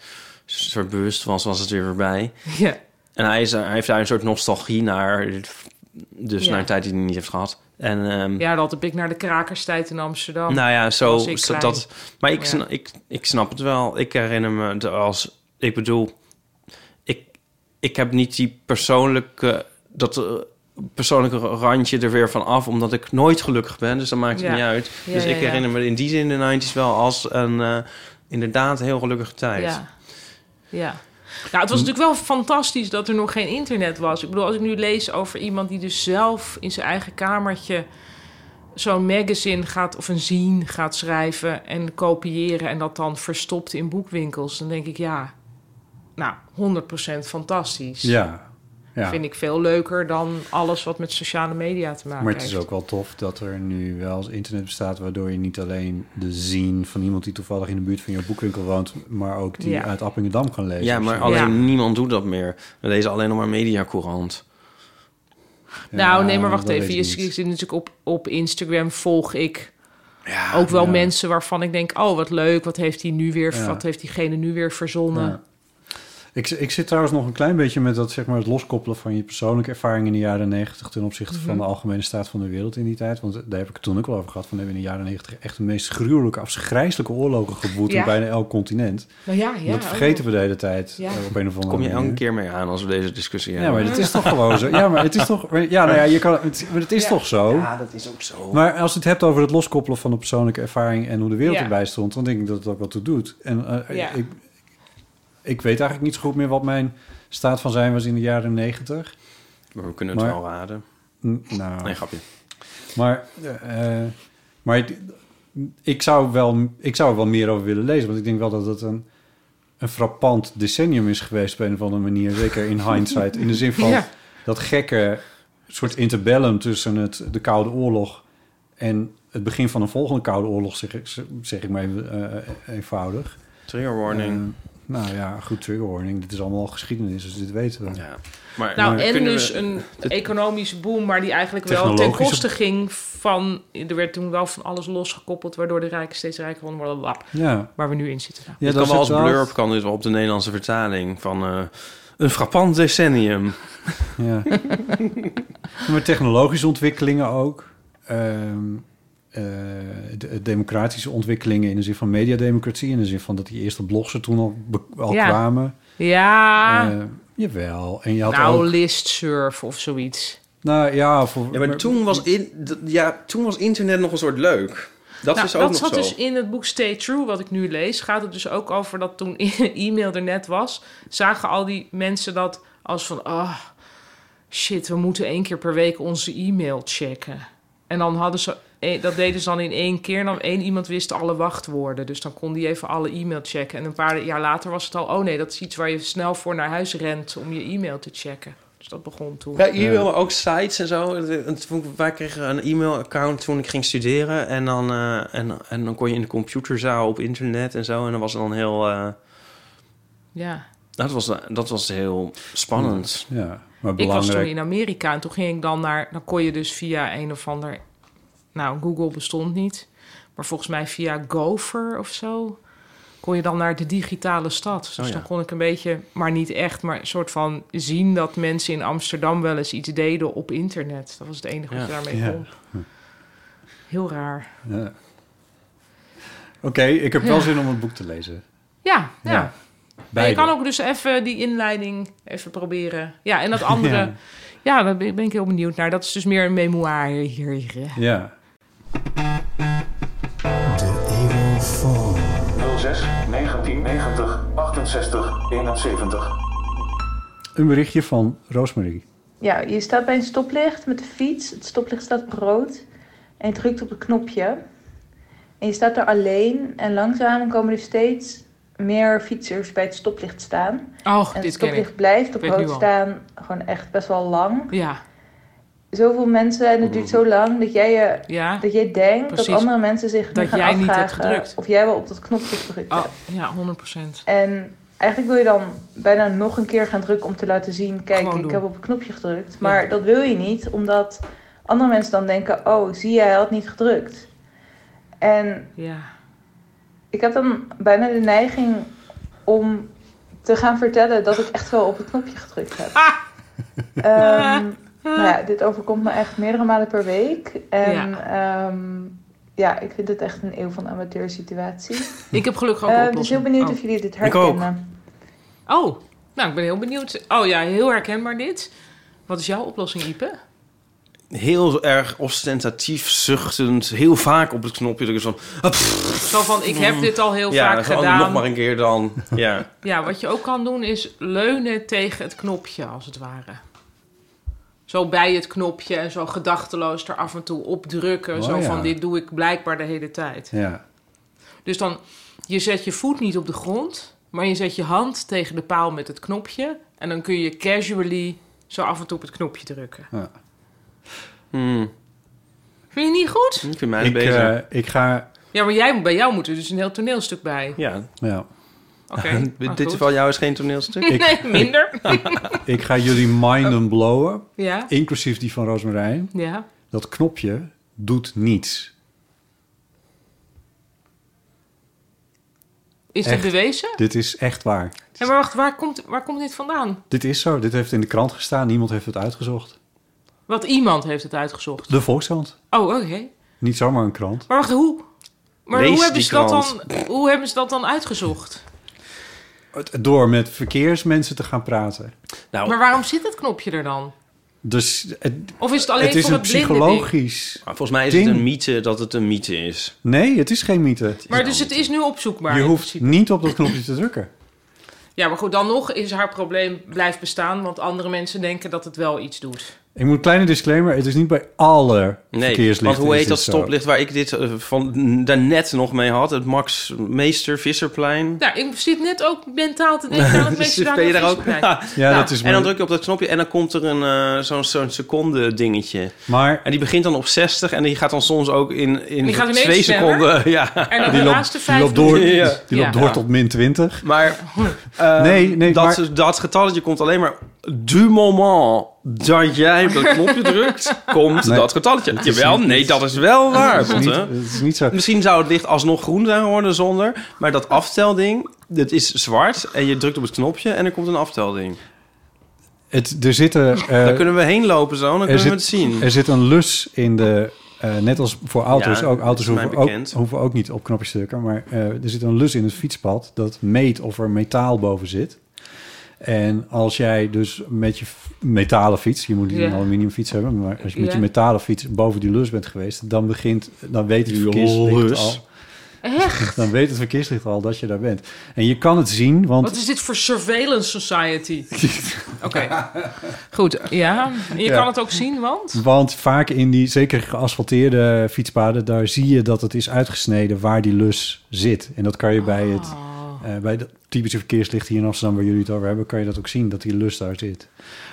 [SPEAKER 3] soort bewust was, was het weer voorbij.
[SPEAKER 4] ja.
[SPEAKER 3] En hij, is, hij heeft daar een soort nostalgie naar. Dus
[SPEAKER 4] Ja.
[SPEAKER 3] naar een tijd die hij niet heeft gehad. En, ehm,
[SPEAKER 4] Ja, dat heb ik naar de krakerstijd in Amsterdam.
[SPEAKER 3] nou ja,
[SPEAKER 4] was
[SPEAKER 3] zo,
[SPEAKER 4] ik
[SPEAKER 3] zo-
[SPEAKER 4] klein.
[SPEAKER 3] dat. Maar ik,
[SPEAKER 4] Ja.
[SPEAKER 3] sna- ik, ik snap het wel. Ik herinner me het als. Ik bedoel, ik, ik heb niet die persoonlijke. Dat eh, persoonlijke randje er weer van af, omdat ik nooit gelukkig ben. Dus dat maakt het
[SPEAKER 4] Ja.
[SPEAKER 3] niet uit.
[SPEAKER 4] Ja,
[SPEAKER 3] dus
[SPEAKER 4] ja,
[SPEAKER 3] ik
[SPEAKER 4] ja.
[SPEAKER 3] herinner me in die zin de 90s wel als een. eh, inderdaad, heel gelukkige tijd.
[SPEAKER 4] Ja. ja. Nou, het was natuurlijk wel fantastisch dat er nog geen internet was. Ik bedoel, als ik nu lees over iemand die dus zelf in zijn eigen kamertje zo'n magazine gaat of een zine gaat schrijven en kopiëren en dat dan verstopt in boekwinkels, dan denk ik ja, nou 100% fantastisch.
[SPEAKER 2] Ja. ja.
[SPEAKER 4] Vind ik veel leuker dan alles wat met sociale media te maken
[SPEAKER 2] Maar het is
[SPEAKER 4] heeft.
[SPEAKER 2] ook wel tof dat er nu wel eens internet bestaat... waardoor je niet alleen de zien van iemand die toevallig in de buurt van jouw boekwinkel woont... maar ook die
[SPEAKER 4] Ja.
[SPEAKER 2] uit Appingedam kan lezen.
[SPEAKER 3] Ja,
[SPEAKER 2] of
[SPEAKER 3] maar
[SPEAKER 2] zo.
[SPEAKER 3] alleen
[SPEAKER 4] Ja.
[SPEAKER 3] niemand doet dat meer. We lezen alleen nog maar mediacourant.
[SPEAKER 4] Nou,
[SPEAKER 2] Ja,
[SPEAKER 4] nee, maar wacht
[SPEAKER 2] dat
[SPEAKER 4] even.
[SPEAKER 2] weet
[SPEAKER 4] Je
[SPEAKER 2] ik niet.
[SPEAKER 4] zit natuurlijk op, op Instagram, volg ik ook wel
[SPEAKER 2] ja.
[SPEAKER 4] mensen waarvan ik denk... oh, wat leuk, wat heeft die nu weer,
[SPEAKER 2] Ja.
[SPEAKER 4] wat heeft diegene nu weer verzonnen.
[SPEAKER 2] Ja. Ik, ik zit trouwens nog een klein beetje met dat, zeg maar, het loskoppelen van je persoonlijke ervaring in de jaren negentig ten opzichte
[SPEAKER 4] Mhm.
[SPEAKER 2] van de algemene staat van de wereld in die tijd. Want daar heb ik het toen ook al over gehad. Van we hebben in de jaren negentig echt de meest gruwelijke, afgrijzelijke oorlogen gevoerd
[SPEAKER 4] Ja.
[SPEAKER 2] op bijna elk continent.
[SPEAKER 4] Nou ja, ja.
[SPEAKER 2] dat vergeten we de hele tijd
[SPEAKER 4] Ja.
[SPEAKER 2] eh, op een of andere
[SPEAKER 3] Kom je
[SPEAKER 2] manier.
[SPEAKER 3] elke keer mee aan als we deze discussie
[SPEAKER 2] Ja,
[SPEAKER 3] hebben.
[SPEAKER 2] maar het is toch gewoon zo. Ja, maar het is toch. Ja, nou ja, je kan, het, maar het is toch zo.
[SPEAKER 3] dat is ook zo.
[SPEAKER 2] Maar als je het hebt over het loskoppelen van de persoonlijke ervaring en hoe de wereld
[SPEAKER 4] Ja.
[SPEAKER 2] erbij stond, dan denk ik dat het ook wat toe doet. En eh,
[SPEAKER 4] Ja.
[SPEAKER 2] ik, ik weet eigenlijk niet zo goed meer wat mijn staat van zijn was in de jaren negentig.
[SPEAKER 3] Maar we kunnen het
[SPEAKER 2] Maar-
[SPEAKER 3] wel raden.
[SPEAKER 2] Nou,
[SPEAKER 3] Nee, grapje.
[SPEAKER 2] maar, eh, eh, maar het- ik, zou wel, ik zou er wel meer over willen lezen, want ik denk wel dat het een, een frappant decennium is geweest op een of andere manier. Zeker in hindsight, in de zin van
[SPEAKER 4] Ja.
[SPEAKER 2] dat gekke soort interbellum tussen het, de Koude Oorlog en het begin van een volgende Koude Oorlog, zeg, ik- zeg ik maar even, eh, eenvoudig.
[SPEAKER 3] Trigger warning.
[SPEAKER 2] Eh, nou ja, goed trigger warning. Dit is allemaal geschiedenis, dus dit weten we.
[SPEAKER 3] ja. Maar
[SPEAKER 4] Nou,
[SPEAKER 3] maar
[SPEAKER 4] en
[SPEAKER 3] kunnen
[SPEAKER 4] dus
[SPEAKER 3] we-
[SPEAKER 4] een economische boom... maar die eigenlijk wel ten
[SPEAKER 2] Technologische-
[SPEAKER 4] koste ging van... er werd toen wel van alles losgekoppeld... waardoor de rijken steeds rijker worden, blablabla,
[SPEAKER 2] Ja.
[SPEAKER 4] waar we nu in zitten. Nou.
[SPEAKER 2] Ja, dat
[SPEAKER 3] dit kan
[SPEAKER 2] is
[SPEAKER 3] wel als
[SPEAKER 2] het wel.
[SPEAKER 3] blurb kan dit wel op de Nederlandse vertaling van eh, een frappant decennium.
[SPEAKER 2] Ja. maar technologische ontwikkelingen ook. Ehm, eh, de- democratische ontwikkelingen in de zin van mediademocratie. In de zin van dat die eerste blogs er toen al, be- al
[SPEAKER 4] Ja.
[SPEAKER 2] kwamen.
[SPEAKER 4] Ja,
[SPEAKER 2] Eh, jawel. En je had
[SPEAKER 4] nou,
[SPEAKER 2] ook...
[SPEAKER 4] listsurf of zoiets.
[SPEAKER 2] Nou ja, voor,
[SPEAKER 3] Ja, maar toen was, in, d- ja, toen was internet nog een soort leuk. Dat
[SPEAKER 4] Nou,
[SPEAKER 3] is ook
[SPEAKER 4] dat
[SPEAKER 3] nog
[SPEAKER 4] zat
[SPEAKER 3] zo.
[SPEAKER 4] dus in het boek Stay True, wat ik nu lees. Gaat het dus ook over dat toen e-mail er net was, zagen al die mensen dat als van, ah, shit, we moeten één keer per week onze e-mail checken. En dan hadden ze, eh, dat deden ze dan in één keer. En dan één iemand wist alle wachtwoorden. Dus dan kon die even alle e-mail checken. En een paar jaar later was het al, oh nee, dat is iets waar je snel voor naar huis rent om je e-mail te checken. Dus dat begon toen.
[SPEAKER 3] Ja, e-mail, maar ook sites en zo. En toen- Wij kregen een e-mailaccount toen ik ging studeren. En dan, eh, en, en dan kon je in de computerzaal op internet en zo. En dat was dan heel... eh,
[SPEAKER 4] Ja.
[SPEAKER 3] dat, was, dat was heel spannend.
[SPEAKER 2] Ja, maar
[SPEAKER 4] Ik was toen
[SPEAKER 2] belangrijk.
[SPEAKER 4] in Amerika en toen ging ik dan naar... Dan kon je dus via een of ander... Nou, Google bestond niet. Maar volgens mij via Gopher of zo... kon je dan naar de digitale stad.
[SPEAKER 2] Oh,
[SPEAKER 4] Dus
[SPEAKER 3] ja.
[SPEAKER 4] dan kon ik een beetje, maar niet echt... maar een soort van zien dat mensen in Amsterdam... wel eens iets deden op internet. Dat was het enige
[SPEAKER 3] Ja.
[SPEAKER 4] wat je daarmee
[SPEAKER 2] Ja.
[SPEAKER 4] kon. Heel raar.
[SPEAKER 2] Ja. Oké, ik heb wel zin om het boek te lezen.
[SPEAKER 4] Ja, ja.
[SPEAKER 2] Ja.
[SPEAKER 4] En je
[SPEAKER 2] Beide.
[SPEAKER 4] kan ook dus even die inleiding even proberen. Ja, en dat andere... Ja,
[SPEAKER 2] Ja.
[SPEAKER 4] daar ben ben ik heel benieuwd naar. Dat is dus meer een memoir hier. hier.
[SPEAKER 2] Ja.
[SPEAKER 6] 06 1990 68 71.
[SPEAKER 2] Een berichtje van Roosmarie.
[SPEAKER 7] Ja, je staat bij een stoplicht met de fiets. Het stoplicht staat op rood. En je drukt op het knopje. En je staat daar alleen. En langzaam komen er steeds meer fietsers bij het stoplicht staan.
[SPEAKER 4] Oh,
[SPEAKER 7] En het
[SPEAKER 4] dit ken ik.
[SPEAKER 7] stoplicht blijft op
[SPEAKER 4] Ik weet nu
[SPEAKER 7] rood
[SPEAKER 4] al.
[SPEAKER 7] staan gewoon echt best wel lang.
[SPEAKER 4] Ja,
[SPEAKER 7] Zoveel mensen en het duurt zo lang dat jij, je,
[SPEAKER 4] ja.
[SPEAKER 7] dat jij denkt
[SPEAKER 4] Precies.
[SPEAKER 7] dat andere mensen zich nu
[SPEAKER 4] Dat
[SPEAKER 7] gaan
[SPEAKER 4] jij niet hebt
[SPEAKER 7] afvragen
[SPEAKER 4] gedrukt.
[SPEAKER 7] Of jij wel op dat knopje gedrukt
[SPEAKER 4] Oh,
[SPEAKER 7] hebt.
[SPEAKER 4] ja, 100 procent.
[SPEAKER 7] En eigenlijk wil je dan bijna nog een keer gaan drukken om te laten zien... kijk,
[SPEAKER 4] Gewoon
[SPEAKER 7] ik
[SPEAKER 4] doen.
[SPEAKER 7] heb op een knopje gedrukt. Maar dat wil je niet, omdat andere mensen dan denken... oh, zie jij, hij had niet gedrukt. En
[SPEAKER 4] Ja.
[SPEAKER 7] ik heb dan bijna de neiging om te gaan vertellen dat ik echt wel op het knopje gedrukt heb. Ehm, nou ja, dit overkomt me echt meerdere malen per week. En
[SPEAKER 4] Ja.
[SPEAKER 7] ja, ja ik vind het echt een eeuw van amateur situatie.
[SPEAKER 4] Ik heb gelukkig ook
[SPEAKER 7] Ehm
[SPEAKER 4] oplossingen.
[SPEAKER 7] dus heel benieuwd
[SPEAKER 4] Oh.
[SPEAKER 7] of jullie dit
[SPEAKER 3] Ik ook.
[SPEAKER 7] herkennen.
[SPEAKER 4] Oh, nou, ik ben heel benieuwd. Oh ja, heel herkenbaar dit. Wat is jouw oplossing, Ipe?
[SPEAKER 3] Hmm. Heel erg ostentatief, zuchtend, heel vaak op het knopje drukken. Zo van, ah, pff,
[SPEAKER 4] Zo van, ik heb dit al heel
[SPEAKER 3] Mm. ja,
[SPEAKER 4] vaak
[SPEAKER 3] dan gaan we
[SPEAKER 4] gedaan.
[SPEAKER 3] nog maar een keer dan. Ja.
[SPEAKER 4] Ja, wat je ook kan doen is leunen tegen het knopje, als het ware. Zo bij het knopje en zo gedachteloos er af en toe op drukken.
[SPEAKER 2] Oh,
[SPEAKER 4] zo
[SPEAKER 2] ja.
[SPEAKER 4] van, dit doe ik blijkbaar de hele tijd.
[SPEAKER 2] Ja.
[SPEAKER 4] Dus dan, je zet je voet niet op de grond, maar je zet je hand tegen de paal met het knopje. En dan kun je casually zo af en toe op het knopje drukken.
[SPEAKER 2] ja.
[SPEAKER 3] Hmm,
[SPEAKER 4] Vind je niet goed?
[SPEAKER 3] ik vind mij
[SPEAKER 2] Ik,
[SPEAKER 3] bezig.
[SPEAKER 2] eh, ik ga...
[SPEAKER 4] Ja, maar jij, bij jou moet er dus een heel toneelstuk bij.
[SPEAKER 3] ja,
[SPEAKER 2] Ja.
[SPEAKER 4] Oké. nou,
[SPEAKER 3] dit
[SPEAKER 4] goed.
[SPEAKER 3] van jou is geen toneelstuk.
[SPEAKER 4] nee, minder.
[SPEAKER 2] Ik ga jullie minden blowen,
[SPEAKER 4] ja.
[SPEAKER 2] inclusief die van Roosmarijn.
[SPEAKER 4] Ja.
[SPEAKER 2] Dat knopje doet niets.
[SPEAKER 4] Is dit
[SPEAKER 2] Echt.
[SPEAKER 4] bewezen?
[SPEAKER 2] Dit is echt waar.
[SPEAKER 4] Ja, maar wacht, waar komt, waar komt dit vandaan?
[SPEAKER 2] Dit is zo. Dit heeft in de krant gestaan. Niemand heeft het uitgezocht.
[SPEAKER 4] Want iemand heeft het uitgezocht.
[SPEAKER 2] De Volkskrant.
[SPEAKER 4] Oh, oké.
[SPEAKER 2] Niet zomaar een krant.
[SPEAKER 4] Maar wacht, hoe? Maar
[SPEAKER 3] Lees
[SPEAKER 4] hoe hebben,
[SPEAKER 3] die
[SPEAKER 4] ze dat
[SPEAKER 3] krant.
[SPEAKER 4] dan, hoe hebben ze dat dan uitgezocht?
[SPEAKER 2] Het- Door met verkeersmensen te gaan praten.
[SPEAKER 3] Nou,
[SPEAKER 4] Maar waarom zit dat knopje er dan?
[SPEAKER 2] Dus het,
[SPEAKER 4] Of is het alleen
[SPEAKER 2] het is
[SPEAKER 4] voor
[SPEAKER 2] een
[SPEAKER 4] het blinde ding?
[SPEAKER 2] psychologisch...
[SPEAKER 3] volgens mij is het
[SPEAKER 2] Ding.
[SPEAKER 3] een mythe dat het een mythe is.
[SPEAKER 2] Nee, het is geen mythe.
[SPEAKER 4] Maar dus het is nu opzoekbaar.
[SPEAKER 2] Je
[SPEAKER 4] in
[SPEAKER 2] hoeft
[SPEAKER 4] principe.
[SPEAKER 2] niet op dat knopje te drukken.
[SPEAKER 4] Ja, maar goed, dan nog is haar probleem blijft bestaan, want andere mensen denken dat het wel iets doet.
[SPEAKER 2] Ik moet een kleine disclaimer. Het is niet bij alle
[SPEAKER 3] Nee,
[SPEAKER 2] verkeerslichten.
[SPEAKER 3] want hoe
[SPEAKER 2] is
[SPEAKER 3] heet
[SPEAKER 2] dit
[SPEAKER 3] dat
[SPEAKER 2] zo.
[SPEAKER 3] stoplicht waar ik dit eh, van daarnet nog mee had? Het Max Meester Visserplein.
[SPEAKER 4] Nou, ik zit net ook mentaal te denken aan het meeste daar
[SPEAKER 3] ben je
[SPEAKER 4] nog
[SPEAKER 3] daar
[SPEAKER 4] iets
[SPEAKER 3] ook?
[SPEAKER 4] bij.
[SPEAKER 2] Ja,
[SPEAKER 4] Nou,
[SPEAKER 2] dat is
[SPEAKER 3] En dan
[SPEAKER 2] maar,
[SPEAKER 3] druk je op dat knopje en dan komt er een eh, zo'n zo'n seconde dingetje.
[SPEAKER 2] maar
[SPEAKER 3] En die begint dan op 60 en die gaat dan soms ook in, in
[SPEAKER 4] Die gaat ineens
[SPEAKER 3] twee
[SPEAKER 4] sneller.
[SPEAKER 3] seconden. Ja.
[SPEAKER 4] En dan
[SPEAKER 2] die
[SPEAKER 4] de
[SPEAKER 2] loopt,
[SPEAKER 4] laatste
[SPEAKER 2] die
[SPEAKER 4] vijf
[SPEAKER 2] loopt door,
[SPEAKER 4] minuten-
[SPEAKER 3] Ja.
[SPEAKER 2] die loopt
[SPEAKER 4] Ja.
[SPEAKER 2] door tot min 20.
[SPEAKER 3] Maar eh,
[SPEAKER 2] Nee, nee,
[SPEAKER 3] dat,
[SPEAKER 2] maar-
[SPEAKER 3] dat getalletje komt alleen maar du moment dat jij op dat knopje drukt, komt
[SPEAKER 2] Nee,
[SPEAKER 3] dat getalletje. Jawel, nee, dat is wel waar.
[SPEAKER 2] Het is, niet,
[SPEAKER 3] Botte.
[SPEAKER 2] het is niet zo.
[SPEAKER 3] Misschien zou het licht alsnog groen zijn geworden zonder, maar dat aftelding, dat is zwart en je drukt op het knopje en er komt een aftelding.
[SPEAKER 2] Het, er zitten... eh,
[SPEAKER 3] Daar kunnen we heen lopen zo, dan kunnen
[SPEAKER 2] zit-
[SPEAKER 3] we het zien.
[SPEAKER 2] Er zit een lus in de... eh, net als voor auto's.
[SPEAKER 3] Ja,
[SPEAKER 2] ook
[SPEAKER 3] dat
[SPEAKER 2] auto's
[SPEAKER 3] is mij
[SPEAKER 2] hoeven ook,
[SPEAKER 3] bekend.
[SPEAKER 2] hoeven ook niet op knopjes te drukken. Maar eh, er zit een lus in het fietspad dat meet of er metaal boven zit. En als jij dus met je f- metalen fiets... Je moet niet
[SPEAKER 4] Ja.
[SPEAKER 2] een aluminium fiets hebben. Maar als je met
[SPEAKER 4] Ja.
[SPEAKER 2] je metalen fiets boven die lus bent geweest... dan begint... Dan weet het
[SPEAKER 3] Die
[SPEAKER 2] verkeerslicht
[SPEAKER 3] lus.
[SPEAKER 2] al...
[SPEAKER 4] Echt?
[SPEAKER 2] Dan weet het verkeerslicht al dat je daar bent. En je kan het zien, want...
[SPEAKER 4] Wat is dit voor surveillance society? Oké. Goed, ja. Je
[SPEAKER 2] Ja.
[SPEAKER 4] kan het ook zien, want...
[SPEAKER 2] Want vaak in die, zeker geasfalteerde fietspaden, daar zie je dat het is uitgesneden waar die lus zit. En dat kan je bij het
[SPEAKER 4] Oh.
[SPEAKER 2] eh, bij dat typische verkeerslicht hier in Amsterdam, waar jullie het over hebben, kan je dat ook zien, dat die lus daar zit.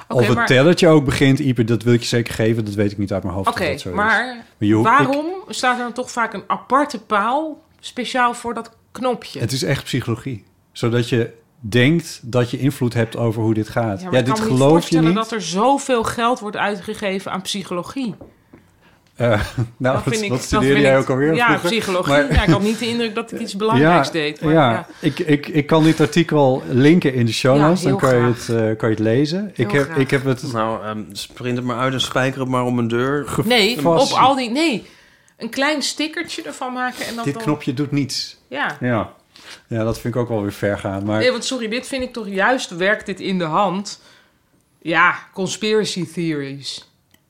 [SPEAKER 4] Oké,
[SPEAKER 2] of het
[SPEAKER 4] maar-
[SPEAKER 2] tellertje ook begint, Ieper, dat wil ik je zeker geven, dat weet ik niet uit mijn hoofd.
[SPEAKER 4] Oké,
[SPEAKER 2] of dat zo is.
[SPEAKER 4] maar
[SPEAKER 2] Maar je hoeft-
[SPEAKER 4] waarom staat er dan toch vaak een aparte paal speciaal voor dat knopje?
[SPEAKER 2] Het is echt psychologie. Zodat je denkt dat je invloed hebt over hoe dit gaat. Ja,
[SPEAKER 4] maar ik
[SPEAKER 2] dit
[SPEAKER 4] kan me
[SPEAKER 2] geloof
[SPEAKER 4] niet
[SPEAKER 2] je
[SPEAKER 4] voorstellen
[SPEAKER 2] niet.
[SPEAKER 4] dat er zoveel geld wordt uitgegeven aan psychologie.
[SPEAKER 2] Eh, nou,
[SPEAKER 4] dat
[SPEAKER 2] dat,
[SPEAKER 4] vind ik,
[SPEAKER 2] dat
[SPEAKER 4] dat
[SPEAKER 2] studeerde
[SPEAKER 4] vind
[SPEAKER 2] jij
[SPEAKER 4] ik-
[SPEAKER 2] ook alweer
[SPEAKER 4] Ja,
[SPEAKER 2] vroeger.
[SPEAKER 4] psychologie.
[SPEAKER 2] Maar-
[SPEAKER 4] Ja, ik had niet de indruk dat ik iets belangrijks deed. Maar,
[SPEAKER 2] ja,
[SPEAKER 4] ja.
[SPEAKER 2] Ik, ik, ik kan dit artikel linken in de show
[SPEAKER 4] Ja,
[SPEAKER 2] notes. dan
[SPEAKER 4] heel
[SPEAKER 2] kan je, het,
[SPEAKER 4] graag.
[SPEAKER 2] eh, kan je het lezen. Ik heb,
[SPEAKER 4] graag.
[SPEAKER 2] ik heb het.
[SPEAKER 3] Nou, ehm, sprint het maar uit en spijker het maar om een deur.
[SPEAKER 4] Nee,
[SPEAKER 2] Vast.
[SPEAKER 4] op al die... Nee, een klein stickertje ervan maken en dan...
[SPEAKER 2] Dit
[SPEAKER 4] dan-
[SPEAKER 2] knopje doet niets.
[SPEAKER 4] Ja.
[SPEAKER 2] Ja. ja, dat vind ik ook wel weer ver gaan. Maar
[SPEAKER 4] Nee, want sorry, dit vind ik toch juist werkt dit in de hand. Ja, conspiracy theories.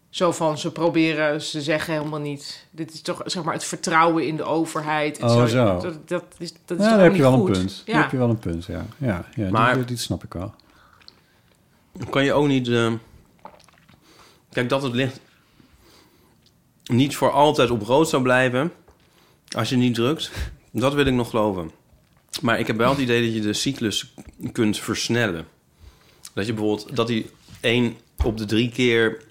[SPEAKER 4] Zo van ze proberen, ze zeggen helemaal niet. Dit is toch zeg maar het vertrouwen in de overheid. en
[SPEAKER 2] Oh, zo.
[SPEAKER 4] Dat, dat is, dat is
[SPEAKER 2] ja,
[SPEAKER 4] toch
[SPEAKER 2] daar heb
[SPEAKER 4] ook
[SPEAKER 2] je
[SPEAKER 4] niet
[SPEAKER 2] wel een
[SPEAKER 4] goed?
[SPEAKER 2] punt.
[SPEAKER 4] Ja.
[SPEAKER 2] Daar heb je wel een punt, ja. ja, ja
[SPEAKER 3] Maar-
[SPEAKER 2] dit, dit snap ik wel.
[SPEAKER 3] Kan je ook niet... ehm, Kijk, dat het licht niet voor altijd op rood zou blijven als je niet drukt, dat wil ik nog geloven. Maar ik heb wel het idee dat je de cyclus kunt versnellen. Dat je bijvoorbeeld dat die één op de drie keer,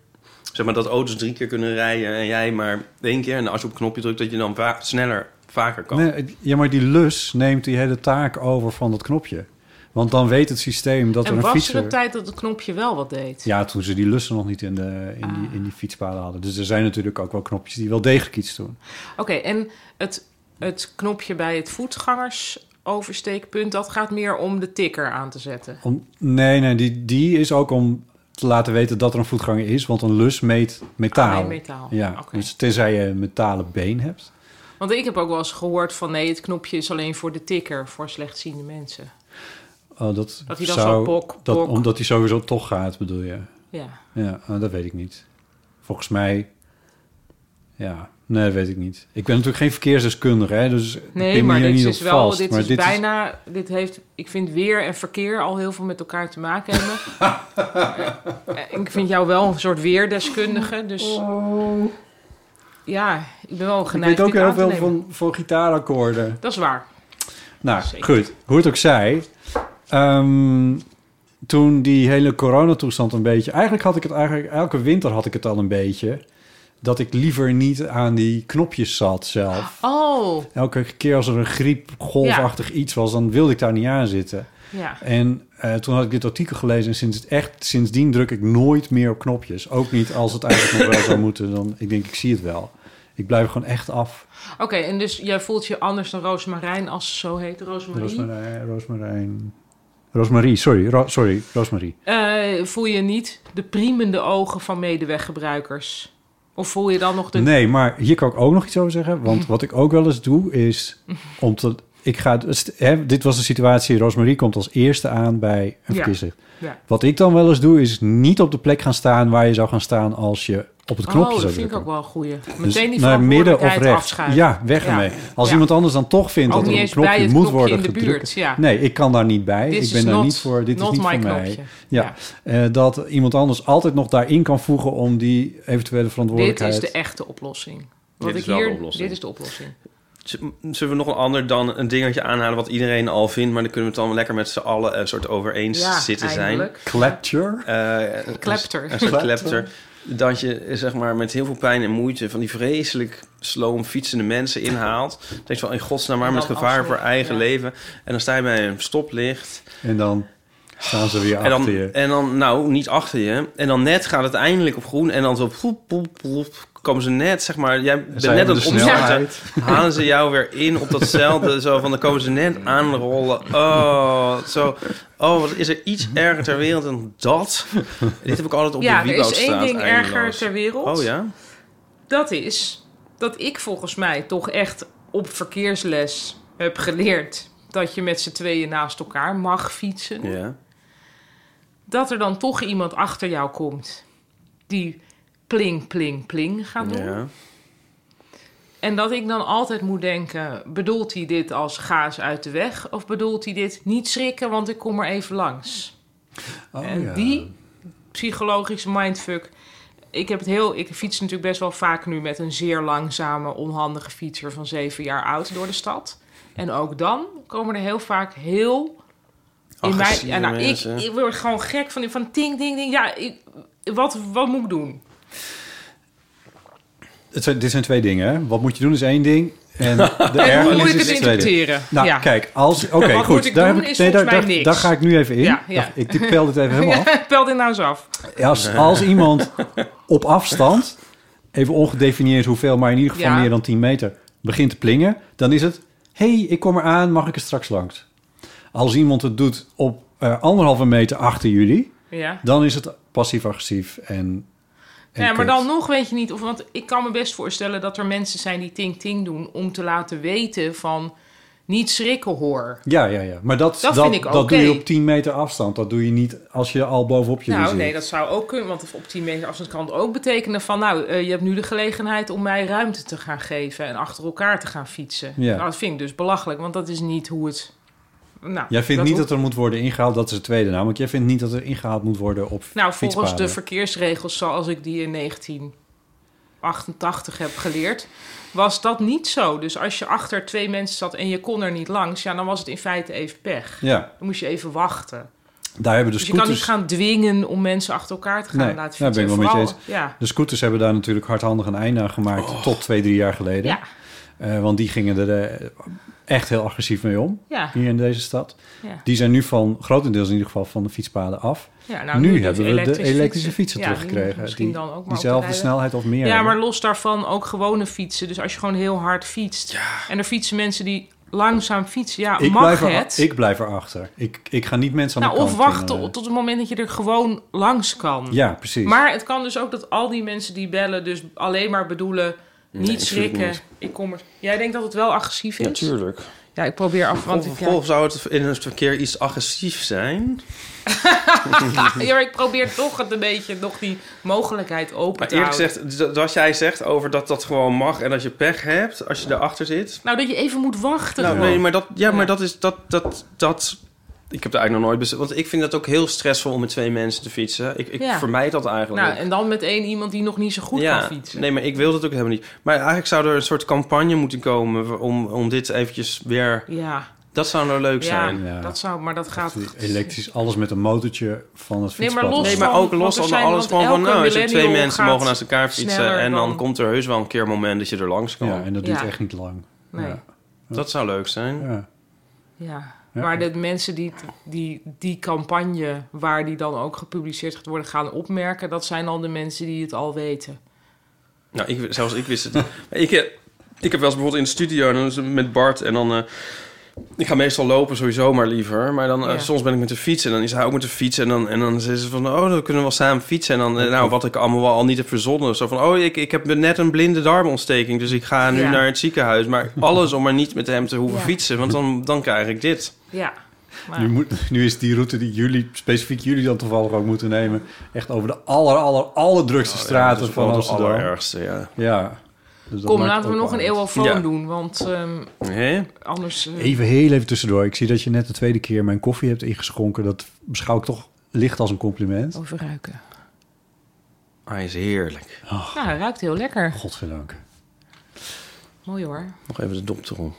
[SPEAKER 3] zeg maar dat auto's drie keer kunnen rijden en jij maar één keer. En als je op het knopje drukt, dat je dan va- sneller, vaker kan.
[SPEAKER 2] Nee, het- ja, maar die lus neemt die hele taak over van dat knopje. Want dan weet het systeem dat er
[SPEAKER 4] en
[SPEAKER 2] een
[SPEAKER 4] was er
[SPEAKER 2] fietser...
[SPEAKER 4] een tijd dat het knopje wel wat deed?
[SPEAKER 2] Ja, toen ze die lussen nog niet in, de, in,
[SPEAKER 4] Ah.
[SPEAKER 2] die, in die fietspaden hadden. Dus er zijn natuurlijk ook wel knopjes die wel degelijk iets doen.
[SPEAKER 4] Oké, en het, het knopje bij het voetgangersoversteekpunt... dat gaat meer om de tikker aan te zetten.
[SPEAKER 2] Om, nee, nee, die, die is ook om te laten weten dat er een voetganger is. Want een lus meet metaal.
[SPEAKER 4] Ah, meet metaal.
[SPEAKER 2] Ja,
[SPEAKER 4] Oké.
[SPEAKER 2] dus tenzij je een metalen been hebt.
[SPEAKER 4] Want ik heb ook wel eens gehoord van... nee, het knopje is alleen voor de tikker, voor slechtziende mensen.
[SPEAKER 2] Oh, dat,
[SPEAKER 4] Dat hij dan
[SPEAKER 2] zou-
[SPEAKER 4] zo bok,
[SPEAKER 2] dat,
[SPEAKER 4] bok.
[SPEAKER 2] Omdat hij sowieso toch gaat, bedoel je?
[SPEAKER 4] Ja.
[SPEAKER 2] Ja, eh, dat weet ik niet. Volgens mij... Ja, nee, dat weet ik niet. Ik ben natuurlijk geen verkeersdeskundige, hè, dus ik
[SPEAKER 4] Nee,
[SPEAKER 2] pin me
[SPEAKER 4] maar
[SPEAKER 2] hier
[SPEAKER 4] dit
[SPEAKER 2] niet
[SPEAKER 4] is
[SPEAKER 2] op
[SPEAKER 4] wel,
[SPEAKER 2] vast.
[SPEAKER 4] dit
[SPEAKER 2] maar
[SPEAKER 4] is bijna, dit heeft, ik vind weer en verkeer al heel veel met elkaar te maken hebben. Eh, ik vind jou wel een soort weerdeskundige, dus ja, ik ben wel
[SPEAKER 2] Oh. Ik
[SPEAKER 4] geneigd
[SPEAKER 2] weet ook
[SPEAKER 4] dit
[SPEAKER 2] heel
[SPEAKER 4] aan te
[SPEAKER 2] veel
[SPEAKER 4] nemen.
[SPEAKER 2] van, van gitaarakkoorden.
[SPEAKER 4] Dat is waar.
[SPEAKER 2] Nou,
[SPEAKER 4] Zeker.
[SPEAKER 2] goed. Hoe het ook zij. ehm, toen die hele coronatoestand een beetje... Eigenlijk had ik het eigenlijk... Elke winter had ik het al een beetje. Dat ik liever niet aan die knopjes zat zelf.
[SPEAKER 4] Oh,
[SPEAKER 2] Elke keer als er een griepgolfachtig iets was... dan wilde ik daar niet aan zitten.
[SPEAKER 4] ja.
[SPEAKER 2] En eh, toen had ik dit artikel gelezen... en sinds, echt, sindsdien druk ik nooit meer op knopjes. Ook niet als het eigenlijk nog wel zou moeten. Dan, ik denk, ik zie het wel. Ik blijf er gewoon echt af.
[SPEAKER 4] Oké, en dus jij voelt je anders dan Roosmarijn als ze zo heet, Roosmarie.
[SPEAKER 2] Roosmarijn. Roosmarijn. eh, Rosmarie, sorry. Ro- sorry, Rosmarie.
[SPEAKER 4] Eh, voel je niet de priemende ogen van medeweggebruikers? Of voel je dan nog de...
[SPEAKER 2] Nee, maar hier kan ik ook nog iets over zeggen. Want wat ik ook wel eens doe is om te. Ik ga, st- hè, dit was de situatie. Rosmarie komt als eerste aan bij een
[SPEAKER 4] Ja.
[SPEAKER 2] verkiezer.
[SPEAKER 4] Ja.
[SPEAKER 2] Wat ik dan wel eens doe is niet op de plek gaan staan waar je zou gaan staan als je op het knopje
[SPEAKER 4] oh,
[SPEAKER 2] zou
[SPEAKER 4] dat vind ik
[SPEAKER 2] drukken.
[SPEAKER 4] ook wel een goeie. Meteen
[SPEAKER 2] Dus
[SPEAKER 4] die
[SPEAKER 2] naar midden of
[SPEAKER 4] verantwoordelijkheid
[SPEAKER 2] rechts.
[SPEAKER 4] afschuiven.
[SPEAKER 2] Ja, weg
[SPEAKER 4] Ja.
[SPEAKER 2] ermee. Als
[SPEAKER 4] Ja.
[SPEAKER 2] iemand anders dan toch vindt
[SPEAKER 4] Ook
[SPEAKER 2] dat
[SPEAKER 4] niet
[SPEAKER 2] er een
[SPEAKER 4] eens bij
[SPEAKER 2] knopje moet
[SPEAKER 4] het knopje
[SPEAKER 2] worden
[SPEAKER 4] in de
[SPEAKER 2] gedrukt.
[SPEAKER 4] buurt, ja.
[SPEAKER 2] Nee, ik kan daar niet bij.
[SPEAKER 4] Dit
[SPEAKER 2] ik ben
[SPEAKER 4] is
[SPEAKER 2] daar
[SPEAKER 4] not-
[SPEAKER 2] niet voor. Dit is
[SPEAKER 4] not
[SPEAKER 2] niet
[SPEAKER 4] my
[SPEAKER 2] voor mij.
[SPEAKER 4] knopje.
[SPEAKER 2] Ja, eh, dat iemand anders altijd nog daarin kan voegen om die eventuele
[SPEAKER 4] Dit
[SPEAKER 2] verantwoordelijkheid.
[SPEAKER 4] is de echte oplossing. Wat
[SPEAKER 3] Dit is
[SPEAKER 4] ik
[SPEAKER 3] wel de
[SPEAKER 4] hier,
[SPEAKER 3] oplossing.
[SPEAKER 4] Dit is de oplossing.
[SPEAKER 3] Z- Zullen we nog een ander dan een dingetje aanhalen wat iedereen al vindt, maar dan kunnen we het dan lekker met z'n allen een soort over eens zitten
[SPEAKER 4] eindelijk.
[SPEAKER 2] Clapture.
[SPEAKER 3] zijn. Eh,
[SPEAKER 4] Klepter.
[SPEAKER 3] Een soort klepter. Dat je eh, zeg maar, met heel veel pijn en moeite van die vreselijk sloom fietsende mensen inhaalt. Dan Denk je van in godsnaam maar
[SPEAKER 4] En
[SPEAKER 3] met
[SPEAKER 4] dan
[SPEAKER 3] gevaar voor
[SPEAKER 4] afsluiten,
[SPEAKER 3] eigen
[SPEAKER 4] ja.
[SPEAKER 3] leven. En dan sta je bij een stoplicht.
[SPEAKER 2] En dan staan ze weer
[SPEAKER 3] En dan,
[SPEAKER 2] achter je.
[SPEAKER 3] en dan, nou, niet achter je. En dan net gaat het eindelijk op groen. En dan zo ploep, ploep, ploep, komen ze net, zeg maar... Jij bent
[SPEAKER 2] Zij
[SPEAKER 3] net aan
[SPEAKER 2] hebben
[SPEAKER 3] het
[SPEAKER 2] de
[SPEAKER 3] opstarten.
[SPEAKER 2] snelheid.
[SPEAKER 3] Halen ze jou weer in op datzelfde. zo van, dan komen ze net aanrollen. Oh, zo. Oh, wat is er iets erger ter wereld dan dat? Dit heb ik altijd op
[SPEAKER 4] ja,
[SPEAKER 3] de
[SPEAKER 4] er is
[SPEAKER 3] Wieboudstraat
[SPEAKER 4] één ding
[SPEAKER 3] eindeloos.
[SPEAKER 4] erger ter wereld.
[SPEAKER 3] Oh ja?
[SPEAKER 4] Dat is dat ik volgens mij toch echt op verkeersles heb geleerd... dat je met z'n tweeën naast elkaar mag fietsen.
[SPEAKER 3] Ja.
[SPEAKER 4] Dat er dan toch iemand achter jou komt die pling, pling, pling gaat doen.
[SPEAKER 3] ja.
[SPEAKER 4] En dat ik dan altijd moet denken, bedoelt hij dit als gaas uit de weg? Of bedoelt hij dit niet schrikken, want ik kom er even langs?
[SPEAKER 2] Oh,
[SPEAKER 4] En
[SPEAKER 2] ja.
[SPEAKER 4] die psychologische mindfuck. Ik heb het heel. Ik fiets natuurlijk best wel vaak nu met een zeer langzame, onhandige fietser van zeven jaar oud door de stad. En ook dan komen er heel vaak heel. In mij,
[SPEAKER 3] Agressieve
[SPEAKER 4] ja, nou, ik,
[SPEAKER 3] mensen.
[SPEAKER 4] ik word gewoon gek van, van ting, ding, ding. Ja, ik, wat, wat moet ik doen?
[SPEAKER 2] Het zijn, dit zijn twee dingen. hè. Wat moet je doen is één ding. En de
[SPEAKER 4] En hoe moet
[SPEAKER 2] ergernis is
[SPEAKER 4] ik het
[SPEAKER 2] het tweede.
[SPEAKER 4] interpreteren?
[SPEAKER 2] Nou,
[SPEAKER 4] ja.
[SPEAKER 2] kijk, als... Oké,
[SPEAKER 4] Wat
[SPEAKER 2] goed.
[SPEAKER 4] moet ik doen
[SPEAKER 2] heb
[SPEAKER 4] is
[SPEAKER 2] nee, daar,
[SPEAKER 4] volgens mij
[SPEAKER 2] daar-
[SPEAKER 4] niks.
[SPEAKER 2] daar ga ik nu even in.
[SPEAKER 4] Ja, ja.
[SPEAKER 2] Ik ik pel dit even helemaal af.
[SPEAKER 4] Pel dit nou eens af.
[SPEAKER 2] Als, als iemand op afstand, even ongedefinieerd hoeveel, maar in ieder geval
[SPEAKER 4] Ja.
[SPEAKER 2] meer dan 10 meter, begint te plingen, dan is het: hey, ik kom eraan, mag ik er straks langs? Als iemand het doet op eh, anderhalve meter achter jullie,
[SPEAKER 4] Ja.
[SPEAKER 2] dan is het passief-agressief en. en
[SPEAKER 4] Ja, maar
[SPEAKER 2] kut.
[SPEAKER 4] dan nog weet je niet of. Want ik kan me best voorstellen dat er mensen zijn die ting-ting doen om te laten weten van niet schrikken hoor.
[SPEAKER 2] Ja, ja, ja. Maar dat,
[SPEAKER 4] Dat
[SPEAKER 2] dat, dat,
[SPEAKER 4] vind ik oké.
[SPEAKER 2] doe je op 10 meter afstand. Dat doe je niet als je al bovenop jullie
[SPEAKER 4] Nou,
[SPEAKER 2] zit.
[SPEAKER 4] nee, dat zou ook kunnen. Want op 10 meter afstand kan het ook betekenen van... nou, eh, je hebt nu de gelegenheid om mij ruimte te gaan geven... en achter elkaar te gaan fietsen.
[SPEAKER 2] Ja.
[SPEAKER 4] Nou, dat vind ik dus belachelijk, want dat is niet hoe het... Nou,
[SPEAKER 2] Jij vindt niet
[SPEAKER 4] hoeft-
[SPEAKER 2] dat er moet worden ingehaald. Dat is het tweede namelijk. Jij vindt niet dat er ingehaald moet worden op
[SPEAKER 4] Nou, volgens
[SPEAKER 2] fietspaden.
[SPEAKER 4] de verkeersregels zoals ik die in 19... 88 heb geleerd, was dat niet zo. Dus als je achter twee mensen zat en je kon er niet langs, ja, dan was het in feite even pech.
[SPEAKER 2] Ja,
[SPEAKER 4] Dan moest je even wachten.
[SPEAKER 2] daar hebben de
[SPEAKER 4] Dus je kan niet
[SPEAKER 2] scooters...
[SPEAKER 4] gaan dwingen om mensen achter elkaar te gaan
[SPEAKER 2] Nee,
[SPEAKER 4] laten
[SPEAKER 2] daar
[SPEAKER 4] fietsen.
[SPEAKER 2] ben ik wel met je
[SPEAKER 4] Vooral- Ja.
[SPEAKER 2] De scooters hebben daar natuurlijk hardhandig een einde aan gemaakt tot twee, drie jaar geleden.
[SPEAKER 4] Oh. Ja,
[SPEAKER 2] Eh, want die gingen er eh, echt heel agressief mee om,
[SPEAKER 4] ja,
[SPEAKER 2] hier in deze stad.
[SPEAKER 4] ja.
[SPEAKER 2] Die zijn nu van, grotendeels in ieder geval, van de fietspaden af.
[SPEAKER 4] ja
[SPEAKER 2] nu
[SPEAKER 4] doe je
[SPEAKER 2] hebben
[SPEAKER 4] dus
[SPEAKER 2] we de elektrische fietsen
[SPEAKER 4] Ja, die moet je
[SPEAKER 2] teruggekregen.
[SPEAKER 4] Misschien dan ook maar op te
[SPEAKER 2] Diezelfde
[SPEAKER 4] rijden.
[SPEAKER 2] snelheid of meer.
[SPEAKER 4] Ja, maar
[SPEAKER 2] hebben.
[SPEAKER 4] los daarvan ook gewone fietsen. Dus als je gewoon heel hard fietst. En er fietsen mensen die langzaam fietsen. Ja,
[SPEAKER 2] ik,
[SPEAKER 4] mag
[SPEAKER 2] blijf er-
[SPEAKER 4] het?
[SPEAKER 2] ik blijf erachter. Ik, ik ga niet mensen aan
[SPEAKER 4] nou,
[SPEAKER 2] de kant
[SPEAKER 4] of wachten
[SPEAKER 2] in, eh,
[SPEAKER 4] tot het moment dat je er gewoon langs kan.
[SPEAKER 2] Ja, precies.
[SPEAKER 4] Maar het kan dus ook dat al die mensen die bellen dus alleen maar bedoelen... Niet
[SPEAKER 3] natuurlijk
[SPEAKER 4] schrikken,
[SPEAKER 3] niet.
[SPEAKER 4] ik kom er... Jij denkt dat het wel agressief is?
[SPEAKER 3] Natuurlijk.
[SPEAKER 4] Ja, ik probeer af, want ik, ja,
[SPEAKER 3] Vervolgens zou het in het verkeer iets agressief zijn.
[SPEAKER 4] ah, ja, maar ik probeer toch het een beetje nog die mogelijkheid open
[SPEAKER 3] Maar
[SPEAKER 4] te
[SPEAKER 3] eerlijk
[SPEAKER 4] houden.
[SPEAKER 3] gezegd, d- wat jij zegt over dat dat gewoon mag en dat je pech hebt als je erachter zit.
[SPEAKER 4] Nou, dat je even moet wachten.
[SPEAKER 3] Nou,
[SPEAKER 4] gewoon.
[SPEAKER 3] nee, maar dat, ja,
[SPEAKER 4] Ja.
[SPEAKER 3] maar dat is dat, dat, dat. Ik heb daar eigenlijk nog nooit best. Want ik vind dat ook heel stressvol om met twee mensen te fietsen. Ik, ik
[SPEAKER 4] Ja.
[SPEAKER 3] vermijd dat eigenlijk.
[SPEAKER 4] nou, en dan met één iemand die nog niet zo goed kan fietsen.
[SPEAKER 3] Nee, maar ik wil dat ook helemaal niet. Maar eigenlijk zou er een soort campagne moeten komen om, om dit eventjes weer.
[SPEAKER 4] Ja.
[SPEAKER 3] Dat zou nou leuk
[SPEAKER 4] Ja,
[SPEAKER 3] zijn.
[SPEAKER 2] Ja.
[SPEAKER 4] dat zou, maar dat gaat.
[SPEAKER 2] Elektrisch, alles met een motortje van het
[SPEAKER 4] Nee, maar
[SPEAKER 2] fietspad.
[SPEAKER 4] los
[SPEAKER 3] Nee,
[SPEAKER 2] af.
[SPEAKER 3] maar
[SPEAKER 4] Van-
[SPEAKER 3] ook los
[SPEAKER 4] want er
[SPEAKER 3] van
[SPEAKER 4] zijn-
[SPEAKER 3] alles
[SPEAKER 4] want
[SPEAKER 3] gewoon van,
[SPEAKER 4] elke
[SPEAKER 3] nou, als er twee
[SPEAKER 4] millennial
[SPEAKER 3] mensen
[SPEAKER 4] gaat
[SPEAKER 3] mogen naast elkaar fietsen
[SPEAKER 4] sneller
[SPEAKER 3] en dan,
[SPEAKER 4] dan-
[SPEAKER 3] komt er heus wel een keer een moment dat je er langs kan.
[SPEAKER 2] Ja, en dat duurt
[SPEAKER 4] Ja.
[SPEAKER 2] echt niet lang.
[SPEAKER 4] Nee.
[SPEAKER 2] Ja.
[SPEAKER 4] Ja.
[SPEAKER 3] Dat zou leuk zijn.
[SPEAKER 2] Ja. Ja.
[SPEAKER 4] Maar de mensen die, die die campagne waar die dan ook gepubliceerd gaat worden gaan opmerken, dat zijn al de mensen die het al weten.
[SPEAKER 3] Nou, ik, zelfs ik wist het niet. Maar ik, heb- ik heb wel eens bijvoorbeeld in de studio en dan is het met Bart en dan... eh, ik ga meestal lopen sowieso maar liever. Maar dan eh,
[SPEAKER 4] Ja.
[SPEAKER 3] soms ben ik met de fiets en dan is hij ook met de fiets. En dan, en dan is ze van, oh, dan kunnen we wel samen fietsen. En dan, eh, nou, wat ik allemaal wel al niet heb verzonnen. Zo van, oh, ik, ik heb net een blinde darmontsteking. Dus ik ga nu
[SPEAKER 4] Ja.
[SPEAKER 3] naar het ziekenhuis. Maar alles om maar niet met hem te hoeven
[SPEAKER 4] Ja.
[SPEAKER 3] fietsen. Want dan, dan krijg ik dit.
[SPEAKER 4] Ja. Maar,
[SPEAKER 2] Nu, moet, nu is die route die jullie, specifiek jullie dan toevallig ook moeten nemen... echt over de aller, aller, allerdrukste
[SPEAKER 3] Oh, Dat
[SPEAKER 2] straten
[SPEAKER 3] is
[SPEAKER 2] van
[SPEAKER 3] wel het
[SPEAKER 2] Amsterdam.
[SPEAKER 3] allerergste, ja.
[SPEAKER 2] Ja. Dus dat
[SPEAKER 4] kom,
[SPEAKER 2] maakt
[SPEAKER 4] laten we
[SPEAKER 2] ook
[SPEAKER 4] nog een
[SPEAKER 2] uit.
[SPEAKER 4] eeuwofoon
[SPEAKER 3] Ja.
[SPEAKER 4] doen, want ehm,
[SPEAKER 3] Hé?
[SPEAKER 4] anders. eh,
[SPEAKER 2] Mm. Even heel even tussendoor. Ik zie dat je net de tweede keer mijn koffie hebt ingeschonken. Dat beschouw ik toch licht als een compliment.
[SPEAKER 4] Over ruiken.
[SPEAKER 3] Hij is heerlijk.
[SPEAKER 4] Ja, Nou, hij ruikt heel lekker.
[SPEAKER 2] Godverdank.
[SPEAKER 4] Mooi hoor.
[SPEAKER 3] Nog even de dop erom.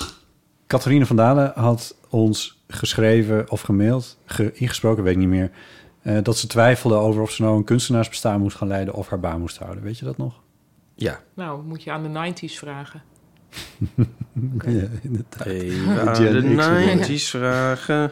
[SPEAKER 2] Catharine van Dalen had ons geschreven of gemaild, ge- ingesproken, weet ik niet meer... eh, dat ze twijfelde over of ze nou een kunstenaarsbestaan moest gaan leiden... of haar baan moest houden. Weet je dat nog?
[SPEAKER 3] Ja.
[SPEAKER 4] Nou, moet je aan de 90s vragen.
[SPEAKER 2] Ja, inderdaad.
[SPEAKER 3] Even aan
[SPEAKER 2] Gen
[SPEAKER 3] de
[SPEAKER 2] X bedoel je?
[SPEAKER 3] 90's vragen.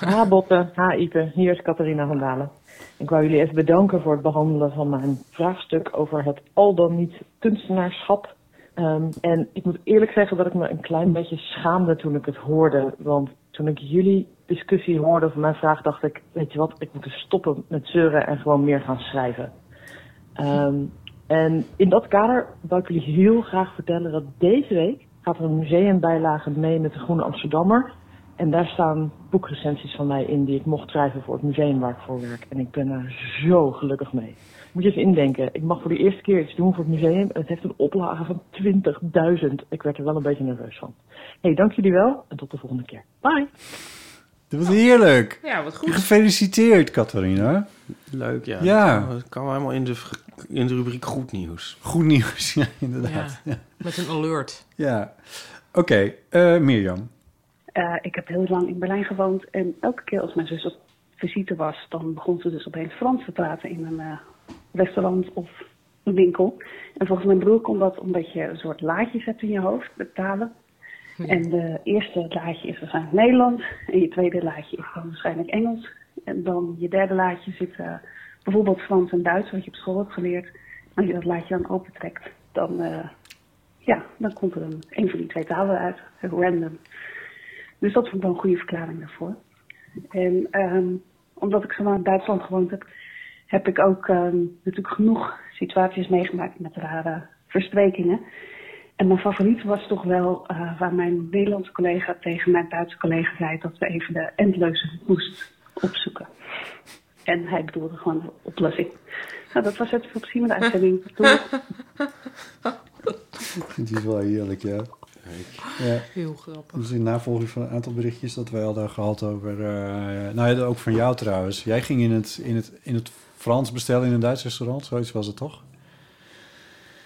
[SPEAKER 8] Ha Botte, ha Ipe, hier is Catharina van Dalen. Ik wou jullie even bedanken voor het behandelen van mijn vraagstuk over het al dan niet kunstenaarschap. Ehm, en ik moet eerlijk zeggen dat ik me een klein beetje schaamde toen ik het hoorde. Want toen ik jullie discussie hoorde over mijn vraag, dacht ik: Weet je wat, ik moet dus stoppen met zeuren en gewoon meer gaan schrijven. Ehm, en in dat kader wou ik jullie heel graag vertellen dat deze week gaat er een museumbijlage mee met de Groene Amsterdammer. En daar staan boekrecensies van mij in die ik mocht schrijven voor het museum waar ik voor werk. En ik ben daar zo gelukkig mee. Moet je eens indenken, ik mag voor de eerste keer iets doen voor het museum en het heeft een oplage van 20.000. Ik werd er wel een beetje nerveus van. Hé, hey, dank jullie wel en tot de volgende keer. Bye!
[SPEAKER 2] Dat was heerlijk.
[SPEAKER 4] Ja, wat goed.
[SPEAKER 2] Gefeliciteerd, Catharina.
[SPEAKER 3] Leuk, ja.
[SPEAKER 2] Ja.
[SPEAKER 3] Oh, Dat kan wel helemaal in de, in de rubriek goed nieuws.
[SPEAKER 2] Goed nieuws, ja, inderdaad.
[SPEAKER 4] Ja, met een alert.
[SPEAKER 2] Ja. Oké, eh, Mirjam.
[SPEAKER 9] Eh, ik heb heel lang in Berlijn gewoond en elke keer als mijn zus op visite was, dan begon ze dus opeens Frans te praten in een eh, restaurant of een winkel. En volgens mijn broer komt dat omdat je een soort laadjes hebt in je hoofd, de talen. En de eerste laadje is waarschijnlijk Nederlands en je tweede laadje is dan waarschijnlijk Engels. En dan je derde laadje zit eh, bijvoorbeeld Frans en Duits, wat je op school hebt geleerd. En als je dat laadje dan opentrekt, dan, eh, ja, dan komt er een, een van die twee talen uit, random. Dus dat vond ik wel een goede verklaring daarvoor. En ehm, omdat ik zo lang in Duitsland gewoond heb, heb ik ook ehm, natuurlijk genoeg situaties meegemaakt met rare versprekingen. En mijn favoriet was toch wel eh, waar mijn Nederlandse collega tegen mijn Duitse collega zei dat we even de endleuze moest opzoeken. En hij bedoelde gewoon de oplossing. Nou, dat was het veel plezier met de uitzending. Doei.
[SPEAKER 2] Die is wel heerlijk, ja. ja.
[SPEAKER 4] Heel grappig.
[SPEAKER 2] Dus in navolging van een aantal berichtjes dat wij al daar gehad over... eh, nou ja, ook van jou trouwens. Jij ging in het, in het, in het Frans bestellen in een Duits restaurant. Zoiets was het toch?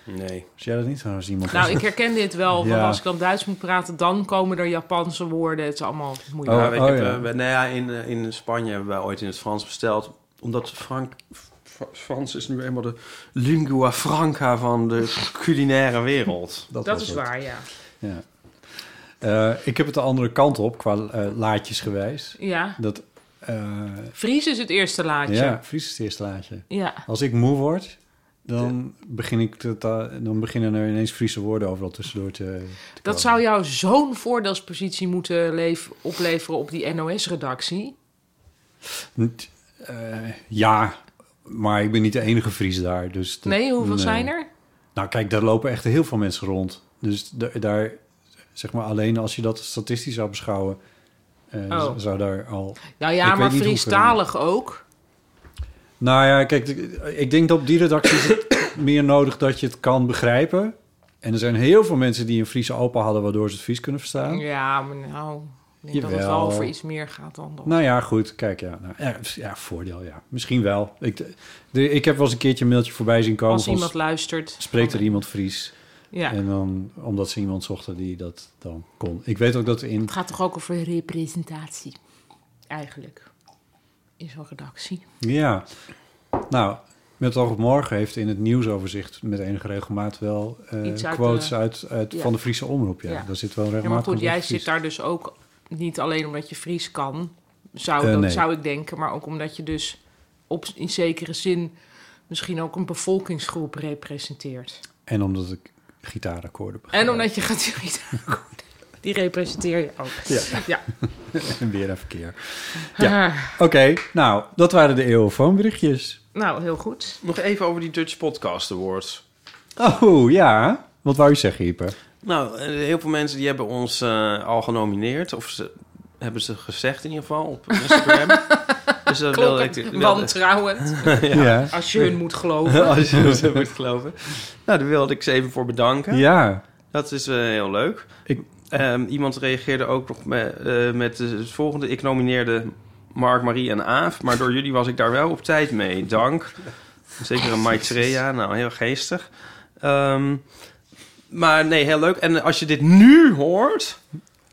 [SPEAKER 3] Nee.
[SPEAKER 2] Als jij dat niet zou zien. iemand
[SPEAKER 4] Nou, ik herken dit wel. Want
[SPEAKER 2] Ja.
[SPEAKER 4] als ik dan Duits moet praten, dan komen er Japanse woorden. Het is allemaal
[SPEAKER 2] Oh,
[SPEAKER 4] moeilijk.
[SPEAKER 3] Ja, ik heb,
[SPEAKER 2] ja.
[SPEAKER 3] eh, we- nou ja, in, eh, in Spanje hebben wij ooit in het Frans besteld. Omdat Frank, Fr- Frans is nu eenmaal de lingua franca van de culinaire wereld.
[SPEAKER 4] dat
[SPEAKER 2] was
[SPEAKER 4] is
[SPEAKER 2] het.
[SPEAKER 4] waar, ja.
[SPEAKER 2] Ja. Eh, ik heb het de andere kant op qua eh, laadjes gewijs.
[SPEAKER 4] Ja.
[SPEAKER 2] Dat, eh,
[SPEAKER 4] Fries is het eerste laadje.
[SPEAKER 2] ja, Fries is het eerste laadje.
[SPEAKER 4] Ja.
[SPEAKER 2] Als ik moe word, dan, begin ik te, ta- dan beginnen er ineens Friese woorden overal tussendoor te... te
[SPEAKER 4] Dat zou jou zo'n voordelspositie moeten leef- opleveren op die NOS-redactie.
[SPEAKER 2] komen. Niet- eh, ja, maar ik ben niet de enige Fries daar. Dus dat-
[SPEAKER 4] Nee, hoeveel
[SPEAKER 2] nee.
[SPEAKER 4] zijn er?
[SPEAKER 2] Nou, kijk, daar lopen echt heel veel mensen rond. Dus da- daar, zeg maar, alleen als je dat statistisch zou beschouwen, eh,
[SPEAKER 4] Oh.
[SPEAKER 2] z- zou daar al.
[SPEAKER 4] Nou
[SPEAKER 2] Ik
[SPEAKER 4] ja,
[SPEAKER 2] weet
[SPEAKER 4] maar
[SPEAKER 2] niet hoeveel-
[SPEAKER 4] Friestalig ook.
[SPEAKER 2] Nou ja, kijk, ik- ik denk dat op die redactie is het meer nodig dat je het kan begrijpen. En er zijn heel veel mensen die een Friese opa hadden, waardoor ze het Fries kunnen verstaan.
[SPEAKER 4] Ja, maar nou, ik denk dat het
[SPEAKER 2] Jawel.
[SPEAKER 4] wel over iets meer gaat dan dat.
[SPEAKER 2] Nou ja, goed, kijk, ja, nou, ja, ja, voordeel, ja. Misschien wel. Ik, de- ik heb wel eens een keertje een mailtje voorbij zien komen.
[SPEAKER 4] Als
[SPEAKER 2] van,
[SPEAKER 4] iemand luistert.
[SPEAKER 2] Spreekt er iemand Fries?
[SPEAKER 4] Ja.
[SPEAKER 2] En dan, omdat ze iemand zochten die dat dan kon. Ik weet ook dat in
[SPEAKER 4] Het gaat toch ook over representatie, eigenlijk, in zo'n redactie.
[SPEAKER 2] Ja. Nou, met het oog op morgen heeft in het nieuwsoverzicht met enige regelmaat wel eh,
[SPEAKER 4] Iets uit
[SPEAKER 2] quotes
[SPEAKER 4] de-
[SPEAKER 2] uit, uit
[SPEAKER 4] ja.
[SPEAKER 2] van de Friese omroep. Ja.
[SPEAKER 4] Ja.
[SPEAKER 2] Daar zit wel
[SPEAKER 4] Ja,
[SPEAKER 2] regelmatig.
[SPEAKER 4] maar goed,
[SPEAKER 2] een
[SPEAKER 4] jij
[SPEAKER 2] woord Fries.
[SPEAKER 4] zit daar dus ook niet alleen omdat je Fries kan, zou,
[SPEAKER 2] Eh,
[SPEAKER 4] dat
[SPEAKER 2] nee.
[SPEAKER 4] zou ik denken, maar ook omdat je dus op, in zekere zin misschien ook een bevolkingsgroep representeert.
[SPEAKER 2] En omdat ik gitaarakkoorden begrijp.
[SPEAKER 4] En omdat je gaat die representeer je ook.
[SPEAKER 2] Ja.
[SPEAKER 4] ja. Ah,
[SPEAKER 2] En weer een verkeer. Ja. Oké, nou, dat waren de eeuwenfoonberichtjes.
[SPEAKER 4] Nou, heel goed.
[SPEAKER 3] Nog even over die Dutch Podcast Awards.
[SPEAKER 2] Oh, ja. Wat wou je zeggen, Ieper?
[SPEAKER 3] Nou, eh, heel veel mensen die hebben ons eh, al genomineerd. Of ze, hebben ze gezegd in ieder geval op Instagram. dus dat wilde ik...
[SPEAKER 4] Klokken,
[SPEAKER 3] wilde-
[SPEAKER 4] wantrouwend.
[SPEAKER 2] Ja.
[SPEAKER 4] Als je hun moet geloven.
[SPEAKER 3] Als je zo moet geloven. Nou, daar wilde ik ze even voor bedanken.
[SPEAKER 2] Ja.
[SPEAKER 3] Dat is eh, heel leuk.
[SPEAKER 2] Ik-
[SPEAKER 3] Ehm, iemand reageerde ook nog me- eh, met het volgende. Ik nomineerde Mark, Marie en Aaf. Maar door jullie was ik daar wel op tijd mee. Dank. Zeker een Maitreya. Nou, heel geestig. Ehm, maar nee, heel leuk. En als je dit nu hoort,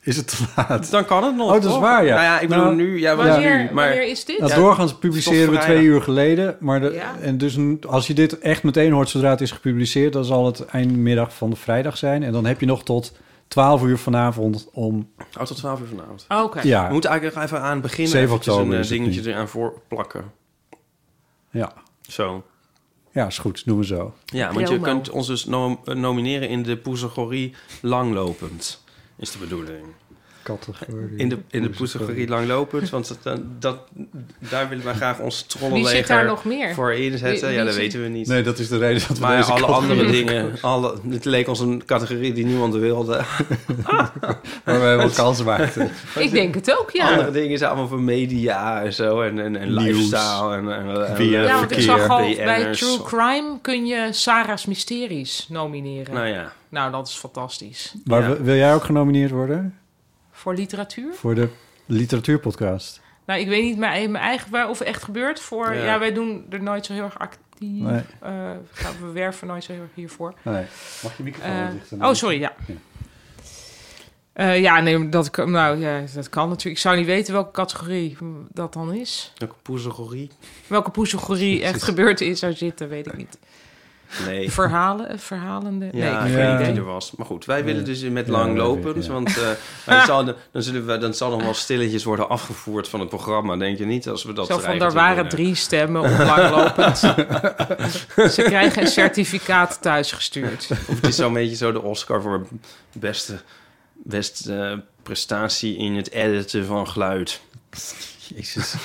[SPEAKER 2] Is het te laat?
[SPEAKER 3] dan kan het nog.
[SPEAKER 2] Oh, dat is
[SPEAKER 3] toch?
[SPEAKER 2] waar, ja.
[SPEAKER 3] Nou ja, ik bedoel
[SPEAKER 2] Nou,
[SPEAKER 3] nu. Ja,
[SPEAKER 4] Wanneer,
[SPEAKER 3] nu. Maar
[SPEAKER 4] wanneer is dit?
[SPEAKER 2] Nou,
[SPEAKER 3] Ja,
[SPEAKER 2] doorgaans
[SPEAKER 3] het
[SPEAKER 2] publiceren
[SPEAKER 3] is
[SPEAKER 2] we
[SPEAKER 3] toch
[SPEAKER 2] twee
[SPEAKER 3] vrijdag.
[SPEAKER 2] uur geleden. Maar de,
[SPEAKER 4] Ja.
[SPEAKER 2] en dus n- als je dit echt meteen hoort zodra het is gepubliceerd... dan zal het eindmiddag van de vrijdag zijn. En dan heb je nog tot 12 uur vanavond om...
[SPEAKER 3] Oh, tot 12 uur vanavond.
[SPEAKER 4] Oké.
[SPEAKER 3] We
[SPEAKER 2] Ja,
[SPEAKER 3] moeten eigenlijk nog even aan het begin
[SPEAKER 2] 7
[SPEAKER 3] eventjes een
[SPEAKER 2] oktober
[SPEAKER 3] eh,
[SPEAKER 2] is het
[SPEAKER 3] dingetje
[SPEAKER 2] nu.
[SPEAKER 3] eraan voor plakken.
[SPEAKER 2] ja,
[SPEAKER 3] Zo.
[SPEAKER 2] ja, is goed. Doen we zo.
[SPEAKER 3] Ja, want je
[SPEAKER 4] Promo.
[SPEAKER 3] kunt ons dus nom- eh, nomineren in de poesegorie langlopend, is de bedoeling.
[SPEAKER 2] Categorie.
[SPEAKER 3] In de, in de poesegorie langlopend, want dat- dat, dat, daar willen wij graag ons
[SPEAKER 4] Wie zit daar
[SPEAKER 3] trollenleger
[SPEAKER 4] nog meer?
[SPEAKER 3] voor inzetten.
[SPEAKER 4] Wie-
[SPEAKER 3] ja,
[SPEAKER 4] wie
[SPEAKER 3] dat
[SPEAKER 4] zit-
[SPEAKER 3] weten we niet.
[SPEAKER 2] Nee, dat is de reden dat we
[SPEAKER 3] maar
[SPEAKER 2] deze
[SPEAKER 3] alle
[SPEAKER 2] categorie-
[SPEAKER 3] andere dingen, alle, het leek ons een categorie die niemand wilde.
[SPEAKER 2] waar we wel kans maakten.
[SPEAKER 4] Ik denk het ook, ja.
[SPEAKER 3] Andere dingen zijn allemaal van media en zo, en, en, en
[SPEAKER 2] Nieuws.
[SPEAKER 3] lifestyle en, en, en
[SPEAKER 2] Via
[SPEAKER 4] Ja, want ik zag al bij
[SPEAKER 3] BN'ers.
[SPEAKER 4] True Crime kun je Sarah's Mysteries nomineren.
[SPEAKER 3] Nou
[SPEAKER 4] Nou,
[SPEAKER 3] ja,
[SPEAKER 4] dat is fantastisch.
[SPEAKER 2] Maar
[SPEAKER 3] Ja.
[SPEAKER 2] wil- wil jij ook genomineerd worden
[SPEAKER 4] Voor literatuur?
[SPEAKER 2] voor de literatuurpodcast?
[SPEAKER 4] Nou, ik weet niet mijn, mijn eigen waar- of het echt gebeurt. Voor,
[SPEAKER 3] Ja.
[SPEAKER 4] ja. wij doen er nooit zo heel erg actief.
[SPEAKER 2] Nee.
[SPEAKER 4] eh, gaan- we werven nooit zo heel erg hiervoor.
[SPEAKER 2] Ah, Nee. Mag je microfoon
[SPEAKER 4] Eh,
[SPEAKER 2] dichten?
[SPEAKER 4] oh, sorry, ja.
[SPEAKER 2] Ja.
[SPEAKER 4] Eh, ja, nee, dat, kan- nou, ja, dat kan natuurlijk. Ik zou niet weten welke categorie dat dan is.
[SPEAKER 3] ook poesegorie.
[SPEAKER 4] Welke poesegorie echt gebeurd is, zou zitten, weet ik niet.
[SPEAKER 3] Nee.
[SPEAKER 4] Verhalen, eh, verhalende?
[SPEAKER 3] Ja,
[SPEAKER 4] nee,
[SPEAKER 3] ik weet
[SPEAKER 4] ik
[SPEAKER 2] Ja.
[SPEAKER 4] heb
[SPEAKER 3] niet
[SPEAKER 4] geen
[SPEAKER 3] wie
[SPEAKER 4] idee.
[SPEAKER 3] er was. Maar goed, wij willen dus met
[SPEAKER 2] Ja,
[SPEAKER 3] lang
[SPEAKER 2] dat weet
[SPEAKER 3] lopen.
[SPEAKER 2] ik, ja.
[SPEAKER 3] Want eh, maar het zal, dan, zullen we, dan zal nog wel stilletjes worden afgevoerd van het programma. Denk je niet als we dat
[SPEAKER 4] Zo van,
[SPEAKER 3] krijgen
[SPEAKER 4] er
[SPEAKER 3] te
[SPEAKER 4] waren
[SPEAKER 3] winnen.
[SPEAKER 4] drie stemmen op langlopend. Ze krijgen een certificaat thuisgestuurd.
[SPEAKER 3] Of het is zo'n beetje zo de Oscar voor beste, beste eh, prestatie in het editen van geluid. Jezus.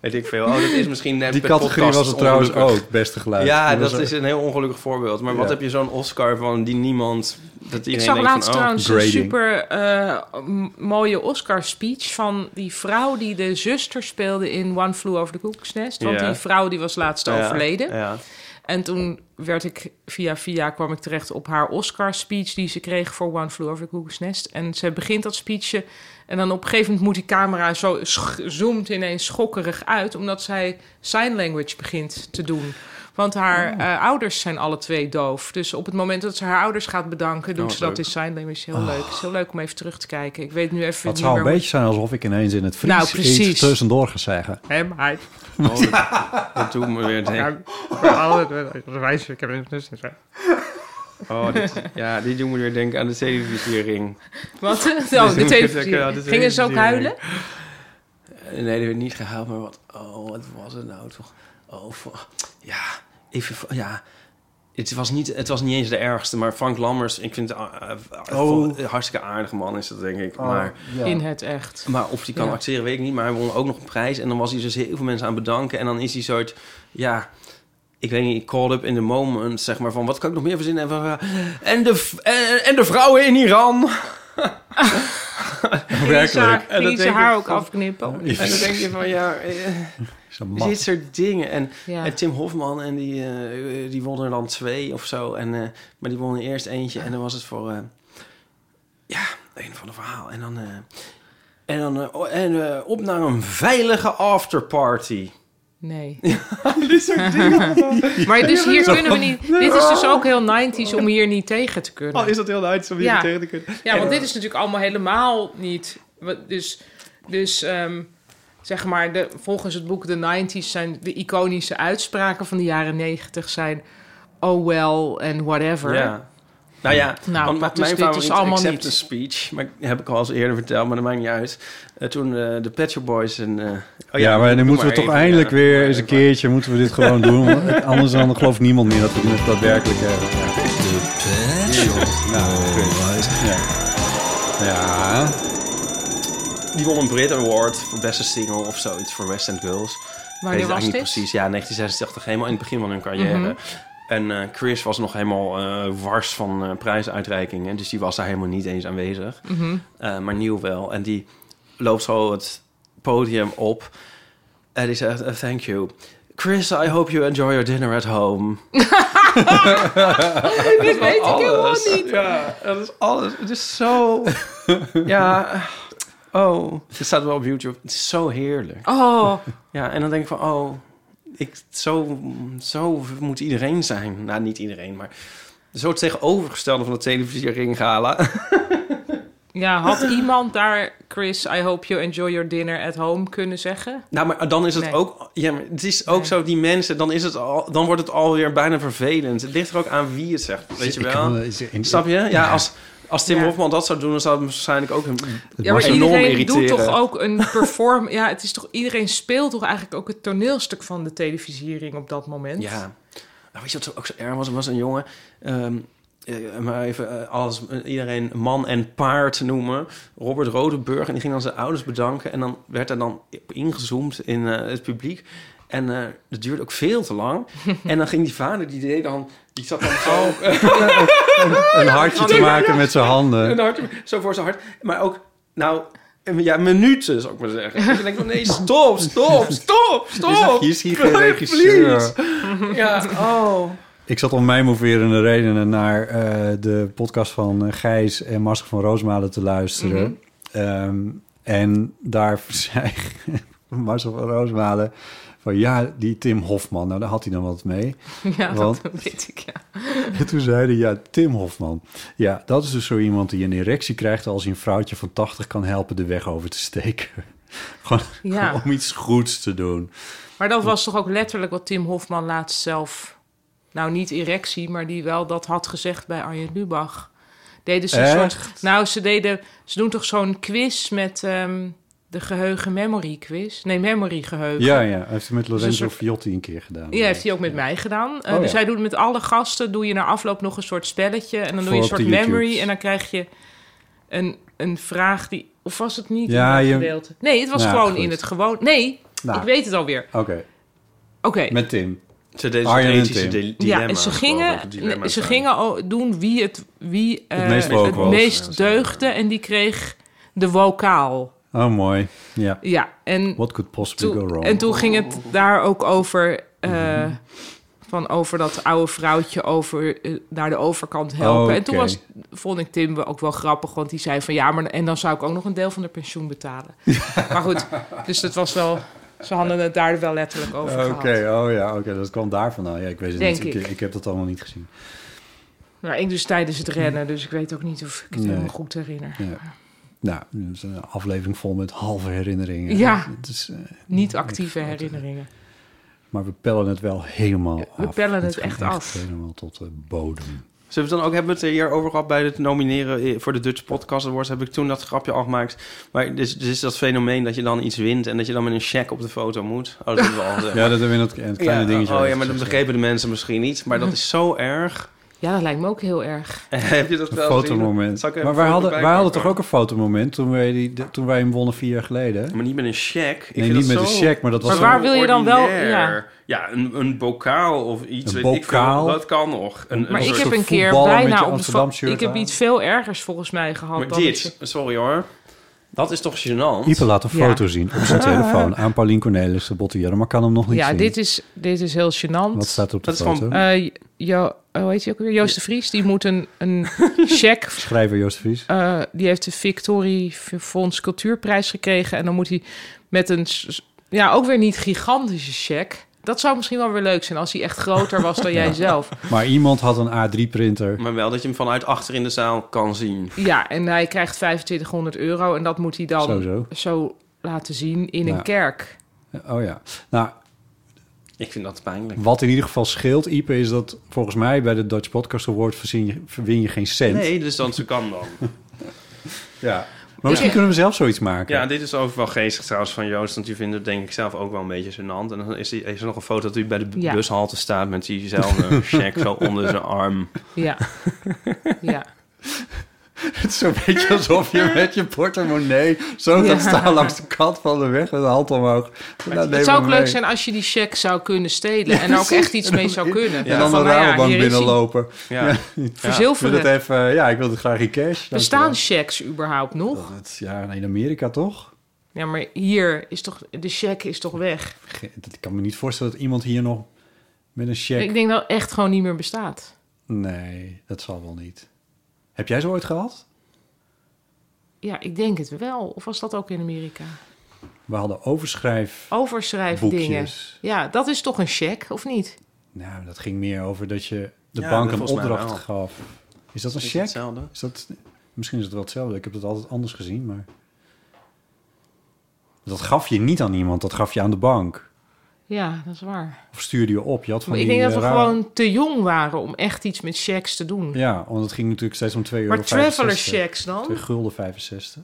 [SPEAKER 3] Weet ik veel. Oh, dat is misschien net
[SPEAKER 2] Die
[SPEAKER 3] per
[SPEAKER 2] categorie
[SPEAKER 3] podcast
[SPEAKER 2] was het trouwens
[SPEAKER 3] ongelukkig.
[SPEAKER 2] ook, beste geluid.
[SPEAKER 3] Ja,
[SPEAKER 2] Die was
[SPEAKER 3] dat
[SPEAKER 2] er-
[SPEAKER 3] is een heel ongelukkig voorbeeld. Maar wat
[SPEAKER 2] Ja.
[SPEAKER 3] heb je zo'n Oscar van die niemand... Dat iedereen
[SPEAKER 4] Ik zag
[SPEAKER 3] denkt
[SPEAKER 4] laatst
[SPEAKER 3] van, oh,
[SPEAKER 4] trouwens een
[SPEAKER 2] grading.
[SPEAKER 4] super eh, m- mooie Oscar-speech van die vrouw die de zuster speelde in One Flew Over the Cuckoo's Nest. Want
[SPEAKER 3] Ja.
[SPEAKER 4] die vrouw die was laatst
[SPEAKER 3] ja,
[SPEAKER 4] overleden.
[SPEAKER 3] Ja.
[SPEAKER 4] En toen werd ik via via kwam ik terecht op haar Oscar speech die ze kreeg voor One Flew Over the Cuckoo's Nest. En ze begint dat speechje en dan op een gegeven moment moet die camera zo sch- zoomt ineens schokkerig uit omdat zij sign language begint te doen. Want haar eh, ouders zijn alle twee doof. Dus op het moment dat ze haar ouders gaat bedanken, doet
[SPEAKER 2] wat
[SPEAKER 4] ze dat
[SPEAKER 2] leuk.
[SPEAKER 4] in sign language. Heel
[SPEAKER 2] Oh.
[SPEAKER 4] leuk. Het is heel leuk om even terug te kijken. Ik weet nu even
[SPEAKER 2] Het
[SPEAKER 4] niet
[SPEAKER 2] zou een
[SPEAKER 4] meer hoe-
[SPEAKER 2] beetje zijn alsof ik ineens in het Fries
[SPEAKER 4] Nou, precies.
[SPEAKER 2] iets tussendoor ga zeggen.
[SPEAKER 4] Hem, hij.
[SPEAKER 3] Oh, dat, dat doet me weer denken.
[SPEAKER 4] Ik heb
[SPEAKER 3] Oh, dit, ja, die doen me weer denken aan de televisiering.
[SPEAKER 4] Wat? Oh,
[SPEAKER 3] Dus
[SPEAKER 4] de
[SPEAKER 3] dan moet ik het
[SPEAKER 4] televisiering.
[SPEAKER 3] zeggen, ja, de
[SPEAKER 4] Gingen ze ook huilen?
[SPEAKER 3] Eh, Nee, dat werd niet gehuild, maar wat... Oh, wat was het nou toch? Oh, fa- ja, even... fa- Ja, het was, niet, het was niet eens de ergste, maar Frank Lammers... Ik vind het eh, eh,
[SPEAKER 4] Oh.
[SPEAKER 3] een hartstikke aardige man, is dat denk ik.
[SPEAKER 4] Oh,
[SPEAKER 3] maar,
[SPEAKER 4] ja. In het echt.
[SPEAKER 3] Maar of hij kan
[SPEAKER 4] Ja.
[SPEAKER 3] acteren, weet ik niet. Maar hij won ook nog een prijs. En dan was hij dus heel veel mensen aan het bedanken. En dan is hij soort... Ja, ik weet niet, called up in the moment, zeg maar. Van, wat kan ik nog meer verzinnen? En, van, eh, en, de, v- eh, en, en de vrouwen in Iran...
[SPEAKER 4] Werkelijk.
[SPEAKER 3] En dan
[SPEAKER 4] Ging ze
[SPEAKER 3] denk
[SPEAKER 4] haar
[SPEAKER 3] ik
[SPEAKER 4] ook
[SPEAKER 3] van-
[SPEAKER 4] afknippen?
[SPEAKER 3] En dan denk je van, ja... eh,
[SPEAKER 4] mat.
[SPEAKER 3] dit soort dingen. En,
[SPEAKER 4] Ja.
[SPEAKER 3] en Tim Hofman, en die, eh, die won er dan twee of zo. En, eh, maar die won er eerst eentje. En dan was het voor... eh, ja, een van de verhaal. En dan... eh, en dan eh, o- en, eh, op naar een veilige afterparty.
[SPEAKER 4] Nee.
[SPEAKER 3] Dit soort dingen.
[SPEAKER 4] Maar dus hier
[SPEAKER 3] Zo.
[SPEAKER 4] kunnen we niet... Dit is dus ook heel 90s om hier niet tegen te kunnen.
[SPEAKER 3] Oh, is dat heel 90s om hier niet tegen te kunnen?
[SPEAKER 4] Ja, want
[SPEAKER 3] En-
[SPEAKER 4] dit is natuurlijk allemaal helemaal niet... wat- Dus, dus ehm, zeg maar, de, volgens het boek de 90s zijn de iconische uitspraken van de jaren 90 zijn... Oh well and whatever.
[SPEAKER 3] Ja. Nou ja,
[SPEAKER 4] Nou,
[SPEAKER 3] want mijn
[SPEAKER 4] dus dit is
[SPEAKER 3] favoriete
[SPEAKER 4] allemaal
[SPEAKER 3] acceptance speech, maar die heb ik al eens eerder verteld, maar dat maakt niet uit. Eh, toen eh, de Pet Shop Boys en... eh, oh
[SPEAKER 2] ja, maar
[SPEAKER 3] doe
[SPEAKER 2] dan moeten we toch
[SPEAKER 3] even,
[SPEAKER 2] eindelijk
[SPEAKER 3] ja.
[SPEAKER 2] weer eens een keertje moeten we dit gewoon doen. want Anders dan gelooft niemand meer dat we het daadwerkelijk hebben. Ja, ja. ja.
[SPEAKER 3] Die won een Brit Award voor beste single of zoiets voor West End Girls.
[SPEAKER 4] Wanneer
[SPEAKER 3] Ik weet het eigenlijk
[SPEAKER 4] was
[SPEAKER 3] niet
[SPEAKER 4] dit?
[SPEAKER 3] precies. Ja, 1986, helemaal in het begin van hun carrière.
[SPEAKER 4] Mhm.
[SPEAKER 3] En eh, Chris was nog helemaal eh, wars van eh, prijsuitreikingen. Dus die was daar helemaal niet eens aanwezig.
[SPEAKER 4] Mhm.
[SPEAKER 3] Eh, maar Nieuw wel. En die loopt zo het podium op. En die zegt, eh, thank you. Chris, I hope you enjoy your dinner at home.
[SPEAKER 4] Dit weet ik helemaal niet.
[SPEAKER 3] Ja, dat is alles. Het is zo... ja, oh. Het staat wel op YouTube. Het is zo heerlijk.
[SPEAKER 4] Oh.
[SPEAKER 3] Ja, en dan denk ik van, oh, ik, zo, zo moet iedereen zijn. Nou, niet iedereen, maar zo het tegenovergestelde van de televisiering gala.
[SPEAKER 4] Ja, had iemand daar, Chris, I hope you enjoy your dinner at home kunnen zeggen?
[SPEAKER 3] nou, maar dan is het
[SPEAKER 4] Nee.
[SPEAKER 3] ook, ja, maar het is ook zo, die mensen, dan, is het al, dan wordt het alweer bijna vervelend. Het ligt er ook aan wie het zegt, weet je
[SPEAKER 2] Ik
[SPEAKER 3] wel.
[SPEAKER 2] kan, eh, is- in-
[SPEAKER 3] Snap je? Ja,
[SPEAKER 2] Ja.
[SPEAKER 3] als, als Tim
[SPEAKER 4] Ja.
[SPEAKER 3] Hofman dat zou doen, dan zou het waarschijnlijk ook een
[SPEAKER 4] Ja, maar
[SPEAKER 3] enorm
[SPEAKER 4] iedereen doet
[SPEAKER 3] irriteren.
[SPEAKER 4] toch ook een perform... Ja, het is toch... Iedereen speelt toch eigenlijk ook het toneelstuk van de televisiering op dat moment?
[SPEAKER 3] Ja. Nou, weet je wat ook zo erg was? Er was een jongen, ehm, eh, maar even eh, alles, eh, iedereen man en paard noemen. Robert Rodenburg. En die ging dan zijn ouders bedanken. En dan werd er dan op ingezoomd in eh, het publiek. En eh, dat duurde ook veel te lang. en dan ging die vader, die deed dan... Die zat dan zo...
[SPEAKER 2] Oh. Een hartje te maken met zijn
[SPEAKER 3] Een
[SPEAKER 2] handen.
[SPEAKER 3] hart, zo voor zijn hart. Maar ook, nou, een- ja, minuten zou ik maar zeggen. Dus ik denk van, nee, stop, stop, stop,
[SPEAKER 2] Is dat-
[SPEAKER 3] stop.
[SPEAKER 2] hier is hier geen
[SPEAKER 3] Oh, Please.
[SPEAKER 2] regisseur.
[SPEAKER 3] Ja, oh.
[SPEAKER 2] Ik zat om mijn moverende redenen naar eh, de podcast van eh, Gijs en Masker van Roosmalen te luisteren.
[SPEAKER 4] Mhm.
[SPEAKER 2] Ehm, en daar zei Marcel van Roosmalen van ja, die Tim Hofman. Nou, daar had hij dan wat mee.
[SPEAKER 4] Ja,
[SPEAKER 2] Want-
[SPEAKER 4] dat weet ik, ja.
[SPEAKER 2] En toen zei hij, ja, Tim Hofman. Ja, dat is dus zo iemand die een erectie krijgt als hij een vrouwtje van 80 kan helpen de weg over te steken. Gewoon
[SPEAKER 4] Ja.
[SPEAKER 2] om iets goeds te doen.
[SPEAKER 4] Maar dat was toch ook letterlijk wat Tim Hofman laatst zelf... Nou, niet erectie, maar die wel dat had gezegd bij Arjen Lubach. Deden ze een soort... Nou, ze deden... Ze doen toch zo'n quiz met ehm, de geheugen memory quiz? Nee, memory geheugen.
[SPEAKER 2] Ja, ja. Hij heeft het met
[SPEAKER 4] Dus een
[SPEAKER 2] Lorenzo
[SPEAKER 4] soort-
[SPEAKER 2] Fiotti een keer gedaan.
[SPEAKER 4] Ja, heeft hij ook met mij gedaan. Eh,
[SPEAKER 2] Oh,
[SPEAKER 4] dus
[SPEAKER 2] ja.
[SPEAKER 4] hij doet met alle gasten, doe je na afloop nog een soort spelletje. En dan doe
[SPEAKER 2] Voor
[SPEAKER 4] je een
[SPEAKER 2] op
[SPEAKER 4] soort
[SPEAKER 2] de YouTubes.
[SPEAKER 4] memory. En dan krijg je een, een vraag die... Of was het niet
[SPEAKER 2] Ja,
[SPEAKER 4] in dat
[SPEAKER 2] je-
[SPEAKER 4] gedeelte? Nee, het was
[SPEAKER 2] Nou,
[SPEAKER 4] gewoon
[SPEAKER 2] goed.
[SPEAKER 4] in het gewoon... Nee,
[SPEAKER 2] Nou.
[SPEAKER 4] ik weet het alweer.
[SPEAKER 2] Oké,
[SPEAKER 4] Oké.
[SPEAKER 2] met Tim.
[SPEAKER 3] Ze
[SPEAKER 2] deden Arjen zo'n en ethische Tim. dile-
[SPEAKER 4] Ja, en ze gingen, nee, ze gingen o- doen wie het, wie, eh,
[SPEAKER 2] Het meest woke was.
[SPEAKER 4] meest deugde. En die kreeg de wokaal.
[SPEAKER 2] Oh, mooi. Ja.
[SPEAKER 4] Ja, en
[SPEAKER 2] What could possibly
[SPEAKER 4] Toen-
[SPEAKER 2] go wrong? Mhm.
[SPEAKER 4] En toen ging het daar ook over. eh, Van over dat oude vrouwtje over, eh, naar de overkant helpen. En toen
[SPEAKER 2] Oh, Oké.
[SPEAKER 4] was, vond ik Tim ook wel grappig, want die zei van ja, maar en dan zou ik ook nog een deel van de pensioen betalen. Maar goed, dus het was wel, ze hadden het daar wel letterlijk over
[SPEAKER 2] Oké,
[SPEAKER 4] gehad.
[SPEAKER 2] oh ja, oké, dat kwam daar vandaan. Ja, ik weet het
[SPEAKER 4] Denk
[SPEAKER 2] niet. Ik.
[SPEAKER 4] ik.
[SPEAKER 2] Ik, heb dat allemaal niet gezien.
[SPEAKER 4] Maar ik dus tijdens het rennen, dus ik weet ook niet of ik het
[SPEAKER 2] Nee.
[SPEAKER 4] helemaal goed herinner.
[SPEAKER 2] Ja. Nou, het is een aflevering vol met halve herinneringen.
[SPEAKER 4] Ja.
[SPEAKER 2] Het is, eh,
[SPEAKER 4] Niet actieve herinneringen.
[SPEAKER 2] maar we pellen het wel helemaal af.
[SPEAKER 4] we pellen het
[SPEAKER 2] gaat
[SPEAKER 4] echt af.
[SPEAKER 2] Helemaal tot de bodem.
[SPEAKER 3] Zullen we het dan ook hebben we het er hier over gehad bij het nomineren eh, voor de Dutch Podcast Awards? Heb ik toen dat grapje al gemaakt. Maar dus, is dat fenomeen dat je dan iets wint en dat je dan met een check op de foto moet. Oh, dat hebben we al gezegd.
[SPEAKER 2] Ja, dat hebben we in dat in het kleine dingetje
[SPEAKER 3] Oh ja, maar
[SPEAKER 2] gezegd,
[SPEAKER 3] dat
[SPEAKER 2] ja.
[SPEAKER 3] begrepen de mensen misschien niet. Maar dat is zo erg.
[SPEAKER 4] Ja, dat lijkt me ook heel erg.
[SPEAKER 3] Heb je dat
[SPEAKER 2] Een
[SPEAKER 3] wel gezien?
[SPEAKER 2] fotomoment.
[SPEAKER 3] Zal ik even
[SPEAKER 2] Maar wij
[SPEAKER 3] een
[SPEAKER 2] hadden,
[SPEAKER 3] foto
[SPEAKER 2] wij
[SPEAKER 3] bijpakken?
[SPEAKER 2] hadden toch ook een fotomoment toen wij, die, de- toen wij hem wonnen vier jaar geleden?
[SPEAKER 3] Maar niet met een check. Ik
[SPEAKER 2] Nee,
[SPEAKER 3] vind
[SPEAKER 2] niet
[SPEAKER 3] dat
[SPEAKER 2] met
[SPEAKER 3] zo-
[SPEAKER 2] een check, maar dat was
[SPEAKER 4] Maar waar wil je dan wel-
[SPEAKER 3] ordinair.
[SPEAKER 4] ja.
[SPEAKER 3] Ja, een, een bokaal of iets.
[SPEAKER 2] Een
[SPEAKER 3] weet ik veel.
[SPEAKER 2] bokaal?
[SPEAKER 3] dat kan nog. Een, een
[SPEAKER 4] Maar ik
[SPEAKER 3] soort-
[SPEAKER 4] heb
[SPEAKER 2] soort
[SPEAKER 4] een keer
[SPEAKER 2] voetballer met
[SPEAKER 4] bijna
[SPEAKER 2] je
[SPEAKER 4] op de
[SPEAKER 2] Amsterdam
[SPEAKER 4] va-
[SPEAKER 2] shirt
[SPEAKER 4] Ik heb
[SPEAKER 2] aan.
[SPEAKER 4] iets veel ergers volgens mij gehad.
[SPEAKER 3] Maar
[SPEAKER 4] dan
[SPEAKER 3] dit, sorry hoor. Dat is toch gênant?
[SPEAKER 2] Ipe laat een
[SPEAKER 4] Ja.
[SPEAKER 2] foto zien op zijn telefoon aan Paulien Cornelis de Bottejeren, maar kan hem nog niet
[SPEAKER 4] ja,
[SPEAKER 2] zien.
[SPEAKER 4] dit is, dit is heel gênant.
[SPEAKER 2] Wat staat er op de
[SPEAKER 3] Dat is
[SPEAKER 2] foto?
[SPEAKER 3] van-
[SPEAKER 4] Eh, jo, oh, hoe heet hij ook weer? Joost de Vries. Die moet een, een check.
[SPEAKER 2] Schrijver Joost Vries.
[SPEAKER 4] eh, die heeft de Victorie Fonds Cultuurprijs gekregen. En dan moet hij met een. s- Ja, ook weer niet gigantische check. Dat zou misschien wel weer leuk zijn als hij echt groter was dan jij zelf.
[SPEAKER 2] Maar iemand had een A3-printer.
[SPEAKER 3] Maar wel dat je hem vanuit achter in de zaal kan zien.
[SPEAKER 4] Ja, en hij krijgt 2500 euro. En dat moet hij dan
[SPEAKER 2] Zo, zo.
[SPEAKER 4] laten zien in
[SPEAKER 2] Ja.
[SPEAKER 4] een kerk.
[SPEAKER 2] Oh ja. Nou,
[SPEAKER 3] Ik vind dat pijnlijk.
[SPEAKER 2] wat in ieder geval scheelt, Ipe, is dat volgens mij bij de Dutch Podcast Award verzin je, win je geen cent.
[SPEAKER 3] Nee, dus dan ze kan dan.
[SPEAKER 2] Ja. Maar misschien kunnen we zelf zoiets maken.
[SPEAKER 3] Ja, dit is ook wel geestig trouwens van Joost. Want die vindt het denk ik zelf ook wel een beetje gênant. En dan is, die, is er nog een foto dat hij bij de bu-
[SPEAKER 4] Ja.
[SPEAKER 3] bushalte staat... met diezelfde check zo onder zijn arm.
[SPEAKER 4] Ja. ja.
[SPEAKER 2] Het is zo'n beetje alsof je met je portemonnee zo gaat staan langs de kant van de weg met de hand omhoog. Nou, neem
[SPEAKER 4] het zou
[SPEAKER 2] hem
[SPEAKER 4] ook leuk
[SPEAKER 2] mee.
[SPEAKER 4] zijn als je die check zou kunnen stelen. en er ook echt iets mee zou kunnen.
[SPEAKER 2] En dan
[SPEAKER 4] Van,
[SPEAKER 2] een
[SPEAKER 4] nou ja,
[SPEAKER 2] Rabobank
[SPEAKER 4] hier is hij.
[SPEAKER 2] binnenlopen.
[SPEAKER 3] Ja.
[SPEAKER 2] Ik wil het
[SPEAKER 4] Verzilveren.
[SPEAKER 2] even, ja, ik wil het graag in cash.
[SPEAKER 4] Bestaan
[SPEAKER 2] Dankjewel.
[SPEAKER 4] checks überhaupt nog?
[SPEAKER 2] Dat, ja, in Amerika toch?
[SPEAKER 4] Ja, maar hier is toch... De check is toch weg?
[SPEAKER 2] Ge- dat- Ik kan me niet voorstellen dat iemand hier nog met een check...
[SPEAKER 4] Ik denk dat het echt gewoon niet meer bestaat.
[SPEAKER 2] Nee, dat zal wel niet. Heb jij zo ooit gehad?
[SPEAKER 4] Ja, ik denk het wel. Of was dat ook in Amerika?
[SPEAKER 2] We hadden overschrijf...
[SPEAKER 4] Overschrijfdingen.
[SPEAKER 2] Boekjes.
[SPEAKER 4] Ja, dat is toch een check, of niet?
[SPEAKER 2] Nou, dat ging meer over dat je de
[SPEAKER 3] Ja,
[SPEAKER 2] bank
[SPEAKER 3] dat
[SPEAKER 2] een
[SPEAKER 3] volgens mij
[SPEAKER 2] opdracht
[SPEAKER 3] wel.
[SPEAKER 2] gaf. Is dat een
[SPEAKER 3] Is
[SPEAKER 2] check?
[SPEAKER 3] hetzelfde?
[SPEAKER 2] Is dat, misschien is het wel hetzelfde. Ik heb het altijd anders gezien, maar... Dat gaf je niet aan iemand, dat gaf je aan de bank.
[SPEAKER 4] Ja, dat is waar.
[SPEAKER 2] Of stuurde je op. Je had van
[SPEAKER 4] Maar ik
[SPEAKER 2] die,
[SPEAKER 4] denk dat we
[SPEAKER 2] eh, rare-
[SPEAKER 4] gewoon te jong waren om echt iets met checks te doen.
[SPEAKER 2] Ja, want het ging natuurlijk steeds om 2,65 euro.
[SPEAKER 4] maar traveler
[SPEAKER 2] eh,
[SPEAKER 4] checks
[SPEAKER 2] Twee
[SPEAKER 4] dan?
[SPEAKER 2] gulden 65.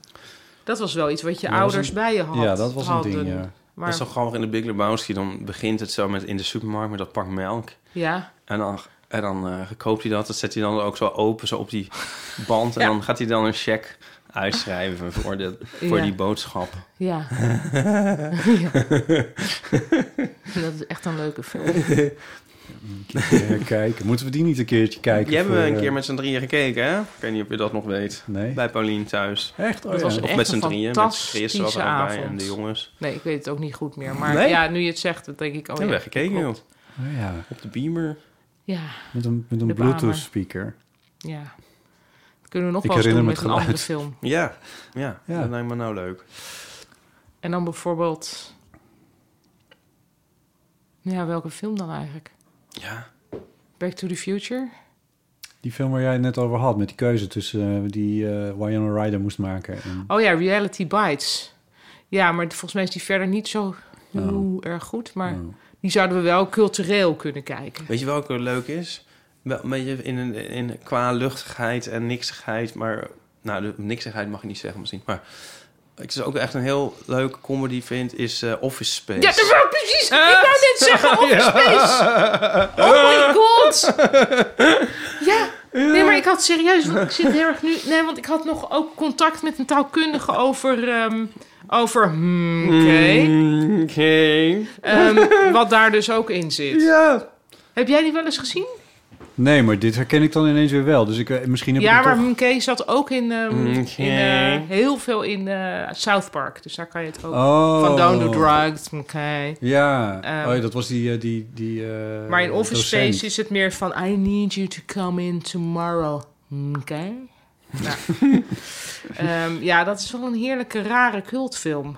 [SPEAKER 4] Dat was wel iets wat je
[SPEAKER 2] Dat was
[SPEAKER 4] ouders
[SPEAKER 2] een-
[SPEAKER 4] bij je had.
[SPEAKER 2] ja, dat was een ding,
[SPEAKER 4] hadden.
[SPEAKER 2] ja.
[SPEAKER 3] Dat
[SPEAKER 4] Maar
[SPEAKER 3] is toch grappig in de Big Lebowski. Dan begint het zo met in de supermarkt met dat pak melk.
[SPEAKER 4] ja,
[SPEAKER 3] En dan, en dan eh, koopt hij dat. Dat zet hij dan ook zo open, zo op die band. En
[SPEAKER 4] Ja.
[SPEAKER 3] dan gaat hij dan een check uitschrijven voor, de, voor
[SPEAKER 4] Ja.
[SPEAKER 3] die boodschap.
[SPEAKER 4] Ja. ja. Dat is echt een leuke film.
[SPEAKER 2] Ja, kijken. Moeten we die niet een keertje kijken?
[SPEAKER 3] Die hebben we
[SPEAKER 2] voor,
[SPEAKER 3] een
[SPEAKER 2] eh,
[SPEAKER 3] keer met z'n drieën gekeken, hè? Ik weet niet of je dat nog weet.
[SPEAKER 2] Nee.
[SPEAKER 3] Bij Paulien thuis.
[SPEAKER 2] Echt? Oh,
[SPEAKER 4] Dat
[SPEAKER 2] ja.
[SPEAKER 4] was-
[SPEAKER 3] Of
[SPEAKER 4] Echt
[SPEAKER 3] met
[SPEAKER 4] een
[SPEAKER 3] z'n drieën, met Chris was er ook bij
[SPEAKER 4] fantastische
[SPEAKER 3] en de
[SPEAKER 4] avond.
[SPEAKER 3] jongens.
[SPEAKER 4] Nee, ik weet het ook niet goed meer. Maar
[SPEAKER 3] Nee?
[SPEAKER 4] ja, nu je het zegt, dan denk ik... Oh,
[SPEAKER 3] Oh, ja,
[SPEAKER 4] ja,
[SPEAKER 3] hebben we gekeken, joh.
[SPEAKER 4] klopt.
[SPEAKER 2] Oh, ja.
[SPEAKER 3] Op de beamer.
[SPEAKER 4] Ja,
[SPEAKER 2] Met een, met een
[SPEAKER 4] De Bahamer.
[SPEAKER 2] Bluetooth speaker.
[SPEAKER 4] ja. Dat kunnen we nog
[SPEAKER 2] Ik
[SPEAKER 4] wel eens doen
[SPEAKER 2] herinner me
[SPEAKER 4] met een
[SPEAKER 2] het
[SPEAKER 4] andere
[SPEAKER 2] geluid.
[SPEAKER 4] film.
[SPEAKER 3] Ja, ja,
[SPEAKER 2] Ja.
[SPEAKER 3] dat lijkt me nou leuk.
[SPEAKER 4] En dan bijvoorbeeld... Ja, welke film dan eigenlijk?
[SPEAKER 3] Ja.
[SPEAKER 4] Back to the Future?
[SPEAKER 2] Die film waar jij het net over had, met die keuze tussen eh, die eh, Winona Ryder moest maken. En,
[SPEAKER 4] Oh ja, Reality Bites. Ja, maar volgens mij is die verder niet zo heel erg goed. Maar die zouden we wel cultureel kunnen kijken.
[SPEAKER 3] Weet je welke leuk is? Wel een beetje in, een- in, qua luchtigheid en niksigheid, maar... Nou, de niksigheid mag ik niet zeggen misschien, maar... Ik is ook echt een heel leuke comedy vind, is eh, Office Space.
[SPEAKER 4] Ja, dat wou ik precies. Ik wou net zeggen, Office Space. Oh my god. Ja. Nee, maar ik had serieus... want Ik zit heel erg nu... Nee, want ik had nog ook contact met een taalkundige over... ehm, over... hmm, Oké.
[SPEAKER 3] Mm, Oké.
[SPEAKER 4] Ehm, wat daar dus ook in zit.
[SPEAKER 3] Ja.
[SPEAKER 4] Heb jij die wel eens gezien?
[SPEAKER 2] Nee, maar dit herken ik dan ineens weer wel. Dus ik, eh, misschien heb
[SPEAKER 4] Ja,
[SPEAKER 2] ik het
[SPEAKER 4] maar
[SPEAKER 2] toch...
[SPEAKER 4] Minkee zat ook in, ehm,
[SPEAKER 2] Minkee.
[SPEAKER 4] in eh, heel veel in eh, South Park. Dus daar kan je het ook
[SPEAKER 2] Oh.
[SPEAKER 4] van Don't Do Drugs, Minkee.
[SPEAKER 2] Ja,
[SPEAKER 4] Ehm,
[SPEAKER 2] oh, ja, dat was die... eh, die, die eh,
[SPEAKER 4] Maar in Office
[SPEAKER 2] docent.
[SPEAKER 4] Space is het meer van I need you to come in tomorrow. Oké. Nou. Ehm, ja, dat is wel een heerlijke, rare cultfilm.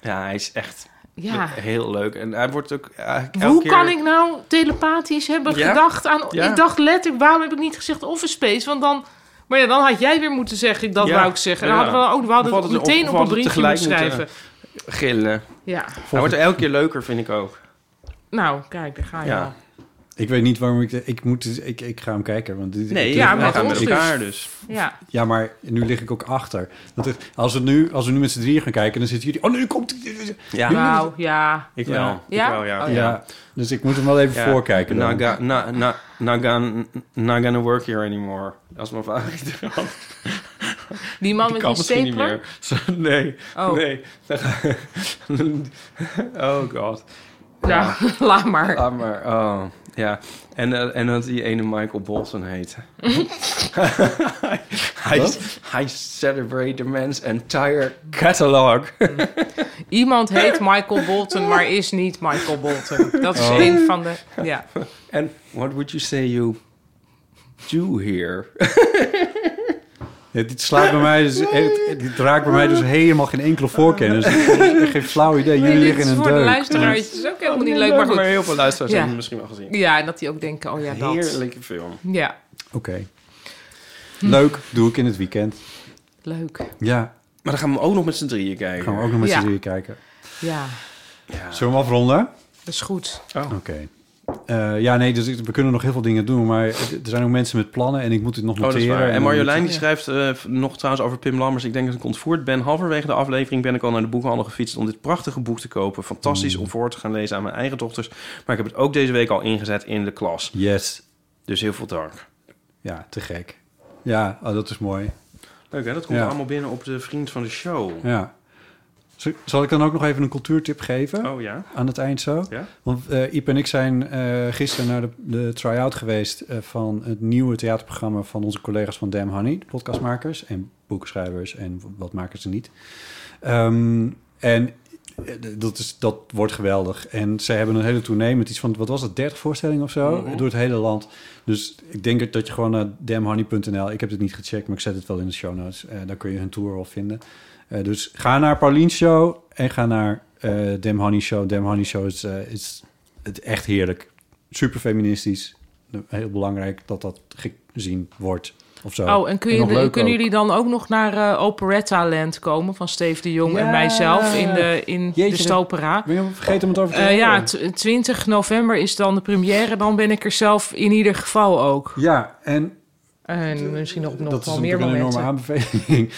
[SPEAKER 3] Ja, hij is echt
[SPEAKER 4] Ja.
[SPEAKER 3] le- heel leuk. En hij wordt ook eigenlijk elke
[SPEAKER 4] Hoe
[SPEAKER 3] keer...
[SPEAKER 4] kan ik nou telepathisch hebben
[SPEAKER 3] Ja.
[SPEAKER 4] gedacht aan...
[SPEAKER 3] Ja.
[SPEAKER 4] Ik dacht letterlijk, waarom heb ik niet gezegd Office Space? Want dan... Maar ja, dan had jij weer moeten zeggen, dat
[SPEAKER 3] Ja.
[SPEAKER 4] wou ik zeggen. Dan
[SPEAKER 3] Ja.
[SPEAKER 4] hadden we, ook, we hadden
[SPEAKER 3] Of
[SPEAKER 4] het meteen
[SPEAKER 3] of
[SPEAKER 4] op een
[SPEAKER 3] hadden we
[SPEAKER 4] briefje
[SPEAKER 3] tegelijk
[SPEAKER 4] moeten schrijven.
[SPEAKER 3] moeten Gillen.
[SPEAKER 4] Ja.
[SPEAKER 3] Hij wordt elke keer leuker, vind ik ook.
[SPEAKER 4] Nou, kijk, daar ga je
[SPEAKER 3] Ja.
[SPEAKER 4] al.
[SPEAKER 2] Ik weet niet waarom ik... de- ik, moet, dus- ik, ik ga hem kijken, want... Dit,
[SPEAKER 3] Nee,
[SPEAKER 2] dit-
[SPEAKER 3] ja,
[SPEAKER 2] dit-
[SPEAKER 3] maar
[SPEAKER 2] dit-
[SPEAKER 3] met
[SPEAKER 2] ik-
[SPEAKER 3] elkaar dus.
[SPEAKER 4] Ja.
[SPEAKER 2] Ja, maar nu lig ik ook achter. Want het- als, we nu, als we nu met z'n drieën gaan kijken, dan zitten jullie... Oh, nu komt...
[SPEAKER 3] Ja.
[SPEAKER 4] Nou, ja.
[SPEAKER 3] Ik wel.
[SPEAKER 2] Ja.
[SPEAKER 3] Ik wel, ja.
[SPEAKER 2] Ja. dus ik moet hem wel even
[SPEAKER 3] Ja. Nou,
[SPEAKER 2] voorkijken. dan.
[SPEAKER 3] Naga, na, na, not gonna- not gonna work here anymore. Dat is mijn favoriete grap.
[SPEAKER 4] Die man met
[SPEAKER 3] kan
[SPEAKER 4] die
[SPEAKER 3] misschien
[SPEAKER 4] stapler?
[SPEAKER 3] Zo, nee,
[SPEAKER 4] Oh.
[SPEAKER 3] nee. Dan ga- oh god.
[SPEAKER 4] Nou, laat maar.
[SPEAKER 3] Laat maar. Oh, ja. En, eh, en dat die ene Michael Bolton heet. hij, hij celebrate the man's entire catalog.
[SPEAKER 4] Iemand heet Michael Bolton, maar is niet Michael Bolton. Dat is
[SPEAKER 3] Oh.
[SPEAKER 4] een van de... Ja.
[SPEAKER 3] And what would you say you do here?
[SPEAKER 2] Ja, dit slaat bij mij dus... Het, dit raakt bij mij dus helemaal geen enkele voorkennis. Dus Geen flauw idee. Jullie
[SPEAKER 4] Nee, dit
[SPEAKER 2] liggen
[SPEAKER 4] is
[SPEAKER 2] in een
[SPEAKER 4] voor de
[SPEAKER 2] deuk.
[SPEAKER 4] luisteraars het is ook helemaal niet
[SPEAKER 3] nee,
[SPEAKER 4] leuk,
[SPEAKER 3] leuk,
[SPEAKER 4] maar goed.
[SPEAKER 3] maar heel veel luisteraars
[SPEAKER 4] Ja.
[SPEAKER 3] hebben het misschien wel gezien.
[SPEAKER 4] Ja, en dat die ook denken, oh ja, dat.
[SPEAKER 3] Heerlijke film.
[SPEAKER 4] Ja,
[SPEAKER 2] Oké. Leuk, doe ik in het weekend.
[SPEAKER 4] leuk.
[SPEAKER 2] Ja,
[SPEAKER 3] Maar dan gaan we ook nog met z'n drieën kijken.
[SPEAKER 2] gaan we ook nog met
[SPEAKER 4] Ja.
[SPEAKER 2] z'n drieën kijken.
[SPEAKER 4] Ja,
[SPEAKER 2] Zullen we hem afronden?
[SPEAKER 4] dat is goed.
[SPEAKER 2] Oké. Eh, ja, nee, dus ik- we kunnen nog heel veel dingen doen, maar het- er zijn ook mensen met plannen en ik moet dit nog
[SPEAKER 3] Oh, dat
[SPEAKER 2] noteren.
[SPEAKER 3] is waar.
[SPEAKER 2] en dan
[SPEAKER 3] En Marjolein
[SPEAKER 2] moet-
[SPEAKER 3] die schrijft eh, v- nog trouwens over Pim Lammers. Ik denk dat ik ontvoerd ben. Halverwege de aflevering ben ik al naar de boekhandel gefietst om dit prachtige boek te kopen.
[SPEAKER 2] Hmm.
[SPEAKER 3] Fantastisch om voor te gaan lezen aan mijn eigen dochters. Maar ik heb het ook deze week al ingezet in de klas.
[SPEAKER 2] Yes.
[SPEAKER 3] Dus heel veel dank.
[SPEAKER 2] Ja, te gek. Ja, oh, dat is mooi.
[SPEAKER 3] Leuk hè, dat komt
[SPEAKER 2] Ja.
[SPEAKER 3] allemaal binnen op de vriend van de show.
[SPEAKER 2] Ja. Z- Zal ik dan ook nog even een cultuurtip geven?
[SPEAKER 3] Oh ja?
[SPEAKER 2] Aan het eind zo.
[SPEAKER 3] Ja?
[SPEAKER 2] Want eh Iep en ik zijn eh, gisteren naar de, de try-out geweest... eh, van het nieuwe theaterprogramma van onze collega's van Damn Honey. de Podcastmakers en boekschrijvers en w- wat maken ze niet. Ehm, en eh, d- dat, is, dat wordt geweldig. En ze hebben een hele tournee met iets van... wat was het, 30 voorstellingen of zo?
[SPEAKER 4] Mhm.
[SPEAKER 2] Door het hele land. Dus ik denk dat- dat je gewoon naar damhoney.nl... ik heb het niet gecheckt, maar ik zet het wel in de show notes. Eh, daar kun je hun tour al vinden. Eh, dus ga naar Pauline's show en ga naar eh Dem Honey Show. Dem Honey Show is, eh, is het echt heerlijk. Super feministisch. Heel belangrijk dat dat gezien wordt. Of zo.
[SPEAKER 4] Oh, en, kun je,
[SPEAKER 2] nog leuk
[SPEAKER 4] kunnen
[SPEAKER 2] ook.
[SPEAKER 4] jullie dan ook nog naar eh, Operetta Land komen van Steve de Jong
[SPEAKER 2] Ja.
[SPEAKER 4] en mijzelf in de, in
[SPEAKER 2] Jeetje,
[SPEAKER 4] de Stopera?
[SPEAKER 2] Ben je helemaal vergeten om het over te
[SPEAKER 4] Eh,
[SPEAKER 2] hebben?
[SPEAKER 4] ja, tw- 20 november is dan de première. Dan ben ik er zelf in ieder geval ook.
[SPEAKER 2] Ja, en
[SPEAKER 4] En misschien nog, nog
[SPEAKER 2] dat is
[SPEAKER 4] wel
[SPEAKER 2] natuurlijk
[SPEAKER 4] meer
[SPEAKER 2] een enorme
[SPEAKER 4] momenten.
[SPEAKER 2] aanbeveling.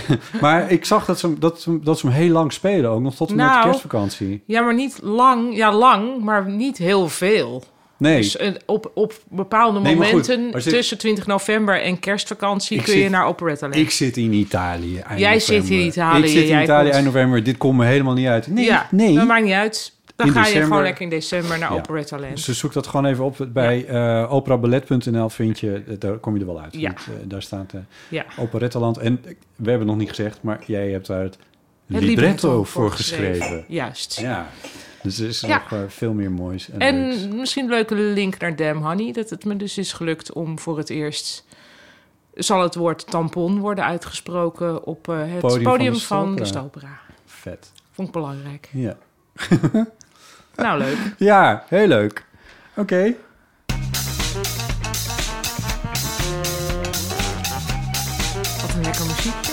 [SPEAKER 2] maar ik zag dat ze, hem- dat, ze, hem- dat ze hem heel lang spelen. Ook nog tot en met
[SPEAKER 4] Nou.
[SPEAKER 2] de kerstvakantie.
[SPEAKER 4] Ja, maar niet lang. Ja, lang, maar niet heel veel.
[SPEAKER 2] Nee,
[SPEAKER 4] Dus eh, op, op bepaalde
[SPEAKER 2] Nee, maar goed.
[SPEAKER 4] momenten
[SPEAKER 2] Maar zit-
[SPEAKER 4] tussen 20 november en kerstvakantie
[SPEAKER 2] Ik
[SPEAKER 4] kun je
[SPEAKER 2] zit-
[SPEAKER 4] naar Operetta Land.
[SPEAKER 2] ik zit in Italië eind
[SPEAKER 4] Jij zit in
[SPEAKER 2] november.
[SPEAKER 4] Italië,
[SPEAKER 2] Ik zit in
[SPEAKER 4] jij
[SPEAKER 2] Italië
[SPEAKER 4] komt-
[SPEAKER 2] eind november. Dit komt me helemaal niet uit. Nee,
[SPEAKER 4] ja, nou,
[SPEAKER 2] nee.
[SPEAKER 4] dat maakt niet uit. Dan
[SPEAKER 2] In
[SPEAKER 4] ga je
[SPEAKER 2] december-
[SPEAKER 4] gewoon lekker in december naar
[SPEAKER 2] Ja.
[SPEAKER 4] Operetta Land.
[SPEAKER 2] Dus zoek dat gewoon even op. Bij eh, operaballet.nl vind je, eh, daar kom je er wel uit.
[SPEAKER 4] Ja.
[SPEAKER 2] Want, eh, daar staat eh
[SPEAKER 4] Ja.
[SPEAKER 2] Operetteland. En eh, we hebben nog niet gezegd, maar jij hebt daar het,
[SPEAKER 4] Het
[SPEAKER 2] libretto, voor
[SPEAKER 4] voor
[SPEAKER 2] geschreven.
[SPEAKER 4] Juist.
[SPEAKER 2] Ja, dus er is
[SPEAKER 4] Ja.
[SPEAKER 2] nog eh, veel meer moois. En,
[SPEAKER 4] En
[SPEAKER 2] leuks.
[SPEAKER 4] misschien een leuke link naar Dam Honey. Dat het me dus is gelukt om voor het eerst... Zal het woord tampon worden uitgesproken op eh, het
[SPEAKER 2] Podium
[SPEAKER 4] podium,
[SPEAKER 2] van de
[SPEAKER 4] van de
[SPEAKER 2] Stopera.
[SPEAKER 4] Stopera?
[SPEAKER 2] vet.
[SPEAKER 4] Vond ik belangrijk.
[SPEAKER 2] Ja.
[SPEAKER 4] Nou, leuk.
[SPEAKER 2] ja, heel leuk. Oké.
[SPEAKER 4] Wat een lekker muziekje.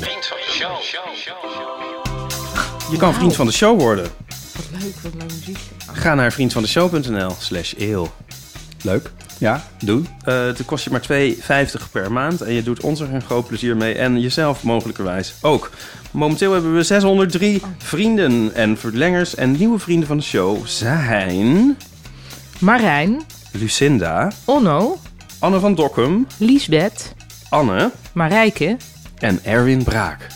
[SPEAKER 5] Vriend van de show. show, show, show.
[SPEAKER 3] Je kan vriend van de show worden.
[SPEAKER 4] Wat leuk, wat een leuk muziekje.
[SPEAKER 3] Ga naar vriendvandeshow.nl slash eeuw.
[SPEAKER 2] Leuk. Ja, doen.
[SPEAKER 3] Eh, het kost je maar 2,50 per maand en je doet ons er een groot plezier mee en jezelf mogelijkerwijs ook. Momenteel hebben we 603 vrienden en verlengers en nieuwe vrienden van de show zijn
[SPEAKER 4] Marijn,
[SPEAKER 3] Lucinda,
[SPEAKER 4] Onno,
[SPEAKER 3] Anne van Dokkum,
[SPEAKER 4] Liesbeth,
[SPEAKER 3] Anne
[SPEAKER 4] Marijke.
[SPEAKER 3] en Erwin Braak.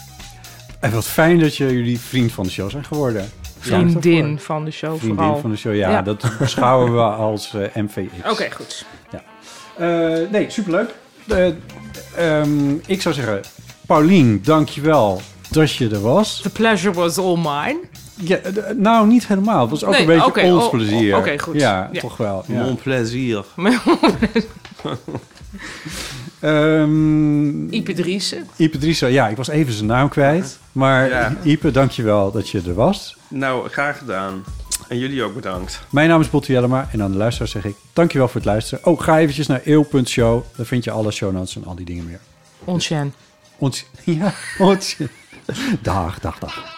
[SPEAKER 2] En wat fijn dat je jullie vriend van de show zijn geworden.
[SPEAKER 4] Vriendin van de show
[SPEAKER 2] Vriendin
[SPEAKER 4] vooral.
[SPEAKER 2] van de show, ja,
[SPEAKER 4] Ja.
[SPEAKER 2] dat beschouwen we als eh, MVX.
[SPEAKER 4] Oké, goed.
[SPEAKER 2] Ja. Eh, nee, superleuk. Eh, ehm, ik zou zeggen, Paulien, dankjewel dat je er was.
[SPEAKER 4] The pleasure was all mine.
[SPEAKER 2] Ja, eh, nou, niet helemaal. Het was ook
[SPEAKER 4] Nee,
[SPEAKER 2] een beetje
[SPEAKER 4] oké,
[SPEAKER 2] ons
[SPEAKER 4] oh,
[SPEAKER 2] plezier.
[SPEAKER 4] oh, oké, goed.
[SPEAKER 2] Ja,
[SPEAKER 4] Ja.
[SPEAKER 2] toch wel. Ja.
[SPEAKER 3] Mon plezier.
[SPEAKER 2] Ehm,
[SPEAKER 4] Ipe Driessen.
[SPEAKER 2] Ipe Driessen, ja, ik was even zijn naam kwijt. Maar
[SPEAKER 3] Ja.
[SPEAKER 2] Ipe, dankjewel dat je er was.
[SPEAKER 3] Nou, graag gedaan. En jullie ook bedankt.
[SPEAKER 2] Mijn naam is Botte Jellema en aan de luisteraar zeg ik... dankjewel voor het luisteren. Oh, ga eventjes naar eeuw.show. Daar vind je alle show notes en al die dingen meer.
[SPEAKER 4] Onchen.
[SPEAKER 2] Ons, ja, ons. Dag, dag, dag.